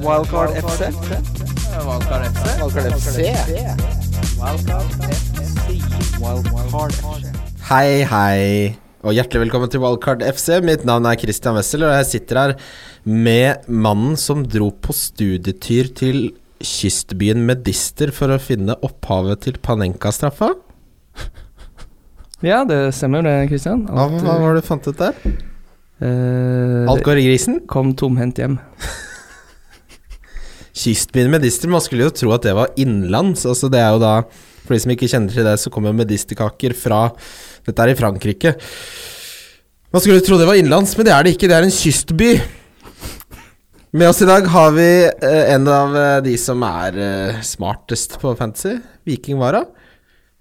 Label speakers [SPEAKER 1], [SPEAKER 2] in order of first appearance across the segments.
[SPEAKER 1] Wildcard FC.
[SPEAKER 2] Valkar FC.
[SPEAKER 1] Wildcard FC. Wildcard FC.
[SPEAKER 3] Hei, hei, og hjertelig velkommen til Wildcard FC. Mitt navn er Christian Wessel, og jeg sitter her med mannen som dro på studietyr til kystbyen Medister for å finne opphavet til Panenka-straffa.
[SPEAKER 4] Ja, det stemmer det, Kristian.
[SPEAKER 3] Hva, hva var det du fant ut der?
[SPEAKER 4] eh,
[SPEAKER 3] Alt går i grisen?
[SPEAKER 4] Kom tomhendt hjem.
[SPEAKER 3] Kystbyen Medister, man skulle jo tro at det var innenlands. Altså det er jo da, For de som ikke kjenner til det, så kommer medisterkaker fra Dette er i Frankrike. Man skulle jo tro det var innenlands, men det er det ikke. Det er en kystby. Med oss i dag har vi eh, en av eh, de som er eh, smartest på fantasy. Viking Wara.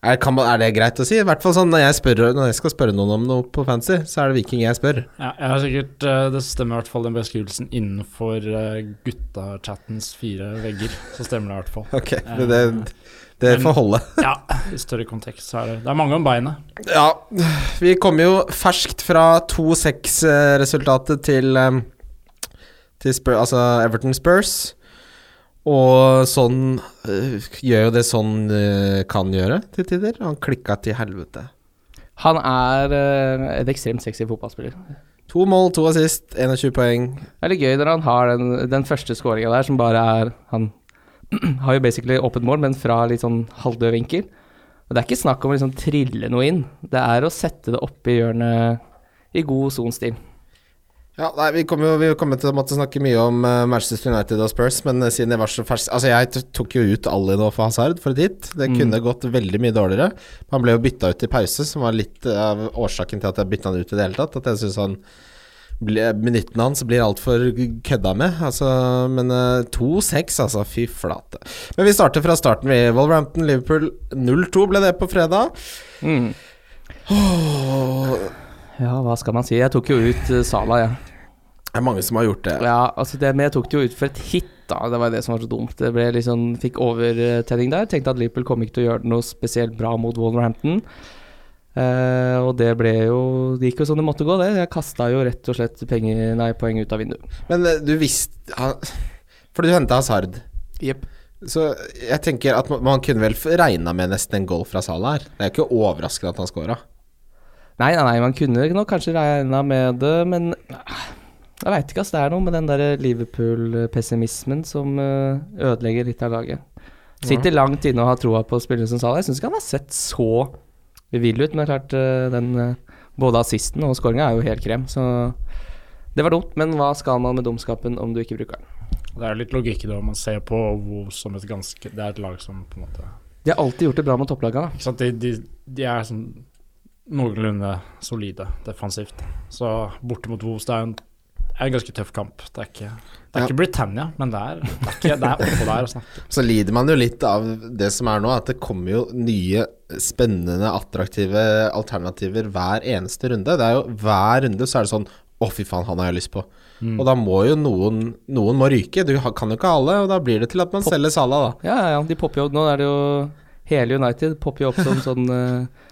[SPEAKER 3] Er, kan man, er det greit å si? I hvert fall sånn når jeg, spør, når jeg skal spørre noen om noe på fantasy, så er det Viking jeg spør.
[SPEAKER 5] Ja, jeg har sikkert, eh, Det stemmer i hvert fall den beskrivelsen innenfor eh, gutta-chattens fire vegger. Så stemmer det i hvert fall.
[SPEAKER 3] Ok, men det, det
[SPEAKER 5] Men-
[SPEAKER 3] får holde.
[SPEAKER 5] Ja, I større kontekst så er det Det er mange om beinet.
[SPEAKER 3] Ja, vi kom jo ferskt fra 2-6-resultatet til, eh, til Spur, altså Everton Spurs. Og sånn eh, gjør jo det sånn eh, kan gjøre til tider. Han klikka til helvete.
[SPEAKER 4] Han er eh, en ekstremt sexy fotballspiller.
[SPEAKER 3] To mål, to assist, 21 poeng.
[SPEAKER 4] Det er litt gøy når han har den, den første skåringa der, som bare er Han har jo basically åpent mål, men fra litt sånn halvdød vinkel. Og det er ikke snakk om å liksom trille noe inn. Det er å sette det opp i hjørnet i god sonstil.
[SPEAKER 3] Ja, nei, Vi kommer jo- vi kommer til å måtte snakke mye om eh, Manchester United og Spurs, men eh, siden det var så ferskt Altså, jeg t- tok jo ut Ali nå for Hazard for et hit. Det kunne gått veldig mye dårligere. Han ble jo bytta ut i pause, som var litt eh, av årsaken til at jeg bytta han ut i det hele tatt. At jeg syns han ble, Minuttene hans blir altfor kødda med. Altså, men eh, 2-6, altså. Fy flate. Men vi starter fra starten, vi. Wolverhampton-Liverpool 0-2 ble det på fredag.
[SPEAKER 4] Mm. Ja, hva skal man si? Jeg tok jo ut uh, Sala, jeg.
[SPEAKER 3] Det er mange som har gjort det.
[SPEAKER 4] Ja, altså det, men jeg tok det jo ut for et hit, da. Det var jo det som var så dumt. Det ble liksom, Fikk overtenning der. Tenkte at Liverpool kom ikke til å gjøre noe spesielt bra mot Wolverhampton. Eh, og det ble jo Det gikk jo som det måtte gå, det. Jeg kasta jo rett og slett penger, nei, poeng ut av vinduet.
[SPEAKER 3] Men eh, du visste han- Fordi du henta Hazard.
[SPEAKER 4] Jepp.
[SPEAKER 3] Så jeg tenker at man, man kunne vel regna med nesten en goal fra Salah her. Det er jo ikke overraskende at han scora.
[SPEAKER 4] Nei, nei, nei, man kunne nok kanskje regna med det, men eh, jeg veit ikke, ass. Det er noe med den der Liverpool-pessimismen som eh, ødelegger litt av laget. Sitter langt inne og har troa på spillere som Salah. Jeg syns ikke han har sett så vill ut, men det er klart, eh, den eh, både assisten og skåringa er jo helt krem, så det var dumt, men hva skal man med dumskapen om du ikke bruker den?
[SPEAKER 5] Det er jo litt logikk i det om man ser på WoW som et ganske Det er et lag som på en måte
[SPEAKER 4] De har alltid gjort det bra med topplagene.
[SPEAKER 5] Ikke sant, de, de, de er sånn noenlunde solide defensivt. Så borte mot Woos, det er jo en, det er en ganske tøff kamp. Det er ikke, det er
[SPEAKER 3] Ja.
[SPEAKER 5] ikke Britannia, men det er, det er, ikke, det er oppå der å snakke.
[SPEAKER 3] Så lider man jo litt av det som er nå, at det kommer jo nye, spennende, attraktive alternativer hver eneste runde. Det er jo Hver runde så er det sånn Å, fy faen, han har jeg lyst på. Og da må jo noen Noen må ryke. Du ha- kan jo ikke ha alle, og da blir det til at man selger Salah, da.
[SPEAKER 4] Ja, ja, ja, de popper jo Nå er det jo hele United popper jo opp som sånn uh,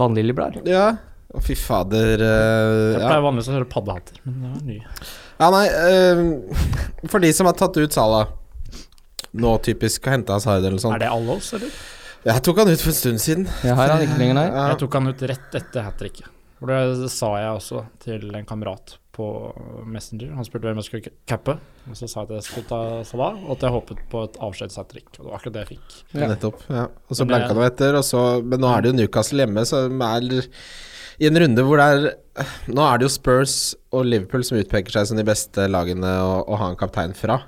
[SPEAKER 4] vannliljeblader.
[SPEAKER 3] Ja. Å, fy fader. eh, ja.
[SPEAKER 5] Jeg
[SPEAKER 3] Sånn.
[SPEAKER 5] pleier vanligvis å høre paddehatter, men det var ny.
[SPEAKER 3] Ja, nei eh, For de som har tatt ut Salah Nå typisk å hente Hazard eller noe
[SPEAKER 5] Er
[SPEAKER 3] sånt.
[SPEAKER 5] det alle oss, eller?
[SPEAKER 3] Jeg tok han ut for en stund siden.
[SPEAKER 4] Jeg har han ikke lenger, nei.
[SPEAKER 3] Ja.
[SPEAKER 5] Jeg tok han ut rett etter hat tricket. For det, det sa jeg også til en kamerat på Messenger. Han spurte hvem jeg skulle cappe. Og så sa jeg at jeg skulle ta Salah, og at jeg håpet på et avskjeds hat trick. Og det var akkurat det jeg fikk.
[SPEAKER 4] Ja.
[SPEAKER 3] Nettopp. Ja. Og så
[SPEAKER 5] Men det-
[SPEAKER 3] blanka han etter, og så Men nå er det jo Newcastle hjemme, som er i en runde hvor det er Nå er det jo Spurs og Liverpool som utpeker seg som de beste lagene å, å ha en kaptein fra.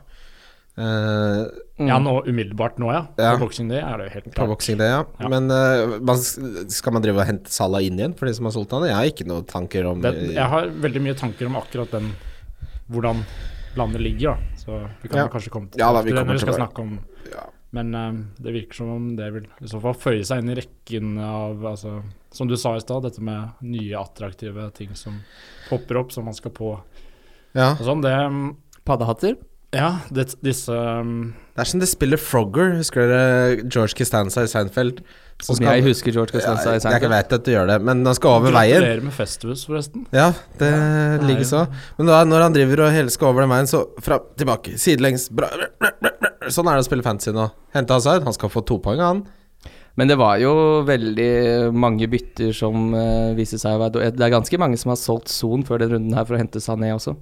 [SPEAKER 3] Eh,
[SPEAKER 4] Mm.
[SPEAKER 5] Ja, nå, umiddelbart nå, ja.
[SPEAKER 3] Ja.
[SPEAKER 5] På boksing day er det jo helt
[SPEAKER 3] på
[SPEAKER 5] klart.
[SPEAKER 3] boxing, det, ja.
[SPEAKER 5] Ja.
[SPEAKER 3] Men eh, man, skal man drive og hente Salah inn igjen for de som har solgt han? Jeg har ikke noen tanker om
[SPEAKER 5] Det, jeg har veldig mye tanker om akkurat den hvordan landet ligger, da. Så vi kan
[SPEAKER 3] Ja.
[SPEAKER 5] jo kanskje komme til
[SPEAKER 3] Ja, da, vi
[SPEAKER 5] til det
[SPEAKER 3] kommer
[SPEAKER 5] når vi skal
[SPEAKER 3] tilbake.
[SPEAKER 5] snakke om
[SPEAKER 3] Ja.
[SPEAKER 5] Men eh, det virker som om det vil i så fall føye seg inn i rekken av altså, Som du sa i stad, dette med nye attraktive ting som popper opp, som man skal på.
[SPEAKER 3] ja.
[SPEAKER 5] Og sånn, det, mm,
[SPEAKER 4] Paddehatter?
[SPEAKER 5] Ja, det, disse um,
[SPEAKER 3] Det er som det spiller Frogger, husker dere George Costanza i Seinfeld? Som
[SPEAKER 4] Som jeg husker George Costanza i
[SPEAKER 3] Jeg
[SPEAKER 4] Seinfeld.
[SPEAKER 3] vet at du gjør det, men han skal over veien.
[SPEAKER 5] Gratulerer med festivus, forresten.
[SPEAKER 3] Ja, det
[SPEAKER 5] det er
[SPEAKER 3] ligger
[SPEAKER 5] jo-
[SPEAKER 3] så. Men da, når han driver og hele skal over den veien, så fra, tilbake, sidelengs bra, bra, bra, bra, bra. Sånn er det å spille fantasy nå. Hente Hazard, han skal få to poeng, han.
[SPEAKER 4] Men det var jo veldig mange bytter som uh, viste seg å være dårlige. Det er ganske mange som har solgt Son før den runden her for å hente seg ned også.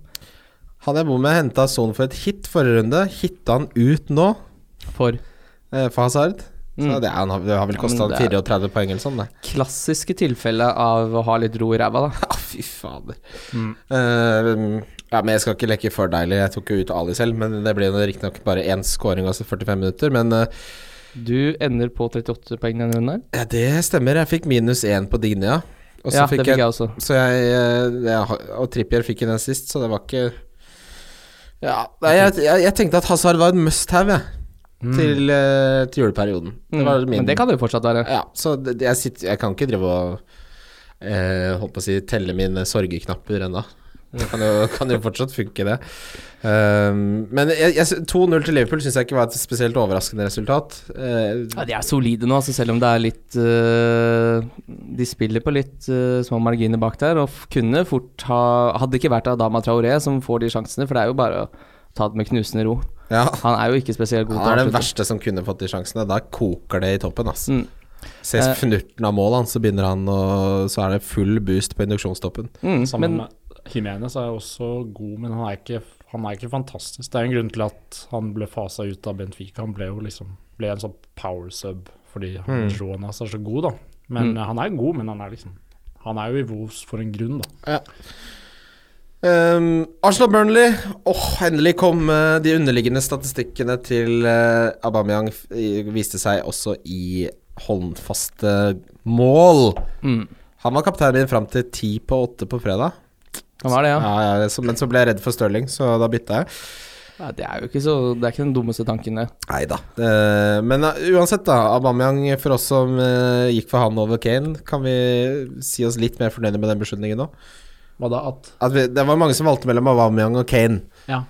[SPEAKER 3] Han jeg bor med, henta Son for et hit forrige runde. Hitta han ut nå,
[SPEAKER 4] For
[SPEAKER 3] eh, for Hazard. Så
[SPEAKER 4] Mm.
[SPEAKER 3] det, er, han har, Mm, det har vel kosta
[SPEAKER 4] Ja, men det er-
[SPEAKER 3] 34 poeng eller sånn, det.
[SPEAKER 4] klassiske tilfelle av å ha litt ro i ræva, da.
[SPEAKER 3] Ja, fy fader. Eh, Mm. ja, men jeg skal ikke leke for deilig. Jeg tok jo ut Ali selv, men det ble riktignok bare én scoring, altså 45 minutter. Men eh,
[SPEAKER 4] Du ender på 38 poeng denne runden her.
[SPEAKER 3] ja, det stemmer. Jeg fikk minus én på Dignia. Og så
[SPEAKER 4] Ja, det
[SPEAKER 3] fikk jeg,
[SPEAKER 4] fikk jeg også.
[SPEAKER 3] Så jeg, eh, jeg har- Og Trippier fikk jo den sist, så det var ikke Ja, nei, jeg, jeg, jeg tenkte at Hazard var en must have, jeg. Til, eh, til juleperioden. Det var
[SPEAKER 4] Mm,
[SPEAKER 3] min
[SPEAKER 4] Men det kan det jo fortsatt være.
[SPEAKER 3] Ja, så det, jeg, sitter, jeg kan ikke drive og eh, holdt på å si telle mine sorgeknapper ennå. Det kan jo, kan jo fortsatt funke, det. Ehm, men jeg- jeg sy- 2-0 til Liverpool syns jeg ikke var et spesielt overraskende resultat. Eh,
[SPEAKER 4] Ja, De er solide nå, altså selv om det er litt øh, De spiller på litt øh, små marginer bak der. Og f- kunne fort ha Hadde det ikke vært Adama Traoré som får de sjansene, for det er jo bare å ta det med knusende ro.
[SPEAKER 3] ja,
[SPEAKER 4] Han er jo ikke spesielt god
[SPEAKER 3] han er den
[SPEAKER 4] avslutte.
[SPEAKER 3] verste som kunne fått de sjansene. Da koker det i toppen, ass.
[SPEAKER 4] Mm.
[SPEAKER 3] Ses
[SPEAKER 4] Eh.
[SPEAKER 3] fnurten av mål, han, så begynner han å Så er det full boost på induksjonstoppen.
[SPEAKER 4] Mm,
[SPEAKER 5] Sammen
[SPEAKER 4] men
[SPEAKER 5] med Jimenez er jo også god, men han er, ikke, han er ikke fantastisk. Det er en grunn til at han ble fasa ut av Benfica. Han ble jo liksom ble en sånn power sub fordi han Jonas er så god, da. Men
[SPEAKER 4] Mm.
[SPEAKER 5] han er god, men han er liksom Han er jo i Wolves for en grunn, da.
[SPEAKER 3] Um, Arsenal Burnley. Åh, endelig kom eh, de underliggende statistikkene til eh, Aubameyang f- i- viste seg også i håndfaste mål.
[SPEAKER 4] mm,
[SPEAKER 3] Han var kapteinen min fram til ti på åtte på fredag.
[SPEAKER 4] han var det, ja.
[SPEAKER 3] Ja, ja, så, men så ble jeg redd for Stirling, så da bytta jeg.
[SPEAKER 4] ja. Det er jo ikke så Det er ikke den dummeste tanken, det.
[SPEAKER 3] Nei da. men eh, uansett, da. Aubameyang, for oss som eh, gikk for han over Kane, kan vi si oss litt mer fornøyde med den beslutningen nå?
[SPEAKER 5] Hva da at
[SPEAKER 3] At vi, det var mange som valgte mellom Aubameyang og Kane.
[SPEAKER 5] Ja.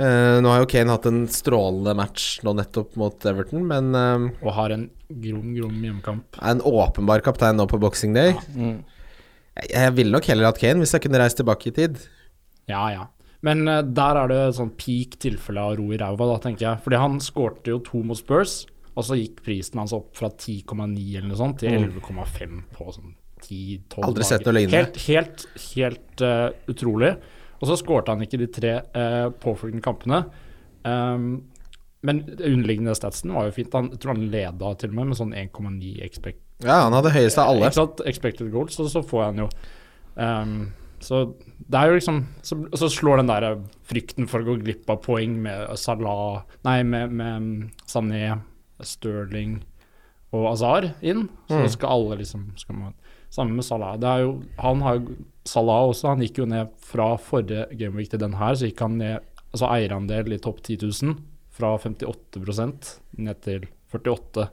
[SPEAKER 3] Eh, nå har jo Kane hatt en strålende match nå nettopp mot Everton, men eh,
[SPEAKER 5] Og har en grom, grom hjemmekamp.
[SPEAKER 3] er en åpenbar kaptein nå på Boxing Day.
[SPEAKER 4] Mm.
[SPEAKER 3] Jeg, jeg ville nok heller hatt Kane hvis jeg kunne reist tilbake i tid.
[SPEAKER 5] Ja, ja. Men eh, der er det et sånn peak tilfelle av ro i ræva, da, tenker jeg. Fordi han skårte jo to mot Spurs, og så gikk prisen hans opp fra 10,9 eller noe sånt til 11,5 på sånn 10-12
[SPEAKER 3] Mm. Aldri sett noe lignende.
[SPEAKER 5] Helt, helt, helt eh, utrolig. Og så skårte han ikke de tre uh, påfølgende kampene. Um, men underliggende statsen var jo fint. Han, jeg tror han leda til og med med sånn 1,9 expect
[SPEAKER 3] Ja, han hadde høyest av alle.
[SPEAKER 5] ikke sant? Expected goals, og så får jeg den jo. Ehm, så det er jo liksom Så, så slår den der frykten for å gå glipp av poeng med Salah Nei, med, med mm, Sané, Sterling og Azar inn. Så
[SPEAKER 3] Mm.
[SPEAKER 5] skal alle liksom skal man, Sammen med Salah. Det er jo, han har jo Salah også. Han gikk jo ned fra forrige gameweek til den her, så gikk han ned Altså eierandel i topp 10 000 fra 58 ned til 48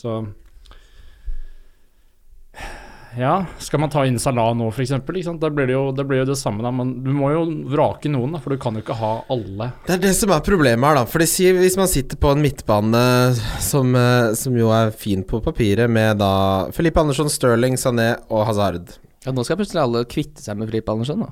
[SPEAKER 5] Så ja, skal man ta inn Salah nå f.eks.? Da blir det jo det, blir jo det samme. Da. Men du må jo vrake noen, da, for du kan jo ikke ha alle.
[SPEAKER 3] Det er det som er problemet her, da. For de sier hvis man sitter på en midtbane som, eh, som jo er fin på papiret, med da Felipe Andersson, Sterling, Sané og Hazard
[SPEAKER 4] Ja, nå skal plutselig alle kvitte seg med Filip Andersen, da.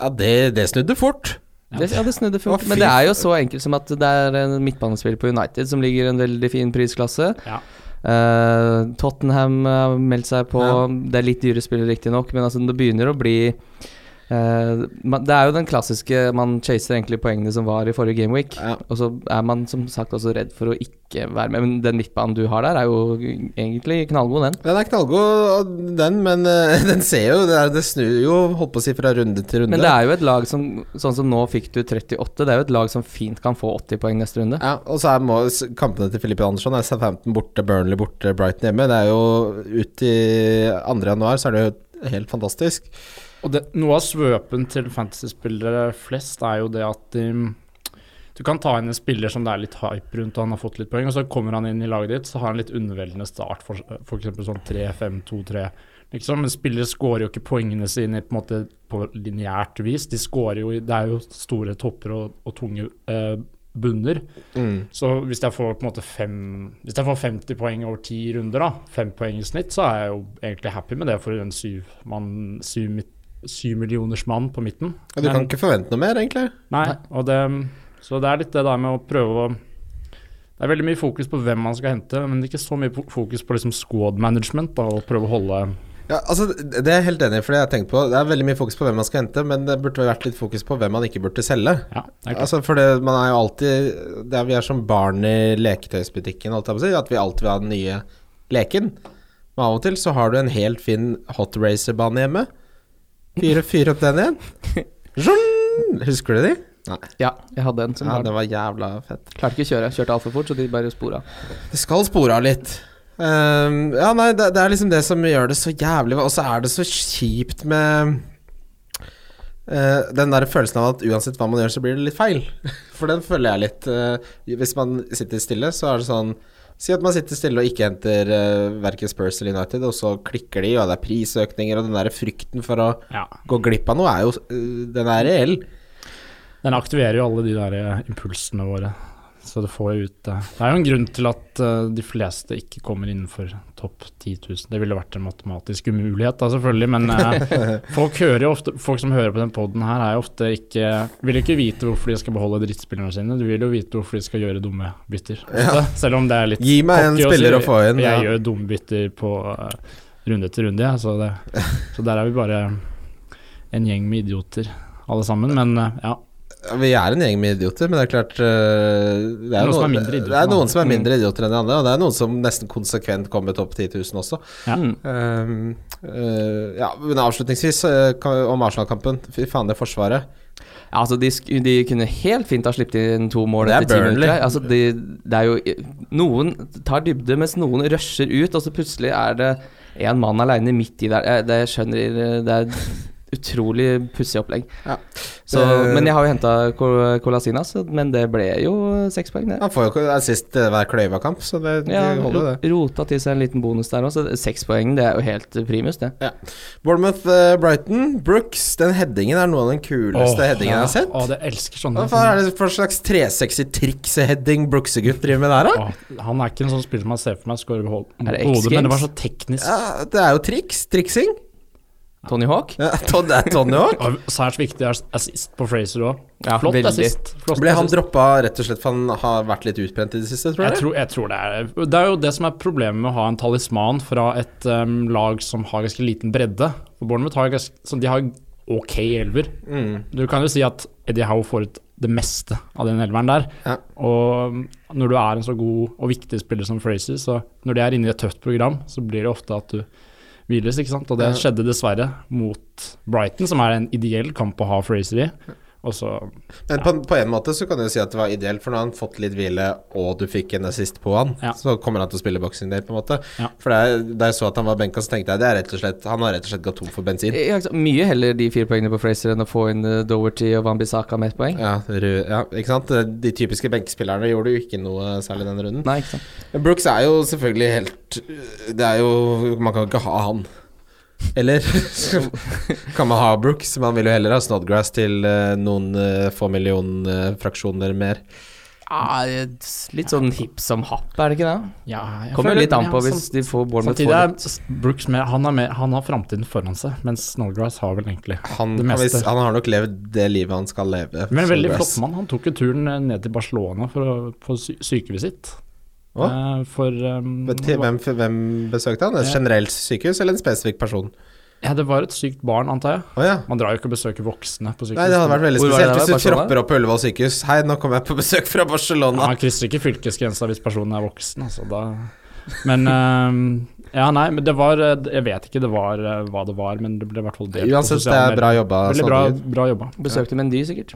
[SPEAKER 3] Ja, det, det snudde fort.
[SPEAKER 4] Det, ja, det snudde
[SPEAKER 3] Å,
[SPEAKER 4] fort.
[SPEAKER 3] fy
[SPEAKER 4] Men det er jo så enkelt som at det er en midtbanespiller på United som ligger i en veldig fin prisklasse.
[SPEAKER 5] Ja.
[SPEAKER 4] Eh, Tottenham har meldt seg på.
[SPEAKER 3] Ja.
[SPEAKER 4] Det er litt dyre spillere, riktignok, men altså, det begynner å bli eh, man- Det er jo den klassiske Man chaser egentlig poengene som var i forrige gameweek.
[SPEAKER 3] Ja.
[SPEAKER 4] Og så er man som sagt også redd for å ikke være med. Men den midtbanen du har der, er jo egentlig knallgod, den.
[SPEAKER 3] Den er knallgod, den, men eh, den ser jo Det, er- det snur jo, holdt på å si, fra runde til runde.
[SPEAKER 4] Men det er jo et lag som Sånn som nå fikk du 38, det er jo et lag som fint kan få 80 poeng neste runde.
[SPEAKER 3] ja, og så er må, s- kampene til Filippe Andersson er Southampton borte, Burnley borte, Brighton hjemme. Det er jo ut i 2. januar, så er det jo helt fantastisk.
[SPEAKER 5] Og det, noe av svøpen til fantasyspillere flest er jo det at de um, Du kan ta inn en spiller som det er litt hype rundt, og han har fått litt poeng, og så kommer han inn i laget ditt, så har han litt underveldende start, for for eksempel sånn 3-5-2-3. Liksom. Men spillere scorer jo ikke poengene sine på, en måte på lineært vis. De scorer jo, i- Det er jo store topper og, og tunge eh, bunner.
[SPEAKER 3] Mm.
[SPEAKER 5] Så hvis jeg får på en måte fem, hvis jeg får 50 poeng over ti runder, da, fem poeng i snitt, så er jeg jo egentlig happy med det for en syv, mann, syv, mid- syv millioners mann på midten.
[SPEAKER 3] Ja, du kan
[SPEAKER 5] Men-
[SPEAKER 3] ikke forvente noe mer, egentlig.
[SPEAKER 5] Nei, og det, så det er litt det der med å prøve å Det er veldig mye fokus på hvem man skal hente, men ikke så mye po- fokus på liksom squad management da, og prøve å holde
[SPEAKER 3] Ja, altså, det det er jeg helt enig i, for det har jeg tenkt på. Det er veldig mye fokus på hvem man skal hente, men det burde vært litt fokus på hvem man ikke burde selge.
[SPEAKER 5] Ja, det er klart.
[SPEAKER 3] Altså, for det, man er jo alltid det er, Vi er som barn i leketøysbutikken, holdt jeg på å si, at vi alltid vil ha den nye leken. Men av og til så har du en helt fin hot racer-bane hjemme. Fyr, fyr opp den igjen. Zjong! Husker du de? Nei.
[SPEAKER 4] Ja, jeg hadde en som
[SPEAKER 3] Ja,
[SPEAKER 4] barn.
[SPEAKER 3] det var jævla fett.
[SPEAKER 4] klarte ikke å kjøre. Kjørte altfor fort, så de bare spora.
[SPEAKER 3] Det skal spore av litt. Ehm, ja, nei, det, det er liksom det som gjør det så jævlig Og så er det så kjipt med eh, den der følelsen av at uansett hva man gjør, så blir det litt feil. For den føler jeg litt eh, Hvis man sitter stille, så er det sånn Si at man sitter stille og ikke henter uh, verken Spurs eller United, og så klikker de, og det er prisøkninger, og den der frykten for å
[SPEAKER 5] Ja.
[SPEAKER 3] gå glipp av noe, er jo eh, Den er reell.
[SPEAKER 5] Den aktiverer jo alle de der eh, impulsene våre. Så det får jo ut det. Det er jo en grunn til at eh, de fleste ikke kommer innenfor topp 10 000. Det ville vært en matematisk umulighet da, selvfølgelig, men eh, folk, hører jo ofte, folk som hører på den poden her, er jo ofte ikke Vil jo ikke vite hvorfor de skal beholde drittspillerne sine. Du vil jo vite hvorfor de skal gjøre dumme bytter. ofte, Selv om det er litt
[SPEAKER 3] Gi meg en
[SPEAKER 5] cocky si,
[SPEAKER 3] spiller å få inn.
[SPEAKER 5] Jeg
[SPEAKER 3] ja.
[SPEAKER 5] gjør dumme bytter på eh, runde etter runde, jeg, så, det, så der er vi bare en gjeng med idioter alle sammen. Men eh, ja.
[SPEAKER 3] Ja, Vi er en gjeng med idioter, men det er klart øh, det, er
[SPEAKER 5] Noen som er
[SPEAKER 3] noen,
[SPEAKER 5] mindre idioter
[SPEAKER 3] det er
[SPEAKER 5] enn
[SPEAKER 3] noen
[SPEAKER 5] andre. Mm.
[SPEAKER 3] som er mindre idioter enn de andre, og det er noen som nesten konsekvent kommer topp 10 000 også.
[SPEAKER 5] Ja.
[SPEAKER 4] Mm.
[SPEAKER 3] Ehm, øh, ja, men avslutningsvis øh, kan- om Arsenal-kampen. Fy faen, det forsvaret.
[SPEAKER 4] Ja, altså de, sk de kunne helt fint ha sluppet inn to mål
[SPEAKER 3] Det er
[SPEAKER 4] etter ti
[SPEAKER 3] Burnley.
[SPEAKER 4] minutter. her. Altså de, det er jo Noen tar dybde, mens noen rusher ut, og så plutselig er det én mann aleine midt i der. Eh, Det skjønner Det er et utrolig pussig opplegg.
[SPEAKER 3] Ja.
[SPEAKER 4] Så,
[SPEAKER 3] Det-
[SPEAKER 4] men jeg har jo henta Colasinas, men det ble jo seks poeng, det.
[SPEAKER 3] Han får jo ikke assist øh, hver kløyva-kamp, så det,
[SPEAKER 4] Ja,
[SPEAKER 3] det holder, det.
[SPEAKER 4] rota til seg en liten bonus der òg, så det- seks poeng det er jo helt primus, det.
[SPEAKER 3] Bournemouth-Brighton. eh, Brooks, den headingen er noe av den kuleste
[SPEAKER 5] Åh,
[SPEAKER 3] headingen jeg har sett.
[SPEAKER 5] Å, det elsker sånne.
[SPEAKER 3] Hva faen er det for slags tresexy triks-heading Brooksegutt driver med der, da?
[SPEAKER 5] Åh, han er ikke en sånn spiller som man ser for meg skårer hode,
[SPEAKER 4] Er det X-Games?
[SPEAKER 5] men det var så teknisk.
[SPEAKER 3] Ja, det er jo triks. Triksing.
[SPEAKER 4] Tony Hawk?
[SPEAKER 3] Ja, Todd- det er Tony Hawk.
[SPEAKER 5] Og særs viktig er assist på Fraser òg.
[SPEAKER 4] Ja,
[SPEAKER 5] Flott
[SPEAKER 4] veldig.
[SPEAKER 5] assist. Flott
[SPEAKER 3] Ble han
[SPEAKER 5] assist.
[SPEAKER 3] droppa rett og slett for han har vært litt utbrent i det siste, tror
[SPEAKER 5] Jeg
[SPEAKER 3] jeg?
[SPEAKER 5] tror, jeg tror det er Det er jo det som er problemet med å ha en talisman fra et em, lag som har ganske liten bredde. For Bournemouth har ganske, så de har ok elver.
[SPEAKER 3] Mm.
[SPEAKER 5] Du kan jo si at Eddie Howe får ut det meste av den elveren der.
[SPEAKER 3] Ja.
[SPEAKER 5] Og um, når du er en så god og viktig spiller som Fraser, så når de er inne i et tøft program, så blir det ofte at du hviles, ikke sant. Og det
[SPEAKER 3] Ja.
[SPEAKER 5] skjedde dessverre mot Brighton, som er en ideell kamp å ha Fraser i. Og så
[SPEAKER 3] Men på, på en måte så kan du si at det var ideelt, for nå har han fått litt hvile, og du fikk en assist på han,
[SPEAKER 5] Ja.
[SPEAKER 3] så kommer han til å spille boxing day, på en måte.
[SPEAKER 5] Ja.
[SPEAKER 3] For da jeg- da jeg så at han var benka, så tenkte jeg det er rett og slett Han har rett og slett gått tom for bensin.
[SPEAKER 4] Ja, ikke sant. Mye heller de fire poengene på Fraser enn å få inn eh, Doherty og Wambisaka med ett poeng.
[SPEAKER 3] Ja, rød, ja, ikke sant? De typiske benkespillerne gjorde jo ikke noe særlig denne runden.
[SPEAKER 4] Nei, ikke sant.
[SPEAKER 3] Men Brooks er jo selvfølgelig helt Det er jo Man kan ikke ha han. Eller kan man ha Brooks? Man vil jo heller ha Snodgrass til eh, noen eh, få millionfraksjoner mer.
[SPEAKER 4] Ja, det Ah, er litt sånn hipp som happ, er det ikke det?
[SPEAKER 5] ja, jeg
[SPEAKER 4] Kommer
[SPEAKER 5] føler-
[SPEAKER 4] litt an
[SPEAKER 5] ja,
[SPEAKER 4] på
[SPEAKER 5] sånn-
[SPEAKER 4] hvis de får Bournemouth
[SPEAKER 5] Samtidig
[SPEAKER 4] for
[SPEAKER 5] er
[SPEAKER 4] litt.
[SPEAKER 5] Brooks med, han, er med, han har framtiden foran seg, mens Snodgrass har vel egentlig
[SPEAKER 3] Han,
[SPEAKER 5] Det
[SPEAKER 3] kan vi,
[SPEAKER 5] meste.
[SPEAKER 3] han har nok levd det livet han skal leve.
[SPEAKER 5] Men en veldig flott
[SPEAKER 3] Snodgrass.
[SPEAKER 5] mann. Han tok jo turen eh, ned til Barcelona for å få sy sykevisitt.
[SPEAKER 3] Hva?
[SPEAKER 5] Eh, for um,
[SPEAKER 3] Men til,
[SPEAKER 5] det var-
[SPEAKER 3] hvem, hvem besøkte han? Et
[SPEAKER 5] Ja.
[SPEAKER 3] generelt sykehus eller en spesifikk person?
[SPEAKER 5] ja, det var et sykt barn, antar jeg.
[SPEAKER 3] Å ja.
[SPEAKER 5] Man drar jo ikke og besøker voksne på sykehus.
[SPEAKER 3] Nei, det hadde vært veldig
[SPEAKER 4] Hvor var det
[SPEAKER 3] spesielt
[SPEAKER 4] der,
[SPEAKER 3] hvis du
[SPEAKER 4] Barcelona?
[SPEAKER 3] tropper opp på Ullevål sykehus. Hei, nå kommer jeg på besøk fra Barcelona.
[SPEAKER 5] Han krysser ikke fylkesgrensa hvis personen er voksen, altså. Da. Men eh, Ja, nei, men det var eh, Jeg vet ikke det var, eh, hva det var, men det ble i hvert fall delt. på
[SPEAKER 3] Uansett, det
[SPEAKER 5] sosiale
[SPEAKER 3] er bra altså, jobba.
[SPEAKER 5] medier. Veldig bra,
[SPEAKER 3] Snodgrass.
[SPEAKER 5] bra jobba.
[SPEAKER 4] Besøkte Mendy, sikkert.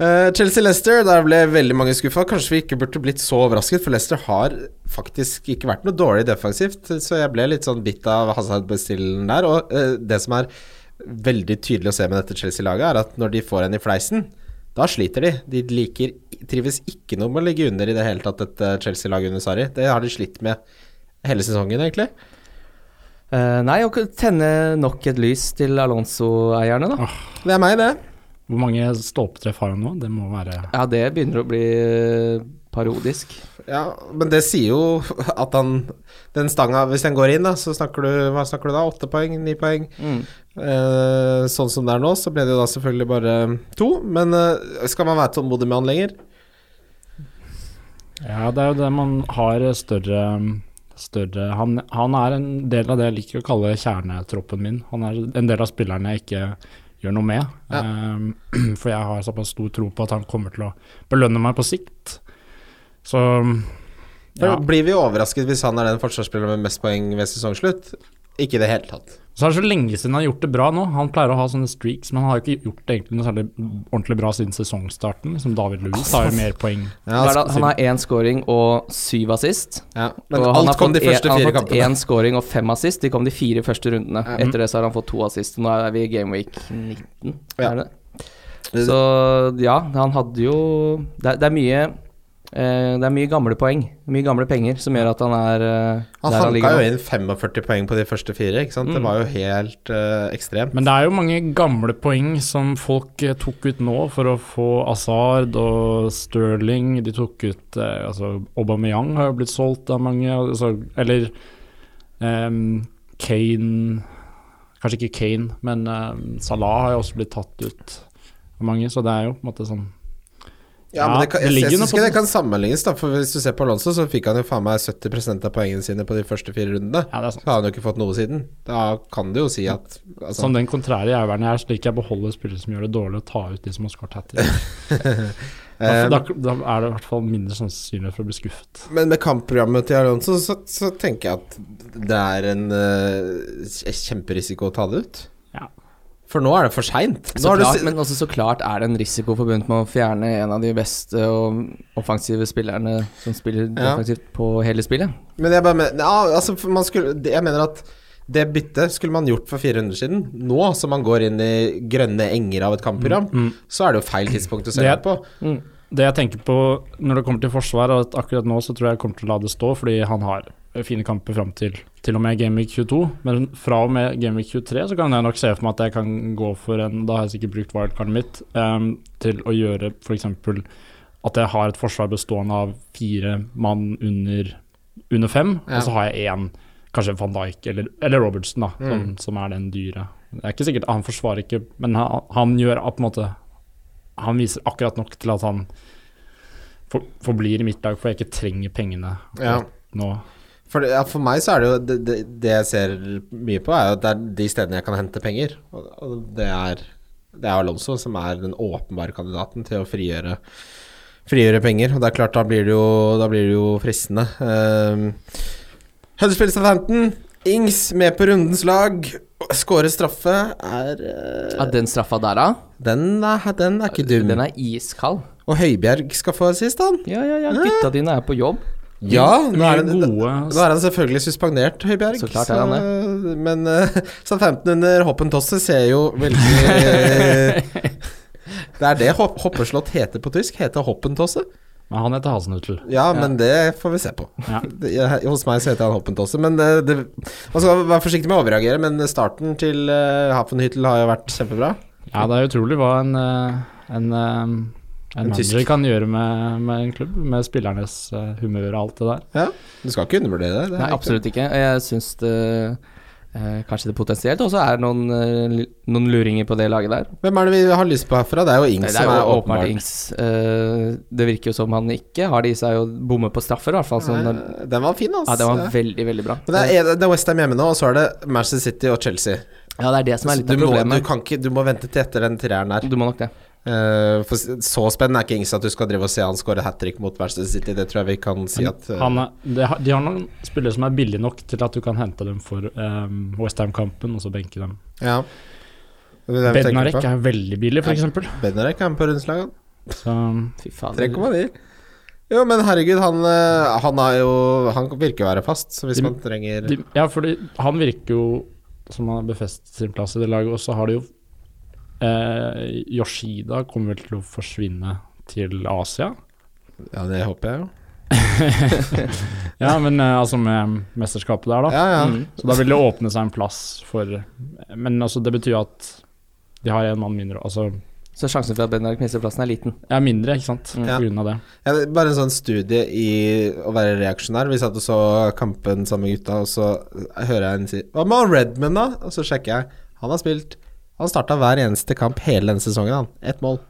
[SPEAKER 3] Eh, Chelsea-Leicester, der ble veldig mange skuffa. Kanskje vi ikke burde blitt så overrasket, for Leicester har faktisk ikke vært noe dårlig defensivt. Så jeg ble litt sånn bitt av Hazard-bestillen der. Og eh, det som er veldig tydelig å se med dette Chelsea-laget, er at når de får en i fleisen, da sliter de. De liker, trives ikke noe med å ligge under i det hele tatt, dette Chelsea-laget under Sarri. Det har de slitt med hele sesongen, egentlig.
[SPEAKER 4] Eh, nei, å tenne nok et lys til Alonso-eierne, da.
[SPEAKER 3] Det er meg, det.
[SPEAKER 5] Hvor mange stolpetreff har han nå? Det må være
[SPEAKER 4] Ja, det begynner å bli eh, parodisk.
[SPEAKER 3] Ja, men det sier jo at han Den stanga, hvis den går inn, da, så snakker du Hva snakker du da? Åtte poeng? Ni poeng?
[SPEAKER 4] Mm.
[SPEAKER 3] Eh, sånn som det er nå, så ble det jo da selvfølgelig bare to. Men eh, skal man være tålmodig med han lenger?
[SPEAKER 5] Ja, det er jo det man har større, større han, han er en del av det jeg liker å kalle kjernetroppen min. Han er en del av spillerne jeg ikke gjør noe med.
[SPEAKER 3] Ja.
[SPEAKER 5] Ehm, for jeg har såpass stor tro på at han kommer til å belønne meg på sikt. Så
[SPEAKER 3] Da
[SPEAKER 5] ja.
[SPEAKER 3] blir vi overrasket hvis han er den forsvarsspilleren med mest poeng ved sesongslutt. Ikke i det hele tatt.
[SPEAKER 5] Så er det så lenge siden han har gjort det bra nå. Han pleier å ha sånne streaks, men han har jo ikke gjort det egentlig noe særlig ordentlig bra siden sesongstarten. Som David Louis har jo mer poeng.
[SPEAKER 3] Ja, altså,
[SPEAKER 4] Hva er det? han har én scoring og syv assist.
[SPEAKER 3] ja. Men
[SPEAKER 4] altså, og han har
[SPEAKER 3] alt kom de
[SPEAKER 4] fått en-
[SPEAKER 3] første fire
[SPEAKER 4] Han har fått
[SPEAKER 3] kampene.
[SPEAKER 4] én scoring og fem assist. De kom de fire første rundene.
[SPEAKER 3] Ja.
[SPEAKER 4] Etter det så har han fått to assist. Nå er vi i game week 19,
[SPEAKER 3] Ja.
[SPEAKER 4] er det? Så ja, han hadde jo Det, er- det er mye eh, det er mye gamle poeng, mye gamle penger, som gjør at han er eh,
[SPEAKER 3] Han
[SPEAKER 4] der han Mm.
[SPEAKER 3] hanka
[SPEAKER 4] ligger
[SPEAKER 3] jo
[SPEAKER 4] nå.
[SPEAKER 3] inn 45 poeng på de første fire, ikke sant. Det var jo helt eh, ekstremt.
[SPEAKER 5] Men det er jo mange gamle poeng som folk eh, tok ut nå for å få Hazard og Sterling. De tok ut eh, altså Aubameyang har jo blitt solgt av mange. Altså, eller ehm, Kane Kanskje ikke Kane, men ehm, Salah har jo også blitt tatt ut av mange, så det er jo på en måte sånn
[SPEAKER 3] Ja, men det kan,
[SPEAKER 5] det
[SPEAKER 3] jeg,
[SPEAKER 5] ligger
[SPEAKER 3] jeg
[SPEAKER 5] jo
[SPEAKER 3] syns
[SPEAKER 5] noe
[SPEAKER 3] ikke
[SPEAKER 5] på-
[SPEAKER 3] det kan sammenlignes, da. For hvis du ser på Alonso, så fikk han jo faen meg 70 av poengene sine på de første fire rundene.
[SPEAKER 5] Ja, det er sånn. sant.
[SPEAKER 3] Så har han jo ikke fått noe siden. Da kan du jo si at altså,
[SPEAKER 5] Som Sånn den kontrære jævelen jeg er, slik jeg beholder spillere som gjør det dårlig, og tar ut de som har skåret hat trick. da,
[SPEAKER 3] eh,
[SPEAKER 5] da, da er det i hvert fall mindre sannsynlighet for å bli skuffet.
[SPEAKER 3] Men med kampprogrammet til Alonso, så, så tenker jeg at det er en eh, kjemperisiko å ta det ut.
[SPEAKER 5] Ja.
[SPEAKER 3] For nå er det for seint.
[SPEAKER 4] Så klart, men også så klart er det en risiko forbundet med å fjerne en av de beste og offensive spillerne som spiller
[SPEAKER 3] Ja.
[SPEAKER 4] offensivt på hele spillet.
[SPEAKER 3] Men jeg bare mener ja, altså, for man skulle, det- Jeg mener at det byttet skulle man gjort for fire runder siden. Nå som man går inn i grønne enger av et kampprogram, så er det jo feil tidspunkt å se det
[SPEAKER 5] Mm. Det-
[SPEAKER 3] på.
[SPEAKER 5] Det jeg tenker på når det kommer til forsvar, er at akkurat nå så tror jeg jeg kommer til å la det stå, fordi han har eh, fine kamper fram til til og med Gameweek 22. Men fra og med Gameweek 23 så kan jeg nok se for meg at jeg kan gå for en Da har jeg sikkert brukt wildcardet mitt ehm, til å gjøre f.eks. at jeg har et forsvar bestående av fire mann under, under fem,
[SPEAKER 3] Ja.
[SPEAKER 5] og så har jeg én, kanskje van Dijk eller, eller Robertson, da, som, som er den dyre. Det er ikke sikkert Han forsvarer ikke, men han, han gjør at på en måte han viser akkurat nok til at han for, forblir i mitt lag, for jeg ikke trenger pengene
[SPEAKER 3] Ja.
[SPEAKER 5] nå.
[SPEAKER 3] For, det- ja, for meg så er det jo det, det, det jeg ser mye på, er jo at det er de stedene jeg kan hente penger. Og, og det er det er Alonso som er den åpenbare kandidaten til å frigjøre, frigjøre penger. Og det er klart, da blir det jo, da blir det jo fristende. Um, Huddersfield Southampton, Ings med på rundens lag. Skåre straffe er eh,
[SPEAKER 4] Ja, den straffa der, da.
[SPEAKER 3] den, er den er ikke dum.
[SPEAKER 4] Den er iskald.
[SPEAKER 3] Og Høibjerg skal få assist, han.
[SPEAKER 4] Ja, ja, ja. Gutta dine er på jobb.
[SPEAKER 3] Ja, nå
[SPEAKER 5] Mye
[SPEAKER 3] er det, Nå
[SPEAKER 5] gode
[SPEAKER 3] er han selvfølgelig suspendert, Høibjerg.
[SPEAKER 4] Så klart er han
[SPEAKER 3] det. Men uh, Southampton under Hoppen Tosse ser jo veldig eh, Det er det hopp, hoppeslott heter på tysk. Heter Hoppen Tosse.
[SPEAKER 5] Men han heter Hasenhutl.
[SPEAKER 3] Ja, men det får vi se på.
[SPEAKER 5] Ja.
[SPEAKER 3] Det, jeg- hos meg så heter han Hoppen Tosse. Men eh, det, det, man skal være forsiktig med å overreagere, men starten til uh, Hafenhyttel har jo vært kjempebra.
[SPEAKER 5] Ja, det er utrolig hva en, eh, en, eh, en, manager
[SPEAKER 3] tysk.
[SPEAKER 5] kan gjøre med, med en klubb, med spillernes eh, humør og alt det der.
[SPEAKER 3] Ja, Du skal ikke undervurdere det. det er
[SPEAKER 4] Nei,
[SPEAKER 3] ikke-
[SPEAKER 4] absolutt ikke. Jeg syns det eh, Kanskje det potensielt også er noen, eh, li- noen luringer på det laget der.
[SPEAKER 3] Hvem er det vi har lyst på herfra? Det er jo Ings
[SPEAKER 4] det er
[SPEAKER 3] som
[SPEAKER 4] jo
[SPEAKER 3] er
[SPEAKER 4] åpenbart
[SPEAKER 3] åpenbart.
[SPEAKER 4] Ings. Eh, det virker jo som han ikke har det i seg å bomme på straffer, i hvert fall. Sånn,
[SPEAKER 3] Nei, Den var fin, altså.
[SPEAKER 4] ja, det var veldig, veldig bra.
[SPEAKER 3] Men det er, det er Westham hjemme nå, og så er det Manchester City og Chelsea.
[SPEAKER 4] Ja, det er det som er litt
[SPEAKER 3] du, må,
[SPEAKER 4] av
[SPEAKER 3] du,
[SPEAKER 4] problemet.
[SPEAKER 3] kan ikke, du må vente til etter den treeren der.
[SPEAKER 4] Du må nok det.
[SPEAKER 3] Eh, for så spennende er ikke Ings at du skal drive og se han skåre hat trick mot Manchester City. Det tror jeg vi kan si at eh,
[SPEAKER 5] Han, er- de, har- de har noen spillere som er billige nok til at du kan hente dem for um, Westham-kampen og så benke dem.
[SPEAKER 3] Ja. Det er det vi tenker
[SPEAKER 5] Bednarek
[SPEAKER 3] på.
[SPEAKER 5] er veldig billig, f.eks.
[SPEAKER 3] Bednarek er med på rundslaget.
[SPEAKER 5] Så
[SPEAKER 4] Fy fader.
[SPEAKER 3] 3,9. Jo, men herregud, han, eh, han har jo Han virker å være fast, så hvis
[SPEAKER 5] De-
[SPEAKER 3] man trenger
[SPEAKER 5] de, Ja, fordi han virker jo som har befestet sin plass i det laget. Og så har det jo eh, Yoshida kommer vel til å forsvinne til Asia.
[SPEAKER 3] Ja, det håper jeg jo.
[SPEAKER 5] Ja, men eh, altså med mesterskapet der, da.
[SPEAKER 3] Ja, ja.
[SPEAKER 4] Mm.
[SPEAKER 5] Så da vil det åpne seg en plass for Men altså, det betyr jo at de har en mann mindre. Altså
[SPEAKER 4] Så sjansen for at Benark mister plassen, er liten.
[SPEAKER 5] jeg er mindre, ikke sant, på
[SPEAKER 3] Mm. Ja.
[SPEAKER 5] grunn av det.
[SPEAKER 3] Ja, det er bare en sånn studie i å være reaksjonær. Vi satt og så kampen sammen med gutta, og så hører jeg en si Hva med Redman, da? Og så sjekker jeg. Han har spilt Han starta hver eneste kamp hele denne sesongen, han. Ett mål.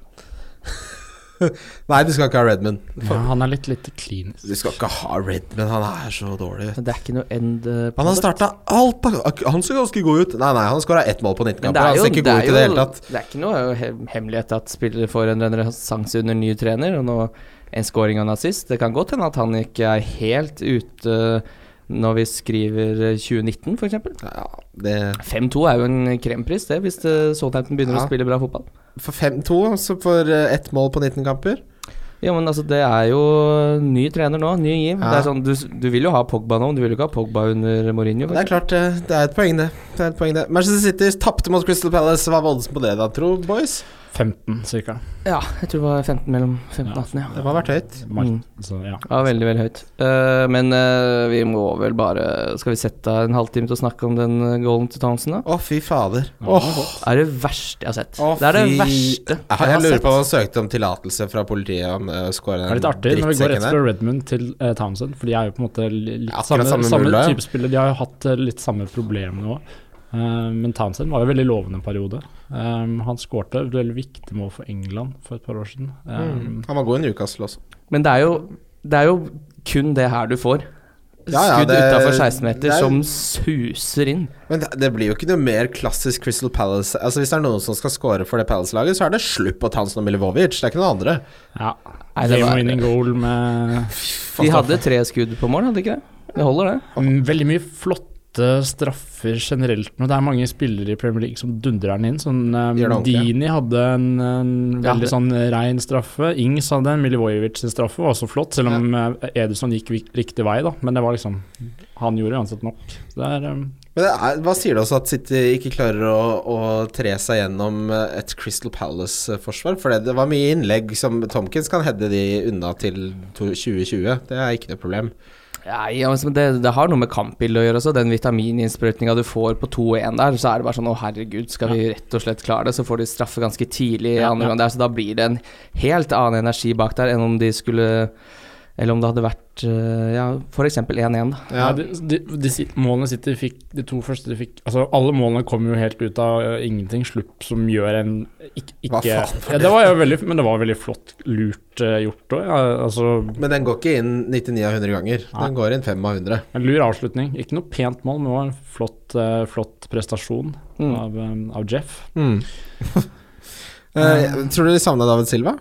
[SPEAKER 3] Nei, du skal ikke ha Redman.
[SPEAKER 5] Ja, han er litt lite klinisk.
[SPEAKER 3] Du skal ikke ha Redman, han er så dårlig.
[SPEAKER 4] Men det er ikke noe end eh,
[SPEAKER 3] Han har
[SPEAKER 4] product.
[SPEAKER 3] starta alt på Han så ganske god ut. Nei, nei, han skåra ett mål på 19
[SPEAKER 4] Men
[SPEAKER 3] kamper. Han ser ikke god ut i det hele tatt.
[SPEAKER 4] det er ikke noe he- hemmelighet at spillere får en renessanse under ny trener, og nå en scoring og en assist. Det kan godt hende at han ikke er helt ute når vi skriver eh, 2019, f.eks.
[SPEAKER 3] Ja, det
[SPEAKER 4] 5-2 er jo en krempris, det, hvis eh, Southampton begynner
[SPEAKER 3] Ja.
[SPEAKER 4] å spille bra fotball.
[SPEAKER 3] For 5-2, så for eh, ett mål på 19 kamper.
[SPEAKER 4] Ja, men altså, det er jo ny trener nå, ny giv.
[SPEAKER 3] Ja.
[SPEAKER 4] Det er sånn, du, du vil jo ha Pogba nå, men du vil jo ikke ha Pogba under Mourinho.
[SPEAKER 3] Det er klart, eh, det er et poeng, det. det, er et poeng, det. Manchester City tapte mot Crystal Palace. Hva var oddsen på det, da, tro, boys?
[SPEAKER 5] 15, cirka.
[SPEAKER 4] Ja, jeg tror det var 15 mellom 15 og 18, ja.
[SPEAKER 3] Det må ha vært høyt.
[SPEAKER 5] Mark,
[SPEAKER 4] Mm.
[SPEAKER 5] så, ja.
[SPEAKER 4] Ja, veldig, veldig høyt. Eh, men eh, vi må vel bare Skal vi sette av en halvtime til å snakke om den eh, goalen til Townsend, da?
[SPEAKER 3] Å, fy fader.
[SPEAKER 5] Ja,
[SPEAKER 3] Åh,
[SPEAKER 4] Det er det verste jeg har sett.
[SPEAKER 3] Å,
[SPEAKER 4] det er det
[SPEAKER 3] fy-
[SPEAKER 4] verste
[SPEAKER 3] jeg, jeg lurer på om han søkte om tillatelse fra politiet om eh, å score
[SPEAKER 5] Det er
[SPEAKER 3] den
[SPEAKER 5] litt artig når vi går rett
[SPEAKER 3] drittsekken
[SPEAKER 5] fra
[SPEAKER 3] der.
[SPEAKER 5] Redmond til eh, Townsend, for de er jo på en måte li- litt
[SPEAKER 3] Akkurat
[SPEAKER 5] samme,
[SPEAKER 3] samme
[SPEAKER 5] samme,
[SPEAKER 3] mulla, ja.
[SPEAKER 5] type spiller. De har jo hatt eh, litt samme problemene òg. men Townsend var jo veldig lovende en periode. Um, han skårte et veldig viktig mål for England for et par år siden. Um,
[SPEAKER 3] Mm. Han var god i Newcastle også.
[SPEAKER 4] Men det er, jo, det er jo kun det her du får.
[SPEAKER 3] Ja, ja,
[SPEAKER 4] Skudd
[SPEAKER 3] det-
[SPEAKER 4] utafor 16-meter
[SPEAKER 3] det er-
[SPEAKER 4] som suser inn.
[SPEAKER 3] Men det, det blir jo ikke noe mer klassisk Crystal Palace. Altså Hvis det er noen som skal score for det Palace-laget, så er det slutt på Townsend og Milivovic. Det er ikke noen andre.
[SPEAKER 5] Ja.
[SPEAKER 4] Nei, det var-
[SPEAKER 5] Game winning goal med
[SPEAKER 4] De hadde tre skudd på mål, hadde de ikke det? Det holder, det.
[SPEAKER 5] Mm, Veldig mye flotte straffer generelt nå. Det er mange spillere i Premier League som dundrer den inn. Sånn, um,
[SPEAKER 3] Gjør det ordentlig.
[SPEAKER 5] Dini hadde en, en
[SPEAKER 4] Ja,
[SPEAKER 5] veldig
[SPEAKER 4] det-
[SPEAKER 5] sånn rein straffe. Ings hadde en. Milivojevic sin straffe var også flott, selv om eh, Ederson gikk vik- riktig vei, da. Men det var liksom Han gjorde uansett nok. Så det er um,
[SPEAKER 3] Men det er, Hva sier det oss at City ikke klarer å, å tre seg gjennom eh, et Crystal Palace-forsvar? For det, det var mye innlegg som Tomkins kan hedde de unna til to- 2020. Det er ikke noe problem.
[SPEAKER 4] Nei, ja, men det, det har noe med kampbildet å gjøre også. Den vitamininnsprøytninga du får på 2-1 der, så er det bare sånn å herregud, skal vi rett og slett klare det? Så får de straffe ganske tidlig i
[SPEAKER 5] Ja,
[SPEAKER 4] andre
[SPEAKER 5] ja.
[SPEAKER 4] gang der, så da blir det en helt annen energi bak der enn om de skulle Eller om det hadde vært eh, ja, f.eks. 1-1, da.
[SPEAKER 5] ja. de, de, de, sit- målene City fikk, de to første de fikk Altså, alle målene kom jo helt ut av eh, ingenting. Slupp som gjør en ikke,
[SPEAKER 3] Hva
[SPEAKER 5] ikke
[SPEAKER 3] faen var
[SPEAKER 5] ja, det var jo veldig Men det var veldig flott lurt eh, gjort òg. Ja, altså
[SPEAKER 3] Men den går ikke inn 99 av 100 ganger.
[SPEAKER 5] Nei.
[SPEAKER 3] Den går inn 5 av 100.
[SPEAKER 5] En lur avslutning. Ikke noe pent mål, men det var en flott, eh, flott prestasjon
[SPEAKER 4] Mm.
[SPEAKER 5] av, eh, av Jeff.
[SPEAKER 3] Eh, tror du de savna David Silva?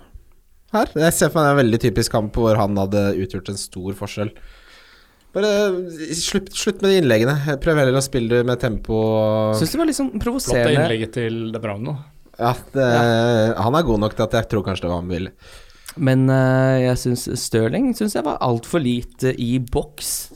[SPEAKER 3] Her? Jeg ser for meg en veldig typisk kamp hvor han hadde utgjort en stor forskjell. Bare eh, slutt, slutt med de innleggene. Prøv heller å spille med tempo. og-
[SPEAKER 4] Syns det var litt sånn
[SPEAKER 5] Flott av
[SPEAKER 4] provoserende.
[SPEAKER 5] innlegget til De Bruyne.
[SPEAKER 3] Ja, det, Han er god nok til at jeg tror kanskje det var han ville.
[SPEAKER 4] Men eh, jeg syns Stirling synes jeg var altfor lite i boks.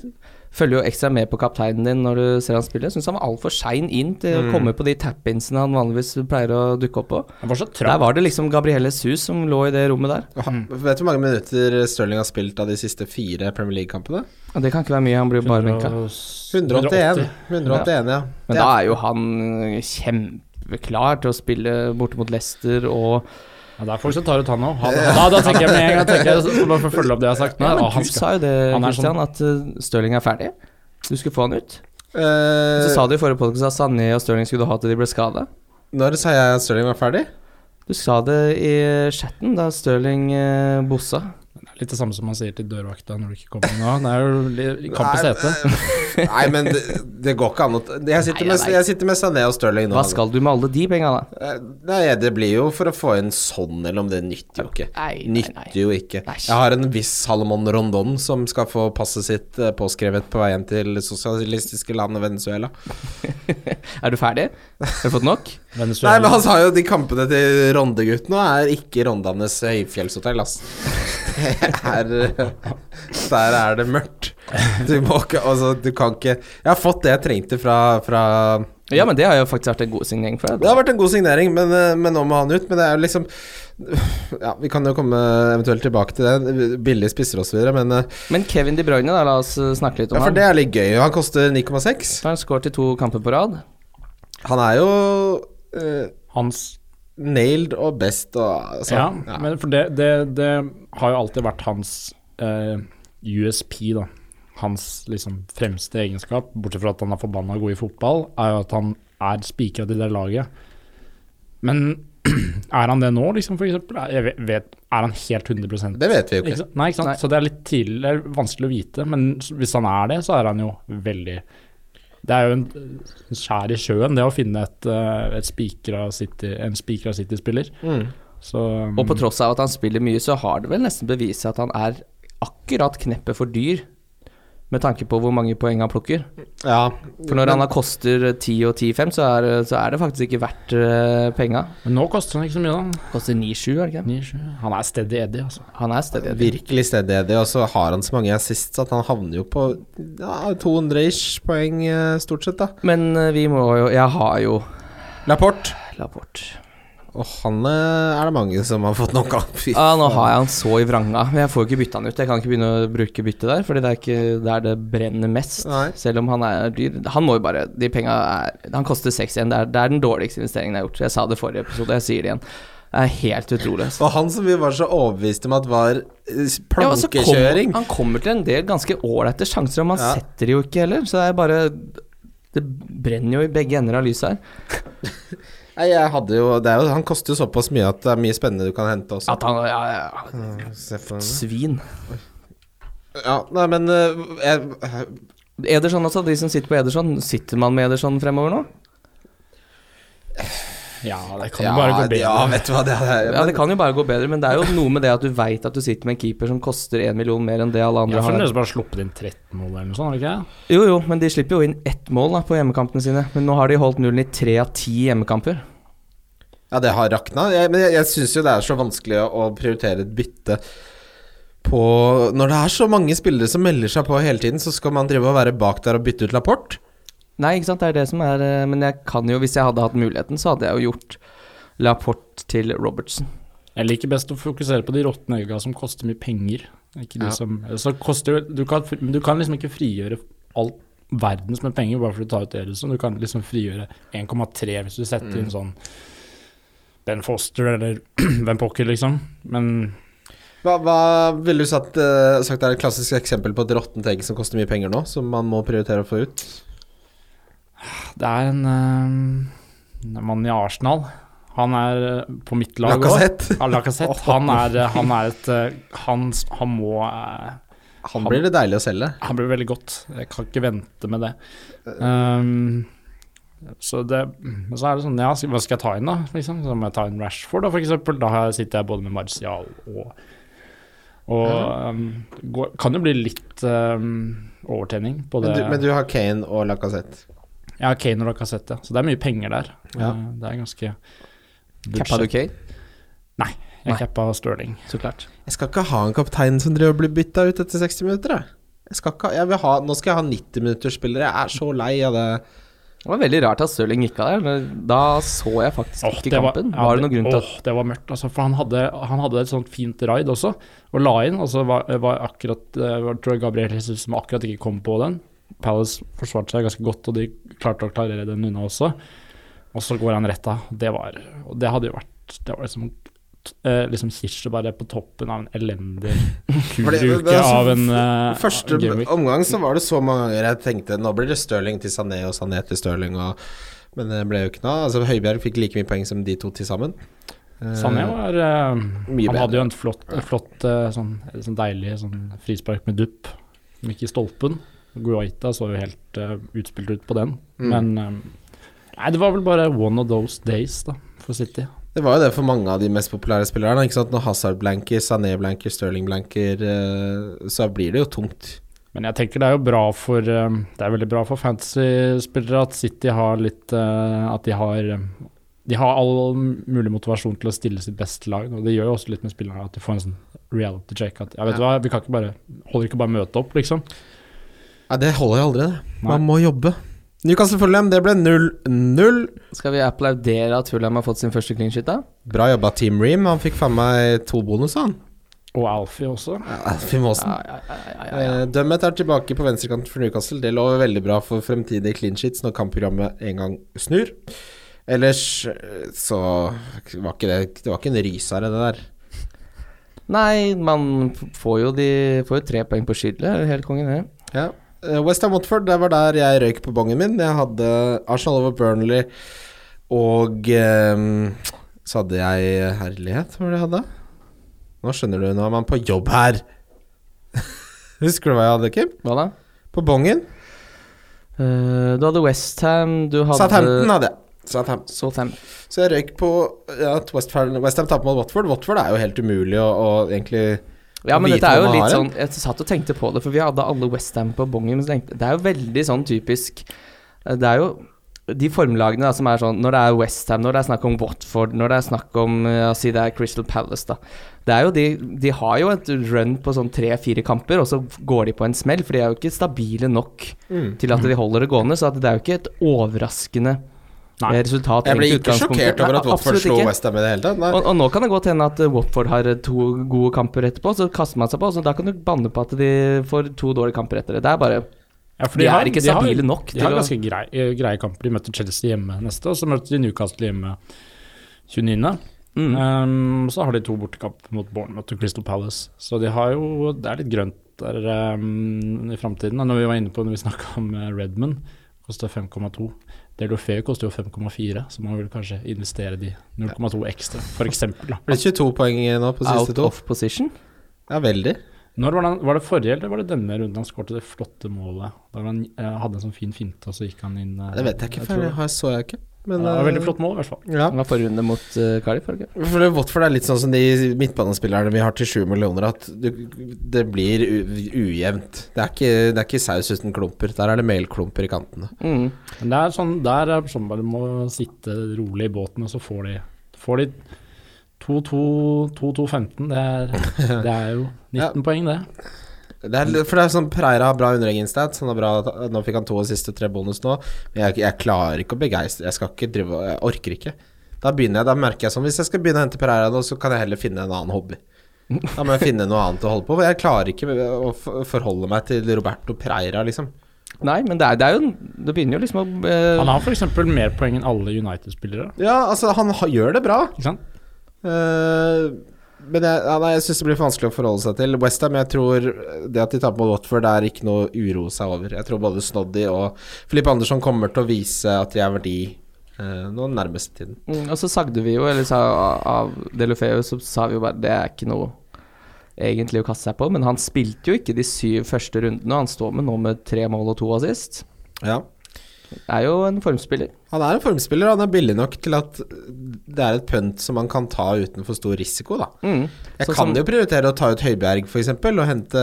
[SPEAKER 4] Følger jo ekstra med på kapteinen din når du ser han spille. Jeg Syns han var altfor sein inn til
[SPEAKER 5] Mm.
[SPEAKER 4] å komme på de tap-insene han vanligvis pleier å dukke opp på.
[SPEAKER 5] Det var så
[SPEAKER 4] Der
[SPEAKER 5] trangt.
[SPEAKER 4] var det liksom Gabrielle Sus som lå i det rommet der.
[SPEAKER 3] Ha- Mm. Vet du hvor mange minutter Stirling har spilt av de siste fire Premier League-kampene?
[SPEAKER 4] Og det kan ikke være mye, han blir jo bare benka.
[SPEAKER 3] 181. 181, ja.
[SPEAKER 4] Men da er jo han eh, kjempeklar til å spille borte mot Leicester og
[SPEAKER 5] Ja, det er folk som tar ut han òg. Da, da tenker jeg med en gang tenker jeg, så Bare for å følge opp det jeg har sagt nå.
[SPEAKER 4] Nei, men
[SPEAKER 5] Ah, han
[SPEAKER 4] Du
[SPEAKER 5] skal.
[SPEAKER 4] sa jo det,
[SPEAKER 5] han er
[SPEAKER 4] Christian, at eh, Stirling er ferdig. Du skulle få han ut.
[SPEAKER 3] Eh,
[SPEAKER 4] Så sa du i forrige podkast at Sané og Stirling skulle du ha til de ble skada.
[SPEAKER 3] Når sa jeg at Stirling var ferdig?
[SPEAKER 4] Du sa det i chatten da Stirling eh, bossa.
[SPEAKER 5] Litt det samme som man sier til dørvakta når du ikke kommer nå. Det er jo li- i kampens hete.
[SPEAKER 3] Nei, men det, det går ikke an å Jeg sitter
[SPEAKER 4] Nei,
[SPEAKER 3] med,
[SPEAKER 4] jeg vet.
[SPEAKER 3] jeg sitter med Sané og Stirling nå.
[SPEAKER 4] Hva skal du med alle de penga, da?
[SPEAKER 3] Eh, Nei, det blir jo for å få inn sånn, eller om det nytter jo ikke.
[SPEAKER 4] Nei, nei, nei.
[SPEAKER 3] Nytter jo ikke.
[SPEAKER 4] Nei.
[SPEAKER 3] Jeg har en viss Salomon Rondon som skal få passet sitt eh, påskrevet på vei hjem til det sosialistiske landet Venezuela.
[SPEAKER 4] Er du ferdig? Har du fått nok?
[SPEAKER 5] Venezuela.
[SPEAKER 3] Nei, men han sa jo de kampene til Rondegutten nå er ikke Rondanes høyfjellshotell, ass. Det er Der er det mørkt. Du må ikke Altså, du kan ikke Jeg har fått det jeg trengte fra, fra
[SPEAKER 4] Ja, men det har jo faktisk vært en god signering for deg.
[SPEAKER 3] Det har vært en god signering, men, eh, men nå må han ut. Men det er jo liksom Ja, vi kan jo komme eventuelt tilbake til det. Billige spisser og så videre, men eh,
[SPEAKER 4] Men Kevin De Bruyne, da, la oss eh, snakke litt om
[SPEAKER 3] Ja, for
[SPEAKER 4] han.
[SPEAKER 3] det er litt gøy. Han koster 9,6.
[SPEAKER 4] Han har skåret i to kamper på rad.
[SPEAKER 3] Han er jo eh,
[SPEAKER 5] Hans
[SPEAKER 3] nailed og best og altså,
[SPEAKER 5] ja,
[SPEAKER 3] ja.
[SPEAKER 5] men for det, det, det har jo alltid vært hans eh, USP, da. Hans liksom fremste egenskap, bortsett fra at han er forbanna god i fotball, er jo at han er spikra til det laget. Men er han det nå, liksom, for eksempel? Jeg vet- vet, er han helt 100
[SPEAKER 3] Det vet vi jo
[SPEAKER 5] Ikke
[SPEAKER 3] ikke.
[SPEAKER 5] sant? Nei, ikke sant?
[SPEAKER 4] Nei.
[SPEAKER 5] Så det er litt tidlig, det er vanskelig å vite, men s- hvis han er det, så er han jo veldig Det er jo en en skjær i sjøen, det å finne et, eh, et spikra City, en spikra City-spiller. Så
[SPEAKER 4] Mm.
[SPEAKER 5] mm.
[SPEAKER 4] Og på tross av at han spiller mye, så har det vel nesten bevist at han er akkurat kneppet for dyr. Med tanke på hvor mange poeng han plukker.
[SPEAKER 3] Ja.
[SPEAKER 4] For når han da koster 10 og 10-5, så, er- så er det faktisk ikke verdt eh, penga.
[SPEAKER 5] Men nå koster han ikke så mye, da.
[SPEAKER 4] Koster 9-7, er det ikke det?
[SPEAKER 5] 9-7. Han er steady Eddie, altså.
[SPEAKER 4] Han er steady. Eddie.
[SPEAKER 3] Virkelig stedig, og så har han så mange assist at han havner jo på ja, 200 ish poeng eh, stort sett, da.
[SPEAKER 4] Men eh, vi må jo Jeg har jo
[SPEAKER 3] Lapport.
[SPEAKER 4] Lapport.
[SPEAKER 3] Og han eh, er det mange som har fått nok av. Fy
[SPEAKER 4] Ja, nå har jeg han så i vranga, men jeg får jo ikke bytta han ut. Jeg kan ikke begynne å bruke bytte der, Fordi det er ikke der det brenner mest.
[SPEAKER 3] Nei.
[SPEAKER 4] Selv om han er dyr. Han må jo bare De penga er Han koster 6 igjen. Det er, det er den dårligste investeringen jeg har gjort. Jeg sa det i forrige episode, jeg sier det igjen. Det er helt utrolig. altså. ass.
[SPEAKER 3] Og han som vi var så overbevist om at var eh,
[SPEAKER 4] Ja, og så kommer-
[SPEAKER 3] plankekjøring.
[SPEAKER 4] han kommer til en del ganske ålreite sjanser, og man
[SPEAKER 3] Ja.
[SPEAKER 4] setter de jo ikke heller. Så det er bare Det brenner jo i begge ender av lyset her.
[SPEAKER 3] Nei, jeg hadde jo, det er jo, han koster jo såpass mye at det er mye spennende du kan hente også.
[SPEAKER 4] At han ja, ja,
[SPEAKER 3] Mm.
[SPEAKER 4] ja,
[SPEAKER 3] Se for deg.
[SPEAKER 4] Svin.
[SPEAKER 3] Ja, nei, men eh, jeg,
[SPEAKER 4] Ederson også, de som sitter på Ederson. Sitter man med Ederson fremover nå?
[SPEAKER 5] Ja, det kan jo bare gå bedre.
[SPEAKER 3] Ja, vet du hva det er.
[SPEAKER 4] Ja, Det kan jo bare gå bedre, men det er jo noe med det at du veit at du sitter med en keeper som koster én million mer enn det alle
[SPEAKER 5] Jeg
[SPEAKER 4] andre
[SPEAKER 5] har
[SPEAKER 4] har.
[SPEAKER 5] nesten bare sluppet inn 13 mål eller noe sånt, har de ikke det?
[SPEAKER 4] Jo, jo, men de slipper jo inn ett mål da, på hjemmekampene sine. Men nå har de holdt nullen i tre av ti hjemmekamper.
[SPEAKER 3] Ja, det har rakna. Jeg, men jeg, jeg syns jo det er så vanskelig å, å prioritere et bytte på Når det er så mange spillere som melder seg på hele tiden, så skal man drive og være bak der og bytte ut Lapport.
[SPEAKER 4] Nei, ikke sant, det er det som er eh, Men jeg kan jo, hvis jeg hadde hatt muligheten, så hadde jeg jo gjort Laporte til Robertson.
[SPEAKER 5] Jeg liker best å fokusere på de råtne øya som koster mye penger. Ikke de
[SPEAKER 3] Ja.
[SPEAKER 5] som, så koster, jo- du, kan, fri- men du kan liksom ikke frigjøre all verdens med penger bare for å ta ut Edison. Du kan liksom frigjøre 1,3 hvis du setter inn sånn Ben Foster eller Ben Pocker, liksom. Men
[SPEAKER 3] Hva, hva ville du sagt, eh, sagt er et klassisk eksempel på et råttent egg som koster mye penger nå, som man må prioritere å få ut?
[SPEAKER 5] det er en eh, en mann i Arsenal. Han er eh, på mitt lag også.
[SPEAKER 3] Lacassette.
[SPEAKER 5] Ja, Lacassette. Han, er, eh, han er et eh, Han, han må eh,
[SPEAKER 3] Han blir det deilig å selge.
[SPEAKER 5] Han blir veldig godt. Jeg kan ikke vente med det.
[SPEAKER 3] Eh.
[SPEAKER 5] Ehm, så det Men så er det sånn Ja, skal- hva skal jeg ta inn, da? Liksom, så må jeg ta inn Rashford, da, for eksempel. Da har jeg- sitter jeg både med Martial og Og ehm, går, kan jo bli litt ehm, overtenning på
[SPEAKER 3] Men
[SPEAKER 5] det.
[SPEAKER 3] du, men du har Kane og Lacassette.
[SPEAKER 5] Jeg har Kane og Lacassette, så det er mye penger der.
[SPEAKER 3] Ja.
[SPEAKER 5] Eh, det er ganske
[SPEAKER 4] Cappa du Kane?
[SPEAKER 5] Nei,
[SPEAKER 4] Nei.
[SPEAKER 5] jeg cappa Stirling.
[SPEAKER 4] Så klart.
[SPEAKER 3] Jeg skal ikke ha en kaptein som driver og blir bytta ut etter 60 minutter, jeg. jeg skal ikke, ha- jeg vil ha, nå skal jeg ha 90-minuttersspillere. Jeg er så lei av det.
[SPEAKER 4] Det var veldig rart at Stirling gikk av der. men Da så jeg faktisk
[SPEAKER 5] Åh,
[SPEAKER 4] ikke kampen. Var det noen grunn til at
[SPEAKER 5] åh, det var mørkt, altså, for han hadde, han hadde et sånt fint raid også, og la inn. Og så var, var akkurat eh, var, tror jeg Gabriel Jesus som akkurat ikke kom på den. Palace forsvarte seg ganske godt, og de klarte å klarere den unna også. Og så går han rett av. Det var Og det hadde jo vært Det var liksom eh, Liksom kirsebæret på toppen av en elendig
[SPEAKER 3] det- det
[SPEAKER 5] kuruke
[SPEAKER 3] er så-
[SPEAKER 5] av en eh,
[SPEAKER 3] Første
[SPEAKER 5] gameweek.
[SPEAKER 3] omgang så var det så mange ganger jeg tenkte nå blir det Stirling til Sané og Sané til Stirling, og, men det ble jo ikke noe. Altså, Høibjerg fikk like mye poeng som de to til sammen. Eh,
[SPEAKER 5] Sané var eh,
[SPEAKER 3] Mye
[SPEAKER 5] Han
[SPEAKER 3] bedre.
[SPEAKER 5] hadde jo en flott, en flott eh, sånn, en sånn deilig sånn frispark med dupp, som gikk i stolpen. Guaita så jo helt eh, utspilt ut på den.
[SPEAKER 3] Mm.
[SPEAKER 5] Men eh, Nei, det var vel bare one of those days da, for City.
[SPEAKER 3] Det var jo det for mange av de mest populære spillerne. Ikke sant? Når Hazard blanker, Sané blanker, Stirling blanker, eh, så blir det jo tungt.
[SPEAKER 5] Men jeg tenker det er jo bra for eh, Det er veldig bra for fantasy-spillere at City har litt eh, At de har eh, De har all mulig motivasjon til å stille sitt beste lag. Og det gjør jo også litt med spillerne at de får en sånn reality check. At ja, vet du hva, vi kan ikke bare Holder ikke bare å møte opp, liksom.
[SPEAKER 3] Nei, det holder jo aldri, det. Man må jobbe. Newcastle-Fulham, det ble 0-0.
[SPEAKER 4] Skal vi applaudere at Fulham har fått sin første clean sheet, da?
[SPEAKER 3] Bra jobba, Team Ream. Han fikk faen meg to bonus, han.
[SPEAKER 5] Og Alfie også.
[SPEAKER 3] Finn Aasen. Eh, Dømmet er tilbake på venstrekanten for Newcastle. Det lover veldig bra for fremtidige clean sheets når kampprogrammet en gang snur. Ellers eh, så var ikke det Det var ikke en rysere, det der.
[SPEAKER 4] Nei, man f- får jo, de, får jo tre poeng på skyldet. Helt kongen, det.
[SPEAKER 3] Ja. Eh, West Ham Watford, det var der jeg røyk på bongen min. Jeg hadde Arsenal over Burnley, og eh, så hadde jeg Herlighet, hva var det jeg hadde? Nå skjønner du, nå er man på jobb her! Husker du hva jeg hadde, Kim?
[SPEAKER 4] Hva da?
[SPEAKER 3] På bongen?
[SPEAKER 4] Eh, du hadde Westham, du hadde
[SPEAKER 3] Southampton hadde jeg. Southampton.
[SPEAKER 4] Southampton.
[SPEAKER 3] Så jeg røyk på ja, at Westham West Ham taper mot Watford. Watford er jo helt umulig å, å egentlig
[SPEAKER 4] Ja, men
[SPEAKER 3] Vite
[SPEAKER 4] dette er jo
[SPEAKER 3] hva man
[SPEAKER 4] litt
[SPEAKER 3] har,
[SPEAKER 4] sånn Jeg satt og tenkte på det, for vi hadde alle Westham på bongen. Men så tenkte, det er jo veldig sånn typisk eh, Det er jo de formlagene da, som er sånn Når det er Westham, når det er snakk om Watford, når det er snakk om eh, ja, Si det er Crystal Palace, da. Det er jo de, de har jo et run på sånn tre-fire kamper, og så går de på en smell. For de er jo ikke stabile nok
[SPEAKER 3] Mm.
[SPEAKER 4] til at de holder det gående. Så at det er jo ikke et overraskende
[SPEAKER 5] Nei.
[SPEAKER 4] eh, resultat.
[SPEAKER 3] Jeg ble
[SPEAKER 4] egentlig i
[SPEAKER 3] ikke
[SPEAKER 4] utgangspunktet.
[SPEAKER 3] sjokkert over
[SPEAKER 4] Nei,
[SPEAKER 3] at Watford
[SPEAKER 4] absolutt
[SPEAKER 3] slo
[SPEAKER 4] ikke.
[SPEAKER 3] Westham i det hele tatt. Nei.
[SPEAKER 4] Og, og nå kan det godt hende at eh, Watford har eh, to gode kamper etterpå, så kaster man seg på, så da kan du banne på at de får to dårlige kamper etter det. Det er bare
[SPEAKER 5] Ja, for
[SPEAKER 4] De er ikke stabile nok
[SPEAKER 5] De
[SPEAKER 4] til
[SPEAKER 5] har
[SPEAKER 4] å-
[SPEAKER 5] ganske grei, eh, greie kamper. De møter Chelsea hjemme neste, og så møter de Newcastle hjemme 29.
[SPEAKER 4] mm.
[SPEAKER 5] Um, så har de to bortekamp mot Bournemouth og Crystal Palace. Så de har jo Det er litt grønt der um, i framtiden. da. Når vi var inne på når vi snakka om eh, Redmond, koster 5,2. Delofeu koster jo 5,4, så man vil kanskje investere de 0,2 ekstra, f.eks.
[SPEAKER 3] Ble 22 poeng nå på siste
[SPEAKER 4] out
[SPEAKER 3] to.
[SPEAKER 4] of position.
[SPEAKER 3] Ja, veldig.
[SPEAKER 5] Når var det, var det forrige eller var det denne runden han skårte det flotte målet? Da han eh, hadde en sånn fin finte, og så gikk han inn eh,
[SPEAKER 3] Det vet jeg ikke, for
[SPEAKER 5] tror
[SPEAKER 3] det har- så jeg ikke. Men
[SPEAKER 5] det var
[SPEAKER 3] eh,
[SPEAKER 5] veldig flott mål, i hvert fall.
[SPEAKER 3] Ja.
[SPEAKER 4] Det var forrige runde mot uh, Cardiff, var det ikke?
[SPEAKER 3] For det- Watford er litt sånn som de midtbanespillerne vi har til 7 millioner, at du, det blir u ujevnt. Det er, ikke, det er ikke saus uten klumper. Der er det melklumper i kantene.
[SPEAKER 4] Mm.
[SPEAKER 5] Men det er sånn, der er sånn bare må sitte rolig i båten, og så får de, får de 2-2-15. Det, er- det er jo 19
[SPEAKER 3] Ja.
[SPEAKER 5] poeng, det.
[SPEAKER 3] Det er, litt- for det er sånn Preira har bra underregningsstats. Han har bra Nå fikk han to og siste tre bonus nå. Men jeg, jeg klarer ikke å begeistre. Jeg skal ikke drive og- Jeg orker ikke. Da begynner jeg Da merker jeg sånn Hvis jeg skal begynne å hente Preira nå, så kan jeg heller finne en annen hobby. Da må jeg finne noe annet å holde på med. Jeg klarer ikke å f- forholde meg til Roberto Preira, liksom.
[SPEAKER 4] Nei, men det er, det er jo Det begynner jo liksom å eh,
[SPEAKER 5] Han har f.eks. mer poeng enn alle United-spillere.
[SPEAKER 3] Ja, altså, han ha- gjør det bra.
[SPEAKER 5] Ikke sant?
[SPEAKER 3] Eh, men jeg, ja, nei, jeg syns det blir for vanskelig å forholde seg til. Westham, jeg tror det at de taper mot Watford, det er ikke noe å uroe seg over. Jeg tror både Snoddy og Filip Andersson kommer til å vise at de er verdi uh, nå den nærmeste tiden.
[SPEAKER 4] mm, Og så sagde vi jo, eller sa av Delofeu, så sa vi jo bare det er ikke noe egentlig å kaste seg på. Men han spilte jo ikke de syv første rundene, og han står med nå med tre mål og to assist.
[SPEAKER 3] Ja.
[SPEAKER 4] Er jo en formspiller.
[SPEAKER 3] Han er en formspiller, og han er billig nok til at det er et pønt som man kan ta uten for stor risiko, da.
[SPEAKER 4] Mm.
[SPEAKER 3] Jeg
[SPEAKER 4] Sånn
[SPEAKER 3] kan
[SPEAKER 4] som-
[SPEAKER 3] jo prioritere å ta ut Høibjerg, f.eks., og hente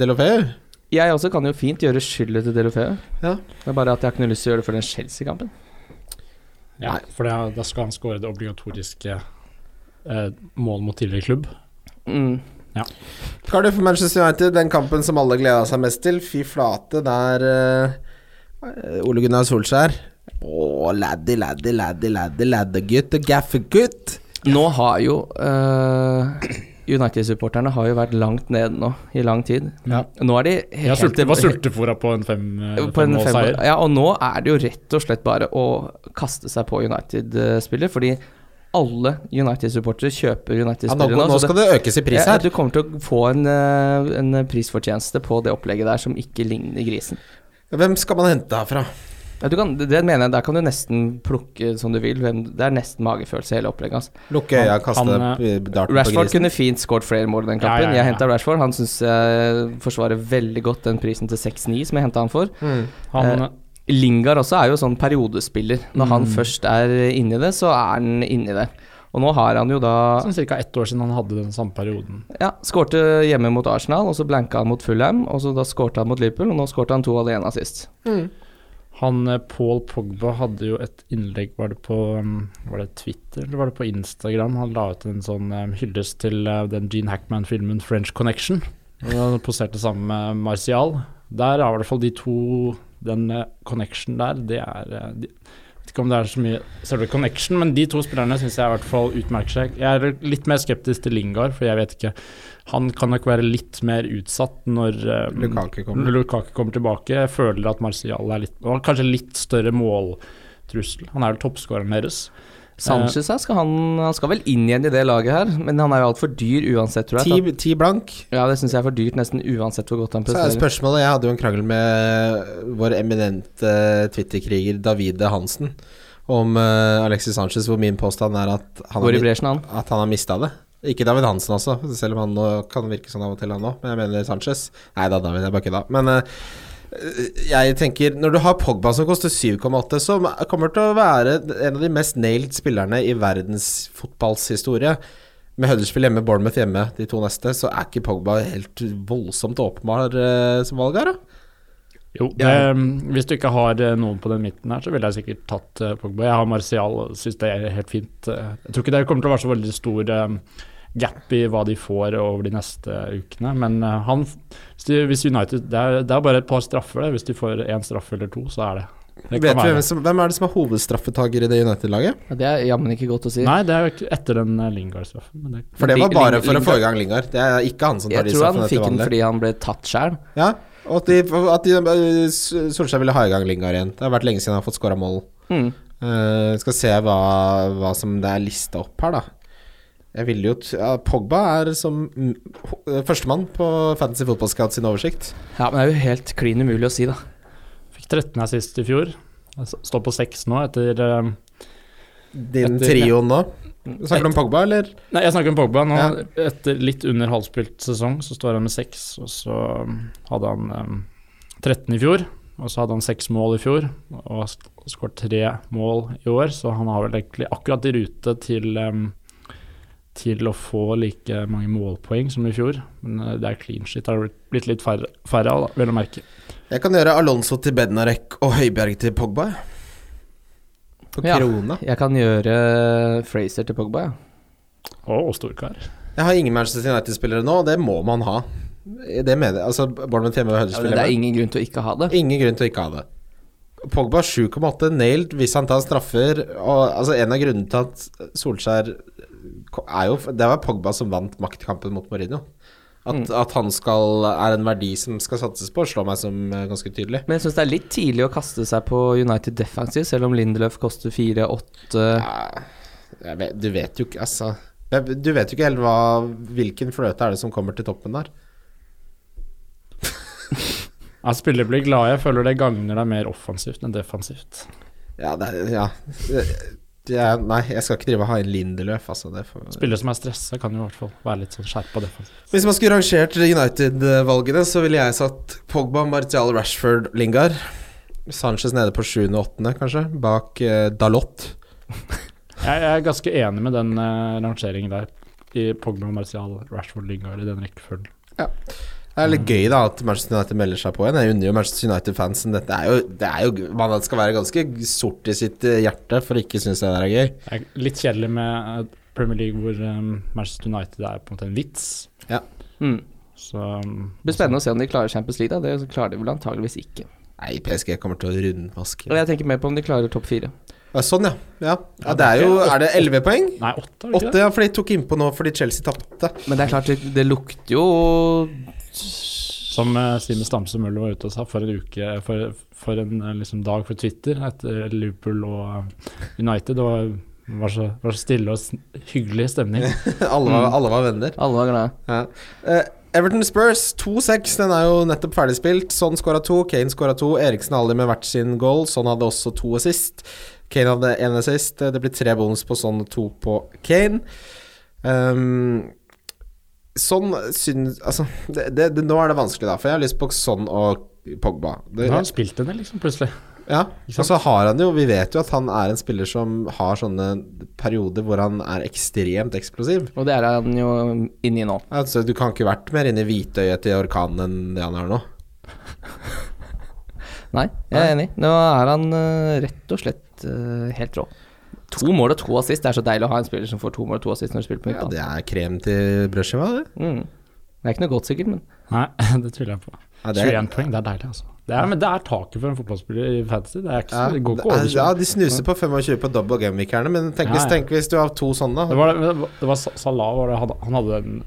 [SPEAKER 3] Delofeu.
[SPEAKER 4] Jeg også kan jo fint gjøre skyldet til Delofeu.
[SPEAKER 3] Ja.
[SPEAKER 4] Det er bare at jeg har ikke noe lyst til å gjøre det for den Chelsea-kampen.
[SPEAKER 5] Ja,
[SPEAKER 3] Nei.
[SPEAKER 5] for da- da skal han skåre det obligatoriske eh, mål mot tidligere klubb.
[SPEAKER 4] Mm.
[SPEAKER 3] Cardiff Manchester United, den kampen som alle gleda seg mest til. Fy flate, der eh, Ole Gunnar Solskjær. Å, laddy, laddy, laddy, laddy, laddegutt og gaffegutt.
[SPEAKER 4] Nå har jo eh, United-supporterne har jo vært langt ned nå i lang tid.
[SPEAKER 5] Ja.
[SPEAKER 4] Nå er de
[SPEAKER 5] Jeg
[SPEAKER 4] helt-
[SPEAKER 5] sulte, var sultefora på en fem, eh,
[SPEAKER 4] på en fem,
[SPEAKER 5] femmålseier.
[SPEAKER 4] ja, og nå er det jo rett og slett bare å kaste seg på United-spiller, fordi alle United-supportere kjøper
[SPEAKER 3] Ja, nå,
[SPEAKER 4] United-spillere
[SPEAKER 3] nå skal det økes i pris
[SPEAKER 4] ja,
[SPEAKER 3] her.
[SPEAKER 4] du kommer til å få en, eh, en prisfortjeneste på det opplegget der som ikke ligner grisen.
[SPEAKER 3] Hvem skal man hente herfra?
[SPEAKER 4] Ja, du kan, det- det mener jeg, Der kan du nesten plukke som du vil. hvem- Det er nesten magefølelse, hele opplegget. Altså.
[SPEAKER 3] Lukke øya, kaste
[SPEAKER 5] han,
[SPEAKER 3] eh, darten på
[SPEAKER 4] Rashford
[SPEAKER 3] grisen.
[SPEAKER 4] kunne fint skåret flere mål i den kampen.
[SPEAKER 5] Ja, ja, ja,
[SPEAKER 4] Jeg
[SPEAKER 5] ja.
[SPEAKER 4] henta Rashford. Han syns jeg forsvarer veldig godt den prisen til 6-9 som jeg henta han for.
[SPEAKER 3] Mm.
[SPEAKER 5] Han,
[SPEAKER 4] Lingard også er jo sånn periodespiller. Når han
[SPEAKER 5] Mm.
[SPEAKER 4] først er inni det, så er han inni det. Og nå har han jo da
[SPEAKER 5] sånn ca. ett år siden han hadde den samme perioden.
[SPEAKER 4] Ja, skårte hjemme mot Arsenal, og så blanka han mot Fulham, og så da skårte han mot Liverpool, og nå skårte han to alene sist.
[SPEAKER 5] Han eh, Paul Pogba hadde jo et innlegg, var det på um, var det Twitter eller var det på Instagram? Han la ut en sånn um, hyllest til eh, den Gene Hackman-filmen 'French Connection'. hvor Han poserte sammen med Martial. Der er i hvert fall de to den eh, connection der, det er eh, de, Vet ikke om det er så mye selve connection, men de to spillerne syns jeg i hvert fall utmerker seg. Jeg er litt mer skeptisk til Lingard, for jeg vet ikke Han kan nok være litt mer utsatt når eh,
[SPEAKER 3] Lukaku kommer.
[SPEAKER 5] når Lukaku kommer tilbake. Jeg føler at Martial er litt og Kanskje litt større måltrussel. Han er vel toppskåreren deres.
[SPEAKER 4] Sanchez her skal han, han skal vel inn igjen i det laget her, men han er jo altfor dyr uansett, tror
[SPEAKER 3] Ti,
[SPEAKER 4] jeg.
[SPEAKER 3] ti blank.
[SPEAKER 4] Ja, det syns jeg er for dyrt nesten uansett hvor godt han
[SPEAKER 3] Så er
[SPEAKER 4] presterer.
[SPEAKER 3] spørsmålet Jeg hadde jo en krangel med eh, vår eminente eh, Twitter-kriger Davide Hansen om eh, Alexis Sanchez, hvor min påstand er at han
[SPEAKER 4] Går i
[SPEAKER 3] har,
[SPEAKER 4] bresjen, han.
[SPEAKER 3] at han har mista det. Ikke David Hansen også, selv om han nå kan virke sånn av og til, han òg. Men jeg mener Sanchez. Nei da, David, jeg bare kødda. Men eh, jeg tenker Når du har Pogba som koster 7,8, som kommer til å være en av de mest nailed spillerne i verdens fotballshistorie med Huddersfield hjemme, Bournemouth hjemme, de to neste, så er ikke Pogba helt voldsomt åpenbar eh, som valg her, da.
[SPEAKER 5] Jo, det, mm, Hvis du ikke har eh, noen på den midten her, så ville jeg sikkert tatt eh, Pogba. Jeg har Martial og syns det er helt fint. eh. Jeg tror ikke det kommer til å være så veldig stor eh, gap i hva de får over de neste ukene, men eh, han hvis de- hvis United det er, det er bare et par straffer, det. Hvis de får én straffe eller to, så er det.
[SPEAKER 3] Vet
[SPEAKER 5] det kan
[SPEAKER 3] vi
[SPEAKER 5] være.
[SPEAKER 3] hvem, som, hvem er det som er hovedstraffetaker i det United-laget?
[SPEAKER 4] Ja, det er jammen ikke godt å si.
[SPEAKER 5] Nei, det er jo ikke etter den eh, Lingard-straffen. men det-
[SPEAKER 3] For det var
[SPEAKER 4] Ling-
[SPEAKER 3] bare
[SPEAKER 4] Ling-
[SPEAKER 3] for å
[SPEAKER 4] Lingard.
[SPEAKER 3] få i gang Lingard. Det er ikke han som tar
[SPEAKER 4] Jeg
[SPEAKER 3] de
[SPEAKER 4] tror han
[SPEAKER 3] straffene til
[SPEAKER 4] fikk den
[SPEAKER 3] vanlig.
[SPEAKER 4] fordi han ble tatt sjøl.
[SPEAKER 3] Ja, og at de, at de eh, Solskjær ville ha i gang Lingard igjen. Det har vært lenge siden han har fått skåra mål.
[SPEAKER 4] Mm.
[SPEAKER 3] Eh, skal se hva, hva som det er lista opp her, da. Jeg ville jo t ja, Pogba er som mm, ho- eh, førstemann på Fantasy Football Scout sin oversikt.
[SPEAKER 4] Ja, men det er jo helt klin umulig å si, da.
[SPEAKER 5] Fikk 13 assist i fjor. Jeg s- Står på 6 nå etter eh,
[SPEAKER 3] Din
[SPEAKER 5] Etter-
[SPEAKER 3] trio nå. Snakker du om Pogba, eller?
[SPEAKER 5] Nei, jeg snakker om Pogba nå.
[SPEAKER 3] Ja.
[SPEAKER 5] Etter litt under halvspilt sesong så står han med 6, og så um, hadde han um, 13 i fjor. Og så hadde han 6 mål i fjor, og har sk- skåret 3 mål i år, så han har vel egentlig akkurat i rute til um, til å få like mange målpoeng som i fjor, men uh, det er clean shit. Det har blitt- blitt litt færre, færre av, da, vel å merke.
[SPEAKER 3] Jeg kan gjøre Alonso til Bednarek og Høibjerg til Pogba. jeg. På
[SPEAKER 4] Ja.
[SPEAKER 3] krona.
[SPEAKER 4] Jeg kan gjøre Fraser til Pogba, ja.
[SPEAKER 5] Og, og storkar.
[SPEAKER 3] Jeg har ingen Manchester United-spillere nå, og det må man ha. Det mener jeg. Altså, Bournemouth hjemme og
[SPEAKER 4] ja men det
[SPEAKER 3] Huddersfield
[SPEAKER 4] er
[SPEAKER 3] hjemme.
[SPEAKER 4] ingen grunn til å ikke ha det.
[SPEAKER 3] Ingen grunn til å ikke ha det. Pogba 7,8 nailed hvis han tar straffer. Og, altså, en av grunnene til at Solskjær ko- er jo, Det var Pogba som vant maktkampen mot Mourinho. At, at han skal, er en verdi som skal satses på, slår meg som eh, ganske tydelig.
[SPEAKER 4] Men jeg syns det er litt tidlig å kaste seg på United defensive, selv om Lindelöf koster 4-8.
[SPEAKER 3] Jeg vet, du vet jo ikke altså, jeg- Du vet jo ikke helt hva, hvilken fløte er det som kommer til toppen der.
[SPEAKER 5] Ja, spillere blir glade. Jeg føler det gagner deg mer offensivt enn defensivt.
[SPEAKER 3] Ja, det, er- ja. Det er- nei, jeg skal ikke drive og ha en Lindeløf, altså. Det får,
[SPEAKER 5] Spillere som er stressa, kan jo i hvert fall være litt sånn skjerpa defensivt.
[SPEAKER 3] Hvis man skulle rangert United-valgene, så ville jeg satt Pogba, Martial, Rashford, Lingard. Sanchez nede på 7. og 8., kanskje, bak eh, Dalot.
[SPEAKER 5] Jeg, jeg er ganske enig med den eh, rangeringen der. I Pogba, Martial, Rashford, Lingard i den rekkefølgen.
[SPEAKER 3] Det er litt gøy da at Manchester United melder seg på igjen. Jeg unner jo Manchester United-fansen dette. Er jo, det er jo, man skal være ganske sort i sitt eh, hjerte for å ikke synes det der er gøy.
[SPEAKER 5] Jeg er litt kjedelig med eh, Premier League hvor eh, Manchester United er på en måte en vits.
[SPEAKER 4] Mm.
[SPEAKER 5] Så um,
[SPEAKER 4] Det blir spennende å se om de klarer Champions League, da. Det klarer de vel antageligvis ikke.
[SPEAKER 3] Nei, PSG kommer til å
[SPEAKER 4] Og
[SPEAKER 3] rundmaske.
[SPEAKER 4] jeg tenker mer på om de klarer topp fire.
[SPEAKER 3] Ja, sånn, ja. ja. ja det er jo Er det 11 poeng?
[SPEAKER 5] altså, Nei, åtte, er det ikke det?
[SPEAKER 3] Åtte, ja, for de tok innpå nå fordi Chelsea tapte.
[SPEAKER 4] Men det er klart, det, det lukter jo
[SPEAKER 5] Som eh, Simen Stamse Møller var ute og sa for en uke For, for en eh, liksom, dag for Twitter etter Liverpool og eh, United. Og var så, var så stille og sn- hyggelig stemning.
[SPEAKER 3] Alle var, alle var venner.
[SPEAKER 4] Alle var glade.
[SPEAKER 3] Ja. Eh, Everton Spurs 2-6, den er jo nettopp ferdigspilt. Son skåra to, Kane skåra to. Eriksen og Ali med hvert sin goal. Son hadde også to assist. Kane hadde én assist. Eh, Det blir tre bonus på Son og to på Kane. Um, Son syns Altså, det, det, det, nå er det vanskelig, da. For jeg har lyst på Son og Pogba. Det,
[SPEAKER 5] Da har han spilt henne, liksom, plutselig.
[SPEAKER 3] ja,
[SPEAKER 5] Ikke
[SPEAKER 3] og så har han jo Vi vet jo at han er en spiller som har sånne perioder hvor han er ekstremt eksplosiv.
[SPEAKER 4] Og det er han jo inni nå.
[SPEAKER 3] Altså, du kan ikke vært mer inne i hvitøyet til orkanen enn det han er nå.
[SPEAKER 4] Nei, jeg er enig. Nå er han eh, rett og slett eh, helt rå. To mål og to assist. Det er så deilig å ha en spiller som får to mål og to assist når du spiller på
[SPEAKER 3] Ja,
[SPEAKER 4] midtbanen.
[SPEAKER 3] det er krem til brødskiva, det.
[SPEAKER 4] Mm. Det er ikke noe godt, sikkert, men
[SPEAKER 5] Nei, det tviler jeg på.
[SPEAKER 3] Ja, det er,
[SPEAKER 5] 21 poeng, det er deilig, altså. Det er, men det er taket for en fotballspiller i fantasy. Det, er ikke, så-
[SPEAKER 3] Ja,
[SPEAKER 5] det går ikke
[SPEAKER 3] det er-
[SPEAKER 5] over.
[SPEAKER 3] ja, de snuser på 25 på double game-weekerne, men tenk,
[SPEAKER 5] Ja,
[SPEAKER 3] hvis-
[SPEAKER 5] ja.
[SPEAKER 3] tenk hvis du har to sånne.
[SPEAKER 5] Det
[SPEAKER 3] da.
[SPEAKER 5] var, det, det var Sa- Salah var det, han, han hadde den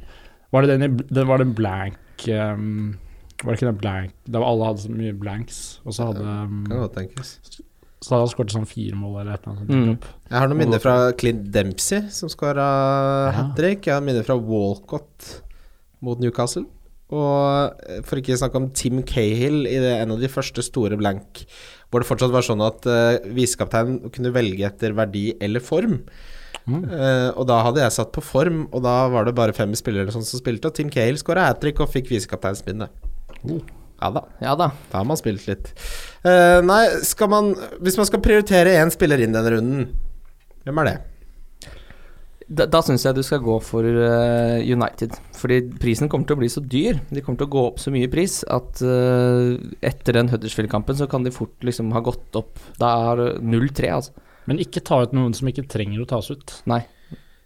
[SPEAKER 5] Var det den i bl- det var den blank ehm, Var det ikke den blank Der alle hadde så mye blanks, og så hadde
[SPEAKER 3] Kan
[SPEAKER 5] um,
[SPEAKER 3] godt tenkes.
[SPEAKER 5] Salah skåret sånn fire mål eller et eller annet.
[SPEAKER 4] Mm.
[SPEAKER 3] Jeg har noen minner fra Clint Dempsey, som skåra hat trick. Jeg har minner fra Walcott mot Newcastle. Og eh, for ikke snakke om Tim Cahill i det, en av de første store blank, hvor det fortsatt var sånn at uh, visekapteinen kunne velge etter verdi eller form.
[SPEAKER 5] Mm.
[SPEAKER 3] Eh, og da hadde jeg satt på form, og da var det bare fem spillere eller sånn som spilte, og Tim Cahill skåra hat trick og fikk visekapteinspinnet.
[SPEAKER 5] Oh.
[SPEAKER 3] Ja da.
[SPEAKER 4] Ja da.
[SPEAKER 3] Da har man spilt litt. Eh, nei, skal man Hvis man skal prioritere én spiller inn denne runden, hvem er det?
[SPEAKER 4] Da, da syns jeg du skal gå for eh, United. Fordi prisen kommer til å bli så dyr. De kommer til å gå opp så mye i pris at eh, etter den Huddersfield-kampen så kan de fort liksom ha gått opp. Da er det 0-3, altså.
[SPEAKER 5] Men ikke ta ut noen som ikke trenger å tas ut.
[SPEAKER 4] Nei.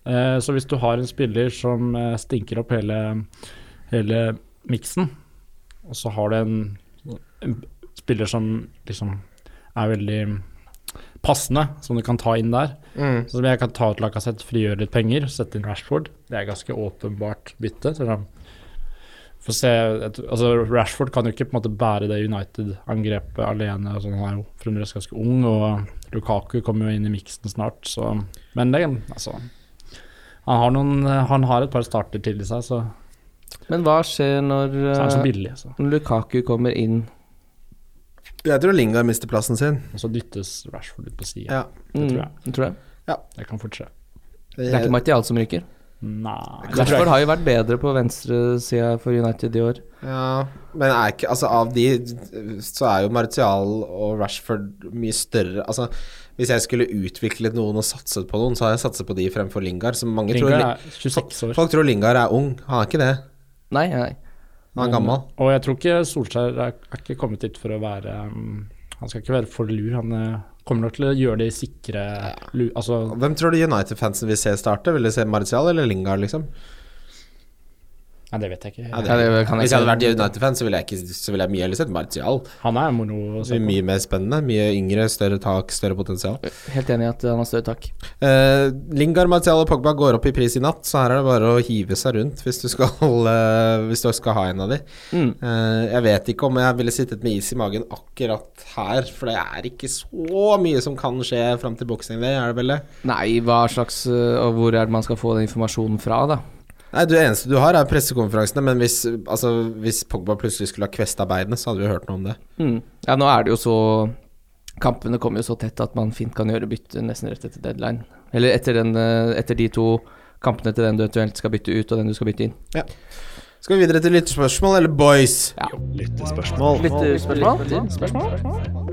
[SPEAKER 5] Eh, så hvis du har en spiller som eh, stinker opp hele, hele miksen, og så har du en, en spiller som liksom er veldig passende, som du kan ta inn der, Så som jeg kan ta ut Lacassette, frigjøre litt penger, sette inn Rashford. Det er ganske åpenbart bytte. Selv om Få se jeg tror- Altså, Rashford kan jo ikke på en måte bære det United-angrepet alene. Altså, han er jo fremdeles ganske ung, og Lukaku kommer jo inn i miksen snart, så Men det, altså han har, noen, eh, han har et par starter til i seg, så,
[SPEAKER 4] Men hva skjer når
[SPEAKER 5] så er han så
[SPEAKER 4] eh,
[SPEAKER 5] billig. Så.
[SPEAKER 4] når Lukaku kommer inn?
[SPEAKER 3] Jeg tror Lingard mister plassen sin.
[SPEAKER 5] Og så dyttes Rashford ut på sida.
[SPEAKER 3] Ja.
[SPEAKER 5] Det tror jeg.
[SPEAKER 4] Mm, tror jeg.
[SPEAKER 5] Det kan fort skje.
[SPEAKER 4] Det er ikke Martial som ryker.
[SPEAKER 5] Nei det tror jeg
[SPEAKER 4] Rashford har jo vært bedre på venstresida for United i år.
[SPEAKER 3] ja, men er ikke Altså, av de så er jo Martial og Rashford mye større Altså, hvis jeg skulle utviklet noen og satset på noen, så har jeg satset på de fremfor Lingard, som mange
[SPEAKER 5] Lingard
[SPEAKER 3] tror
[SPEAKER 5] er 26 år.
[SPEAKER 3] Folk tror Lingard er ung. Han er ikke det.
[SPEAKER 4] Nei, nei.
[SPEAKER 3] Han er gammel.
[SPEAKER 5] Mm. Og jeg tror ikke Solskjær er, er ikke kommet dit for å være um, Han skal ikke være for lur. Han eh, kommer nok til å gjøre det i sikre lu, Altså
[SPEAKER 3] Hvem tror du United-fansen vil se starte? Vil de se Martial eller Lingard, liksom?
[SPEAKER 5] Nei, det vet jeg ikke.
[SPEAKER 3] Ja, det-
[SPEAKER 4] Ja, det kan jeg
[SPEAKER 3] Hvis jeg hadde
[SPEAKER 4] ikke-
[SPEAKER 3] vært United-fan, så ville jeg, ikke, så ville jeg mye heller sett Martial.
[SPEAKER 5] Han er moro å
[SPEAKER 3] Så
[SPEAKER 5] se på.
[SPEAKER 3] mye mer spennende. Mye yngre, større tak, større potensial.
[SPEAKER 4] Helt enig i at han har større tak.
[SPEAKER 3] Eh, Lingard, Martial og Pogba går opp i pris i natt, så her er det bare å hive seg rundt hvis du skal, eh, hvis du skal ha en av de.
[SPEAKER 4] Mm.
[SPEAKER 3] Eh, jeg vet ikke om jeg ville sittet med is i magen akkurat her, for det er ikke så mye som kan skje fram til boksing, det er det vel det?
[SPEAKER 4] Nei, hva slags øh, Og hvor er det man skal få den informasjonen fra, da?
[SPEAKER 3] Nei, det eneste du har er pressekonferansene, men hvis, altså, hvis Pogba plutselig skulle ha kvesta beinet, så hadde vi hørt noe om det.
[SPEAKER 4] Mm. Ja, nå er det jo så Kampene kommer jo så tett at man fint kan gjøre bytte nesten rett etter deadline. Eller etter, den, øh, etter de to kampene til den du eventuelt skal bytte ut, og den du skal bytte inn.
[SPEAKER 3] Skal vi videre til lytterspørsmål, eller boys?
[SPEAKER 1] Lyttespørsmål.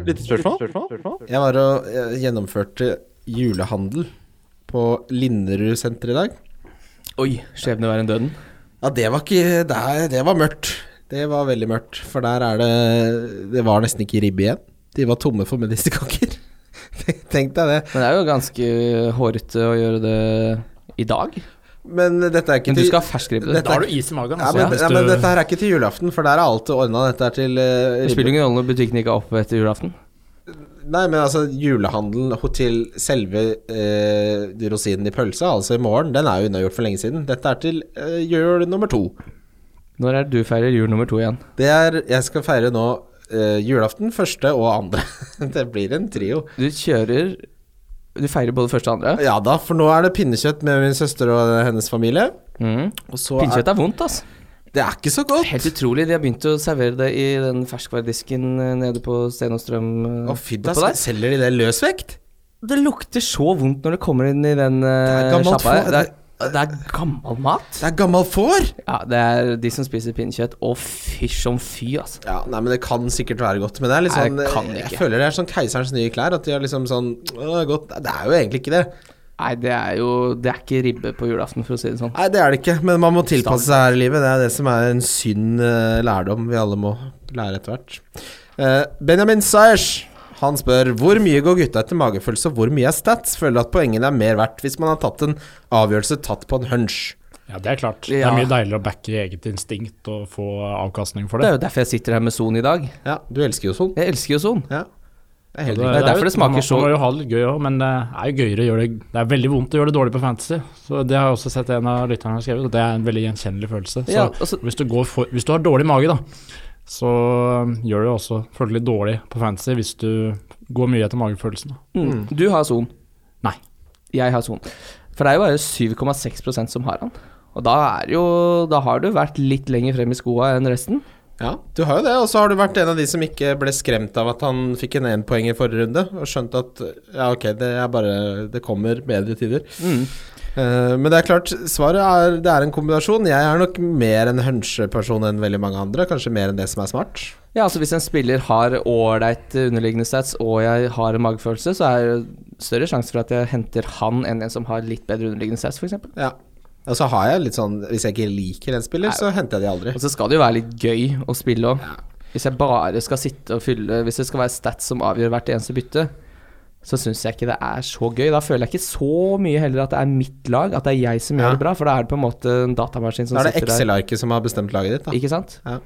[SPEAKER 4] Lyttespørsmål?
[SPEAKER 3] Jeg var og eh, gjennomførte julehandel på Linderud senter i dag.
[SPEAKER 4] Oi, skjebne være en døden.
[SPEAKER 3] Ja, det var ikke Det, det var mørkt. Det var veldig mørkt, for der er det Det var nesten ikke ribbe igjen. De var tomme for medisterkaker. Tenk deg det.
[SPEAKER 4] Men det er jo ganske hårete å gjøre det i dag.
[SPEAKER 3] Men dette er ikke
[SPEAKER 4] Men du
[SPEAKER 3] til-
[SPEAKER 4] skal ha ferskribbe.
[SPEAKER 3] Dette
[SPEAKER 5] Da
[SPEAKER 3] er-
[SPEAKER 5] har du is i magen.
[SPEAKER 3] ja,
[SPEAKER 5] Altså.
[SPEAKER 3] men,
[SPEAKER 5] Hvis
[SPEAKER 3] ja, men
[SPEAKER 5] du-
[SPEAKER 3] dette her er ikke til julaften, for der er alt ordna. Dette er til eh,
[SPEAKER 4] Det spiller
[SPEAKER 3] ribbe.
[SPEAKER 4] ingen rolle når butikken ikke er oppe etter julaften.
[SPEAKER 3] Nei, men altså, julehandelen ho- til selve eh, de rosinen i pølsa, altså i morgen, den er jo unnagjort for lenge siden. Dette er til eh, jul nummer to.
[SPEAKER 4] Når er det du feirer jul nummer to igjen?
[SPEAKER 3] Det er Jeg skal feire nå eh, julaften, første og andre. det blir en trio.
[SPEAKER 4] Du kjører Du feirer både første og andre?
[SPEAKER 3] Ja da, for nå er det pinnekjøtt med min søster og hennes familie.
[SPEAKER 4] Mm.
[SPEAKER 3] Og så
[SPEAKER 4] Pinnekjøtt er vondt, altså.
[SPEAKER 3] Er, det er ikke så godt.
[SPEAKER 4] Helt utrolig. De har begynt å servere det i den ferskvaredisken eh, nede på Sten og Strøm. eh,
[SPEAKER 3] Å fy da,
[SPEAKER 4] oppå der.
[SPEAKER 3] selger de det løsvekt?
[SPEAKER 4] Det lukter så vondt når det kommer inn i den
[SPEAKER 3] er
[SPEAKER 4] eh,
[SPEAKER 3] gammelt
[SPEAKER 4] sjappa
[SPEAKER 3] få-
[SPEAKER 4] der. Det er, det er gammel mat.
[SPEAKER 3] Det er gammel får!
[SPEAKER 4] Ja, det er de som spiser pinnekjøtt. Å, fy som fy, altså.
[SPEAKER 3] Ja, nei, men det kan sikkert være godt, men det er litt
[SPEAKER 4] Nei,
[SPEAKER 3] sånn
[SPEAKER 4] det kan
[SPEAKER 3] jeg,
[SPEAKER 4] ikke.
[SPEAKER 3] føler det er sånn keiserens nye klær, at de har liksom sånn Å, det er godt. Det er jo egentlig ikke det.
[SPEAKER 4] Nei, det er jo Det er ikke ribbe på julaften, for å si det sånn.
[SPEAKER 3] Nei, det er det ikke, men man må tilpasse seg her i livet. Det er det som er en synd eh, lærdom vi alle må lære etter hvert. Eh, Benjamin Sayers han spør hvor mye går gutta etter magefølelse, og hvor mye er stats? Føler at poengene er mer verdt hvis man har tatt en avgjørelse tatt på en hunch.
[SPEAKER 5] Ja, det er klart. Det
[SPEAKER 4] Ja.
[SPEAKER 5] er mye deiligere å backe i eget instinkt og få avkastning for
[SPEAKER 4] Det
[SPEAKER 5] det.
[SPEAKER 4] er jo derfor jeg sitter her med Son i dag.
[SPEAKER 3] Ja, du elsker jo sånn.
[SPEAKER 4] Jeg elsker jo Son.
[SPEAKER 3] Ja. Det er helt
[SPEAKER 5] Og
[SPEAKER 4] Det er
[SPEAKER 5] jo-
[SPEAKER 4] derfor det smaker
[SPEAKER 5] man må-
[SPEAKER 4] så-
[SPEAKER 5] Man må jo ha det litt gøy òg, men det er jo gøyere å gjøre det Det er veldig vondt å gjøre det dårlig på Fantasy. Så Det har jeg også sett en av lytterne har skrevet, og det er en veldig gjenkjennelig følelse. Så
[SPEAKER 4] Ja, altså,
[SPEAKER 5] hvis, du går for, hvis du har dårlig mage, da, så um, gjør du også følgelig dårlig på Fantasy hvis du går mye etter magefølelsen. da.
[SPEAKER 4] mm. Du har Son.
[SPEAKER 5] Nei.
[SPEAKER 4] Jeg har Son. For det er jo bare 7,6 som har han. Og da er jo Da har du vært litt lenger frem i skoa enn resten.
[SPEAKER 3] Ja, du har jo det, og så har du vært en av de som ikke ble skremt av at han fikk en énpoeng i forrige runde, og skjønt at ja, ok, det er bare Det kommer bedre tider.
[SPEAKER 5] Mm.
[SPEAKER 3] Eh, men det er klart, svaret er det er en kombinasjon. Jeg er nok mer en huncheperson enn veldig mange andre, kanskje mer enn det som er smart.
[SPEAKER 4] Ja, altså hvis en spiller har ålreit eh, underliggende stats og jeg har en magefølelse, så er det større sjanse for at jeg henter han enn en som har litt bedre underliggende stats, f.eks.
[SPEAKER 3] Ja. Og så har jeg litt sånn Hvis jeg ikke liker en spiller, så henter jeg de aldri.
[SPEAKER 4] Og så skal det jo være litt gøy å spille òg. Hvis jeg bare skal sitte og fylle Hvis det skal være stats som avgjør hvert eneste bytte, så syns jeg ikke det er så gøy. Da føler jeg ikke så mye heller at det er mitt lag, at det er jeg som
[SPEAKER 3] Ja.
[SPEAKER 4] gjør det bra, for da er det på en måte en datamaskin som
[SPEAKER 3] Da er det
[SPEAKER 4] sitter der.
[SPEAKER 3] Excel-arket som har bestemt laget ditt, da.
[SPEAKER 4] Ikke sant?
[SPEAKER 3] Ja.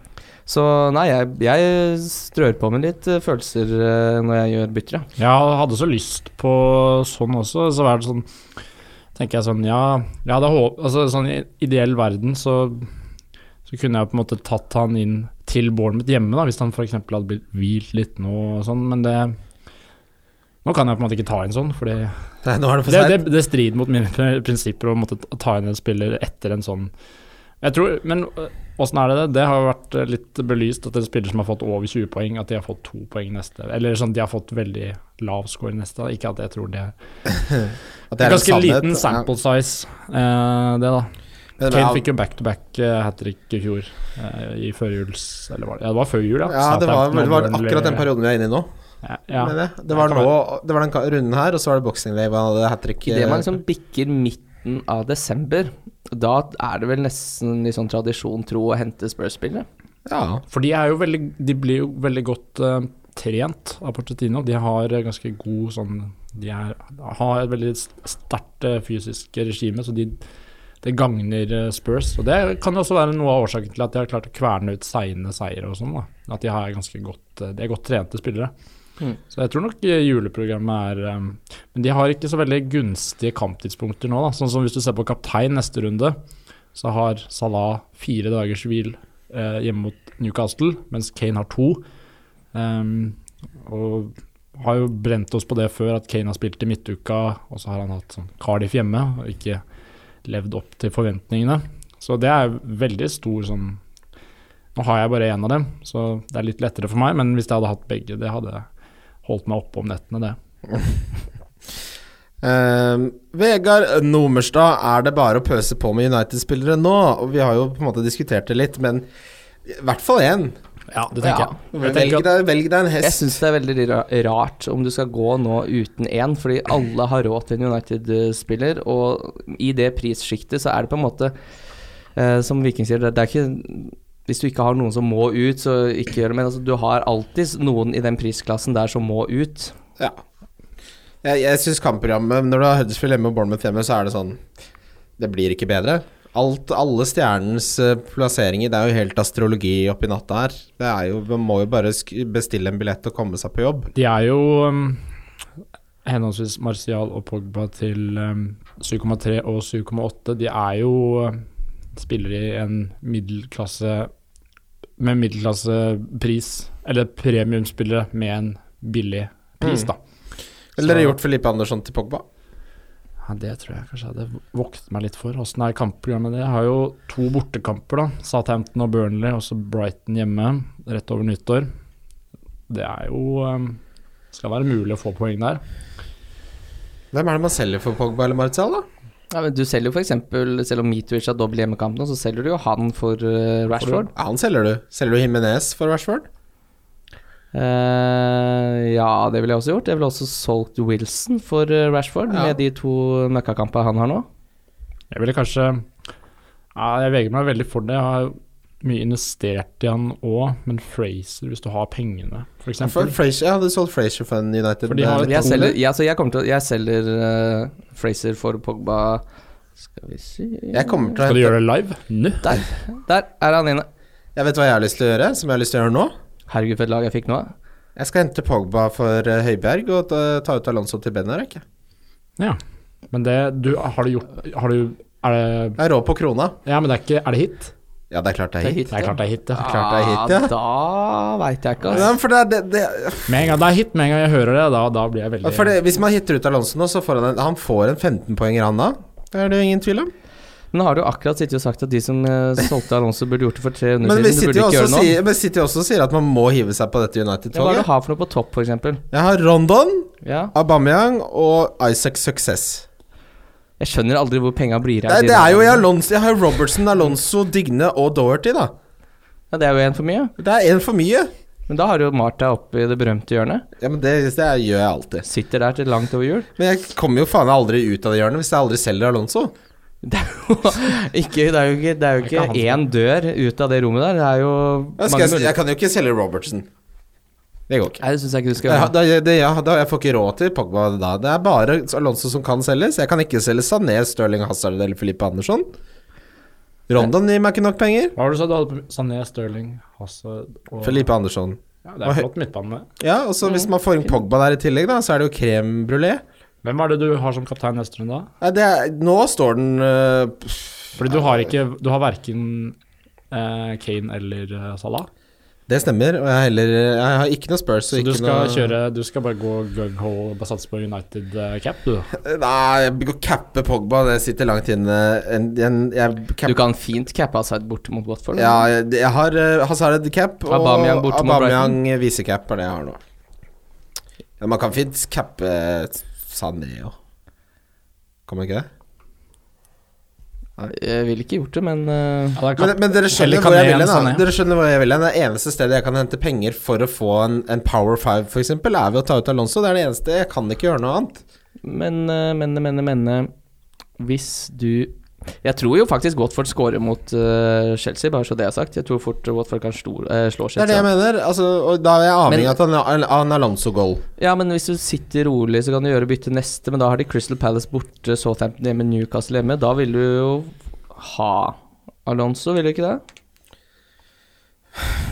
[SPEAKER 4] Så nei, jeg, jeg strør på med litt eh, følelser eh, når jeg gjør bytter, ja.
[SPEAKER 5] Jeg hadde så lyst på sånn også, så var det sånn Tenker jeg sånn, ja, jeg hadde håp, altså sånn i ideell verden så, så kunne jeg på en måte tatt han inn til Bournemouth hjemme, da, hvis han f.eks. hadde blitt hvilt litt nå og sånn, men det Nå kan jeg på en måte ikke ta inn sånn, fordi
[SPEAKER 3] Nei, nå er det for
[SPEAKER 5] det, det,
[SPEAKER 3] seint.
[SPEAKER 5] det strider mot mine pr- prinsipper å måtte ta- ta inn en spiller etter en sånn Jeg tror, Men øh, åssen er det det? Det har jo vært eh, litt belyst at en spiller som har fått over 20 poeng, at de har fått to poeng neste. Eller sånn, de har fått veldig lav score neste. da. Ikke at jeg tror det er
[SPEAKER 3] At
[SPEAKER 5] Det er
[SPEAKER 3] en
[SPEAKER 5] ganske
[SPEAKER 3] sannhet.
[SPEAKER 5] liten sample size, eh, det, da.
[SPEAKER 3] Ja. Men-
[SPEAKER 5] Kane fikk jo back-to-back hat trick i fjor, eh, i førjuls... Eller var det Ja, det var før jul, ja.
[SPEAKER 3] Ja, det var,
[SPEAKER 5] Southampton
[SPEAKER 3] det var
[SPEAKER 5] og Burnley.
[SPEAKER 3] akkurat den perioden vi er inne i nå.
[SPEAKER 5] Ja, ja.
[SPEAKER 3] mener jeg. Det var,
[SPEAKER 5] Det
[SPEAKER 3] nå,
[SPEAKER 5] kan
[SPEAKER 3] det var den ka- runden her, og så var det Boxing Day. hvor han hadde hat-trick. eh,
[SPEAKER 4] Idet man liksom bikker midten av desember, da er det vel nesten litt sånn tradisjon tro å hente Spurs-spillere.
[SPEAKER 3] Ja.
[SPEAKER 5] For de, er jo veldig, de blir jo veldig godt eh, trent av Porcetino. De har eh, ganske god sånn De er, har et veldig sterkt eh, fysisk regime, så de, det gagner eh, Spurs. Og det kan jo også være noe av årsaken til at de har klart å kverne ut seine seire og sånn. da. At de, har ganske godt, eh, de er godt trente spillere.
[SPEAKER 4] Mm.
[SPEAKER 5] Så jeg tror nok eh, juleprogrammet er eh, Men de har ikke så veldig gunstige kamptidspunkter nå, da. Sånn som hvis du ser på kaptein neste runde, så har Salah fire dagers hvil eh, hjemme mot Newcastle, mens Kane har to. Ehm, og har jo brent oss på det før, at Kane har spilt i midtuka, og så har han hatt sånn Cardiff hjemme og ikke levd opp til forventningene. Så det er veldig stor sånn Nå har jeg bare én av dem, så det er litt lettere for meg, men hvis jeg hadde hatt begge, det hadde holdt meg oppe om nettene, det.
[SPEAKER 3] Ehm, Vegard Nomerstad, er det bare å pøse på med United-spillere nå? Og vi har jo på en måte diskutert det litt, men i hvert fall én.
[SPEAKER 5] Ja, det
[SPEAKER 4] tenker
[SPEAKER 5] jeg. jeg
[SPEAKER 3] Velg,
[SPEAKER 5] tenker at,
[SPEAKER 3] deg- velg deg en
[SPEAKER 4] Jeg
[SPEAKER 3] hest.
[SPEAKER 4] syns det er veldig ra- rart om du skal gå nå uten én, fordi alle har råd til en United-spiller, og i det prissjiktet så er det på en måte eh, Som Viking sier, det det er ikke hvis du ikke har noen som må ut, så ikke gjør det. Men altså, du har alltid noen i den prisklassen der som må ut.
[SPEAKER 3] Ja. Jeg, jeg syns kampprogrammet Når du har Huddersfield hjemme og Bournemouth hjemme, så er det sånn Det blir ikke bedre. Alt, alle stjernens eh, plasseringer Det er jo helt astrologi oppi natta her. Det er jo, Man må jo bare sk- bestille en billett og komme seg på jobb.
[SPEAKER 5] de er jo ehm, henholdsvis Martial og Pogba til ehm, 7,3 og 7,8. De er jo ehm, spillere i en middelklasse med middelklassepris, eller premiumspillere med en billig pris,
[SPEAKER 3] Mm.
[SPEAKER 5] da.
[SPEAKER 3] Eller
[SPEAKER 5] Så-
[SPEAKER 3] dere gjort Felipe Andersson til Pogba?
[SPEAKER 5] Ja, det tror jeg kanskje jeg hadde voktet meg litt for. Åssen er kampprogrammet? Det Jeg har jo to bortekamper, da. Southampton og Burnley, og så Brighton hjemme rett over nyttår. Det er jo ehm, Skal være mulig å få poeng der.
[SPEAKER 3] Hvem er det man selger for Pogba eller Martial, da?
[SPEAKER 4] Ja, men du selger jo f.eks. selv om Meetwich har dobbel hjemmekamp nå, så selger du jo han for eh, Rashford.
[SPEAKER 3] Ja, han selger du. Selger du Jimenez for Rashford?
[SPEAKER 4] Eh, ja, det ville jeg også gjort. Jeg ville også solgt Wilson for eh, Rashford,
[SPEAKER 3] Ja.
[SPEAKER 4] med de to møkkakampene han har nå.
[SPEAKER 5] Jeg ville kanskje ja, Jeg vegrer meg veldig for det. Jeg har mye investert i han òg, men Fraser, hvis du har pengene, f.eks.
[SPEAKER 3] For Frazier, jeg hadde solgt Frazier for en United
[SPEAKER 5] For de har jo
[SPEAKER 3] eh,
[SPEAKER 4] Jeg
[SPEAKER 5] to-
[SPEAKER 4] selger, ja, så jeg kommer til, å- jeg selger eh, Fraser for Pogba Skal vi se
[SPEAKER 3] Jeg kommer til å
[SPEAKER 5] Skal
[SPEAKER 3] hente
[SPEAKER 5] du gjøre det live? Nå?
[SPEAKER 4] Der er han inne.
[SPEAKER 3] Jeg vet hva jeg har lyst til å gjøre, som jeg har lyst til å gjøre nå.
[SPEAKER 4] Herregud, for et lag jeg fikk nå.
[SPEAKER 3] Jeg skal hente Pogba for eh, Høibjerg og ta- ta ut Alonso til Benarek. jeg.
[SPEAKER 5] Ja. Men det du Har du gjort Har du Er det
[SPEAKER 3] Jeg er rå på krona.
[SPEAKER 5] Ja, men det er ikke Er det hit?
[SPEAKER 3] Ja, det er klart det er hit.
[SPEAKER 5] Det er klart det er hit, ja.
[SPEAKER 3] klart det er hit, ja.
[SPEAKER 4] Da veit jeg ikke,
[SPEAKER 3] Ja,
[SPEAKER 4] altså.
[SPEAKER 3] men for det, er- det, det,
[SPEAKER 5] Med en gang det er hit, med en gang jeg hører det, da, da blir jeg veldig
[SPEAKER 3] for det, hvis man hitter ut Alonso nå, så får han en, han får en 15-poenger, han da. Det er det jo ingen tvil om.
[SPEAKER 4] Men har du akkurat sittet og sagt at de som eh, solgte Alonso, burde gjort det for 300
[SPEAKER 3] Men vi
[SPEAKER 4] siden? Du
[SPEAKER 3] sitter jo
[SPEAKER 4] burde ikke
[SPEAKER 3] også,
[SPEAKER 4] gjøre noe.
[SPEAKER 3] sier, men City også sier at man må hive seg på dette
[SPEAKER 4] Ja, Hva er det du
[SPEAKER 3] United-toget.
[SPEAKER 4] har for noe på topp, f.eks.?
[SPEAKER 3] Jeg har Rondon,
[SPEAKER 4] Ja.
[SPEAKER 3] Aubameyang og Isaac Success.
[SPEAKER 4] Jeg skjønner aldri hvor penga blir av.
[SPEAKER 3] Nei,
[SPEAKER 4] i
[SPEAKER 3] det
[SPEAKER 4] de
[SPEAKER 3] er jo i
[SPEAKER 4] lagene.
[SPEAKER 3] Alonso, jeg har jo Robertson, Alonso, Digne og Doherty, da.
[SPEAKER 4] Ja, det er jo en for mye.
[SPEAKER 3] Det er én for mye.
[SPEAKER 4] Men da har jo Martha oppe i det berømte hjørnet.
[SPEAKER 3] Ja, men det, det gjør jeg alltid.
[SPEAKER 4] Sitter der til langt over jul.
[SPEAKER 3] Men jeg kommer jo faen aldri ut av det hjørnet hvis jeg aldri selger Alonso.
[SPEAKER 4] Det er jo ikke, det er jo ikke, det er jo
[SPEAKER 5] Det er
[SPEAKER 4] ikke
[SPEAKER 5] ikke
[SPEAKER 4] én dør ut av det rommet der. Det er jo
[SPEAKER 3] Jeg, skal,
[SPEAKER 4] mange
[SPEAKER 3] jeg,
[SPEAKER 4] muligheter.
[SPEAKER 3] kan jo ikke selge Robertson. Det går ikke.
[SPEAKER 4] Nei, det syns jeg ikke du skal
[SPEAKER 3] Jeg,
[SPEAKER 4] gjøre.
[SPEAKER 3] da, det, ja, da, jeg får ikke råd til Pogba da. Det er bare Alonso som kan selges. Jeg kan ikke selge Sané, Stirling Hazard eller Filippe Andersson. Rondon gir meg ikke nok penger.
[SPEAKER 5] Hva var det du sa du hadde på Sané, Stirling, Hazard og
[SPEAKER 3] Filippe Andersson.
[SPEAKER 5] Ja, det er flott midtbane.
[SPEAKER 3] Ja, og så hvis man får inn Pogba der i tillegg, da, så er det jo crème brulé.
[SPEAKER 5] Hvem er det du har som kaptein neste runde, da?
[SPEAKER 3] Nei, det er, nå står den øh, pff,
[SPEAKER 5] Fordi du har ikke Du har verken eh, Kane eller eh, Salah.
[SPEAKER 3] Det stemmer, og jeg, har heller, jeg har ikke noe Spurs. og
[SPEAKER 5] Så du
[SPEAKER 3] ikke
[SPEAKER 5] skal
[SPEAKER 3] noe-
[SPEAKER 5] kjøre Du skal bare gå gung-ho og satse på United eh, cap, du.
[SPEAKER 3] Nei, jeg å cappe Pogba, det sitter langt inne. En, en, jeg cap,
[SPEAKER 4] Du kan fint cappe Hazard bort mot Watford.
[SPEAKER 3] ja, jeg, jeg har eh, Hazard cap og
[SPEAKER 4] Aubameyang borte mot
[SPEAKER 3] Aubameyang visecap er det jeg har nå. Ja, man kan fint cappe eh, Sané òg. Kan man ikke det?
[SPEAKER 4] Jeg ville ikke gjort det, men eh,
[SPEAKER 5] Ja, det er
[SPEAKER 3] Men,
[SPEAKER 5] kap-
[SPEAKER 3] men dere
[SPEAKER 5] Eller
[SPEAKER 3] skjønner
[SPEAKER 5] kan
[SPEAKER 3] hvor jeg
[SPEAKER 5] det
[SPEAKER 3] vil
[SPEAKER 5] en
[SPEAKER 3] hen? da.
[SPEAKER 5] Sané?
[SPEAKER 3] Dere skjønner hvor jeg vil hen. Det eneste stedet jeg kan hente penger for å få en, en Power Five, for eksempel er ved å ta ut Alonso. Det er det eneste. Jeg kan ikke gjøre noe annet.
[SPEAKER 4] Men, eh, men, men, men eh, Hvis du Jeg tror jo faktisk Watford scorer mot eh, Chelsea, bare så det er sagt. Jeg tror fort Watford kan stor, eh, slå
[SPEAKER 3] Det er det
[SPEAKER 4] Chelsea.
[SPEAKER 3] jeg mener. Altså, og da er jeg avhengig av at han- av en Alonso-goal.
[SPEAKER 4] ja, men hvis du sitter rolig, så kan du gjøre bytte neste, men da har de Crystal Palace borte, Southampton hjemme, Newcastle hjemme. Da vil du jo ha Alonso, vil du ikke det?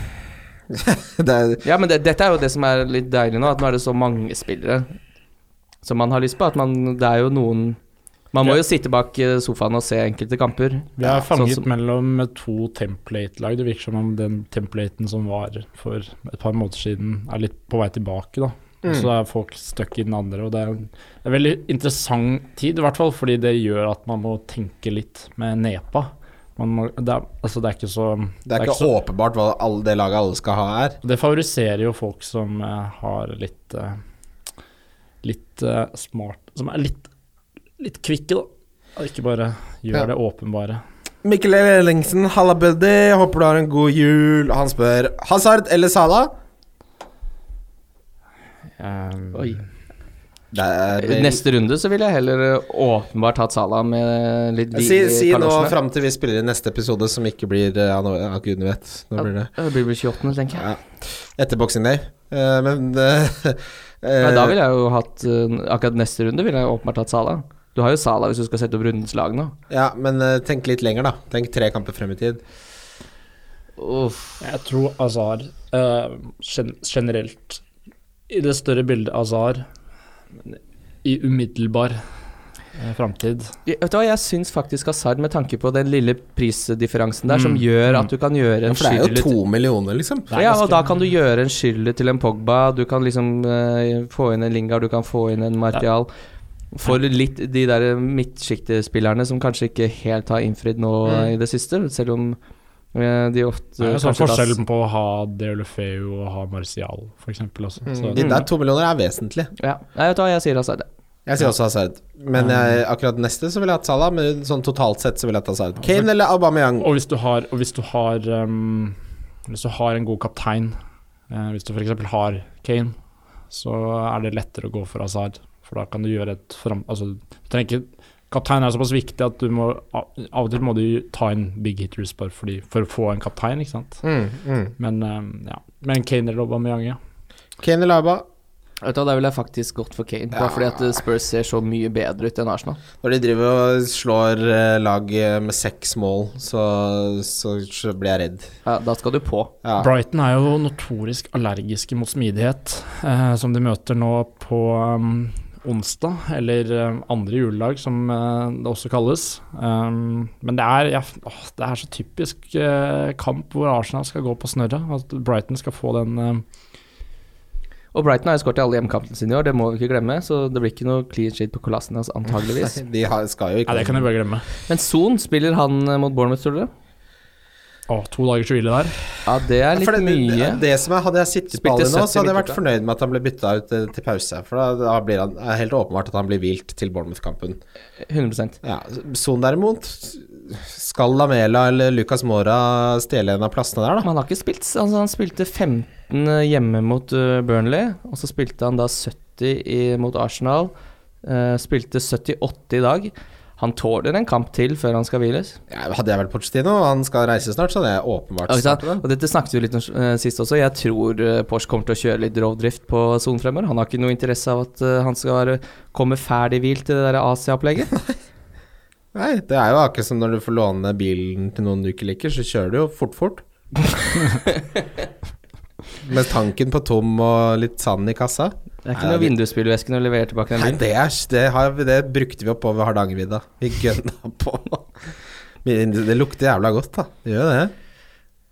[SPEAKER 3] Det er
[SPEAKER 4] Ja, men det, dette er jo det som er litt deilig nå, at nå er det så mange spillere som man har lyst på. At man Det er jo noen Man må
[SPEAKER 5] Ja.
[SPEAKER 4] jo sitte bak eh, sofaen og se enkelte kamper.
[SPEAKER 5] Vi er fanget
[SPEAKER 4] sånn som-
[SPEAKER 5] mellom to template-lag. Det virker som om den templaten som var for et par måneder siden, er litt på vei tilbake, da. Og
[SPEAKER 3] Mm.
[SPEAKER 5] Så er folk stuck i den andre, og det er en det er en veldig interessant tid, i hvert fall, fordi det gjør at man må tenke litt med nepa. Man må, det, er, altså det er ikke så
[SPEAKER 3] Det er, ikke,
[SPEAKER 5] så,
[SPEAKER 3] åpenbart hva alle, det laget alle skal ha er.
[SPEAKER 5] Det favoriserer jo folk som eh, har litt eh, Litt eh, smart Som er litt, litt kvikke, da. Og ikke bare gjør
[SPEAKER 3] Ja.
[SPEAKER 5] det åpenbare.
[SPEAKER 3] Mikkel Ellingsen, halla buddy, håper du har en god jul. Han spør Hazard eller Sala?
[SPEAKER 5] Eh,
[SPEAKER 4] Oi.
[SPEAKER 3] Det er
[SPEAKER 4] I Neste runde så ville jeg heller eh, åpenbart hatt Salah med litt hvil
[SPEAKER 3] Si,
[SPEAKER 4] i
[SPEAKER 3] si nå
[SPEAKER 4] kalosjene.
[SPEAKER 3] fram til vi spiller i neste episode, som ikke blir eh, Ja, nå- ja, gudene vet. Nå blir det
[SPEAKER 4] Ja, det blir vel 28., tenker jeg.
[SPEAKER 3] ja. Etter Boxing Day. Eh, men eh, eh,
[SPEAKER 4] Nei, da ville jeg jo hatt eh, Akkurat neste runde ville jeg åpenbart hatt Salah. Du har jo Salah hvis du skal sette opp rundens lag nå.
[SPEAKER 3] Ja, men eh, tenk litt lenger, da. Tenk tre kamper frem i tid.
[SPEAKER 4] Uff.
[SPEAKER 5] Jeg tror Azar eh, gen generelt I det større bildet Azar i umiddelbar uh, framtid
[SPEAKER 4] Jeg- Vet du hva, jeg syns faktisk Hazard, med tanke på den lille prisdifferansen der, som gjør at du kan gjøre en
[SPEAKER 3] Mm. For det er jo
[SPEAKER 4] skyldig-
[SPEAKER 3] to millioner, liksom.
[SPEAKER 5] Det er
[SPEAKER 4] Ja,
[SPEAKER 5] ganske-
[SPEAKER 4] og da kan du gjøre en skyldig til en Pogba, du kan liksom eh, få inn en Lingard, du kan få inn en Martial. For litt de der midtsjiktespillerne som kanskje ikke helt har innfridd nå eh, i det siste, selv om eh, de ofte
[SPEAKER 5] Mm. Det er jo sånn
[SPEAKER 4] kanskje
[SPEAKER 5] forskjell
[SPEAKER 4] tas-
[SPEAKER 5] på å ha Deulofeu og å ha Martial, for eksempel. Også. Så,
[SPEAKER 3] De der to millioner er vesentlig.
[SPEAKER 4] Ja. Nei, vet du hva, jeg sier Hazard.
[SPEAKER 3] Jeg sier også Hazard. Men jeg, akkurat neste så ville jeg hatt Salah, men sånn totalt sett så ville jeg hatt Hazard. Kane eller Aubameyang?
[SPEAKER 5] og hvis du har, og hvis du har, ehm, hvis du har en god kaptein, eh, hvis du f.eks. har Kane, så er det lettere å gå for Azar. For da kan du gjøre et fram... Altså, du trenger ikke Kaptein er såpass viktig at du må Av av og til må du ta inn big hitters bare fordi, for å få en kaptein, ikke sant. um,
[SPEAKER 3] Mm, mm.
[SPEAKER 5] Men, ehm, ja. Men Kane eller Aubameyang, ja.
[SPEAKER 3] Kane eller Auba?
[SPEAKER 4] Vet du hva, Da ville jeg faktisk gått for Kane. Bare fordi at eh, Spurs ser så mye bedre ut enn Arsenal.
[SPEAKER 3] Når de driver og slår eh, lag eh, med seks mål, så, så, så blir jeg redd.
[SPEAKER 4] Ja, da skal du på.
[SPEAKER 3] Ja.
[SPEAKER 5] Brighton er jo notorisk allergiske mot smidighet, eh, som de møter nå på um, onsdag, eller eh, andre juledag, som eh, det også kalles. Um, men det er, ja, åh, det er så typisk eh, kamp hvor Arsenal skal gå på snørra, at Brighton skal få den eh,
[SPEAKER 4] Og Brighton har jo skåret i alle hjemkampene sine i år, det må vi ikke glemme. Så det blir ikke noe clean shit på kolassen hans, antageligvis.
[SPEAKER 3] De har, skal jo ikke
[SPEAKER 5] Nei, det kan jeg bare glemme.
[SPEAKER 4] Men Son, spiller han eh, mot Bournemouth, tror dere?
[SPEAKER 5] Å, to dagers hvile der.
[SPEAKER 4] Ja, det er
[SPEAKER 3] For
[SPEAKER 4] litt
[SPEAKER 3] det,
[SPEAKER 4] mye.
[SPEAKER 3] det, det som er, Hadde jeg sittet på
[SPEAKER 4] Spilte
[SPEAKER 3] Ali nå,
[SPEAKER 4] 70
[SPEAKER 3] så hadde jeg vært
[SPEAKER 4] minutter.
[SPEAKER 3] fornøyd med at han ble bytta ut eh, til pause. For da, da blir han det er helt åpenbart at han blir hvilt til Bournemouth-kampen.
[SPEAKER 4] 100
[SPEAKER 3] Ja, Son derimot Skal Lamela eller Lucas Mora stjele en av plassene der, da?
[SPEAKER 4] Men han har ikke spilt altså Han spilte 15 hjemme mot uh, Burnley, og så spilte han da 70 i, mot Arsenal. Eh, spilte 78 i dag. Han tåler en kamp til før han skal hviles.
[SPEAKER 3] Ja, hadde jeg vel Pochettino, og han skal reise snart, så hadde jeg åpenbart
[SPEAKER 4] Ja, ikke sant?
[SPEAKER 3] startet den.
[SPEAKER 4] Og dette snakket vi litt om eh, sist også. Jeg tror eh, Porsche kommer til å kjøre litt rovdrift på sonen fremover. Han har ikke noe interesse av at eh, han skal være, komme ferdig hvilt til det der Asia-opplegget.
[SPEAKER 3] Nei, det er jo akkurat som når du får låne bilen til noen du ikke liker, så kjører du jo fort, fort. Med tanken på tom og litt sand i kassa.
[SPEAKER 4] Det er
[SPEAKER 3] Nei,
[SPEAKER 4] ikke noe
[SPEAKER 3] det
[SPEAKER 4] vindusspillvæske når du leverer tilbake den
[SPEAKER 3] Nei,
[SPEAKER 4] bilen.
[SPEAKER 3] det, er, det, har, det brukte vi opp over Hardangervidda. Vi gønna på. Men Det lukter jævla godt, da. Det gjør det.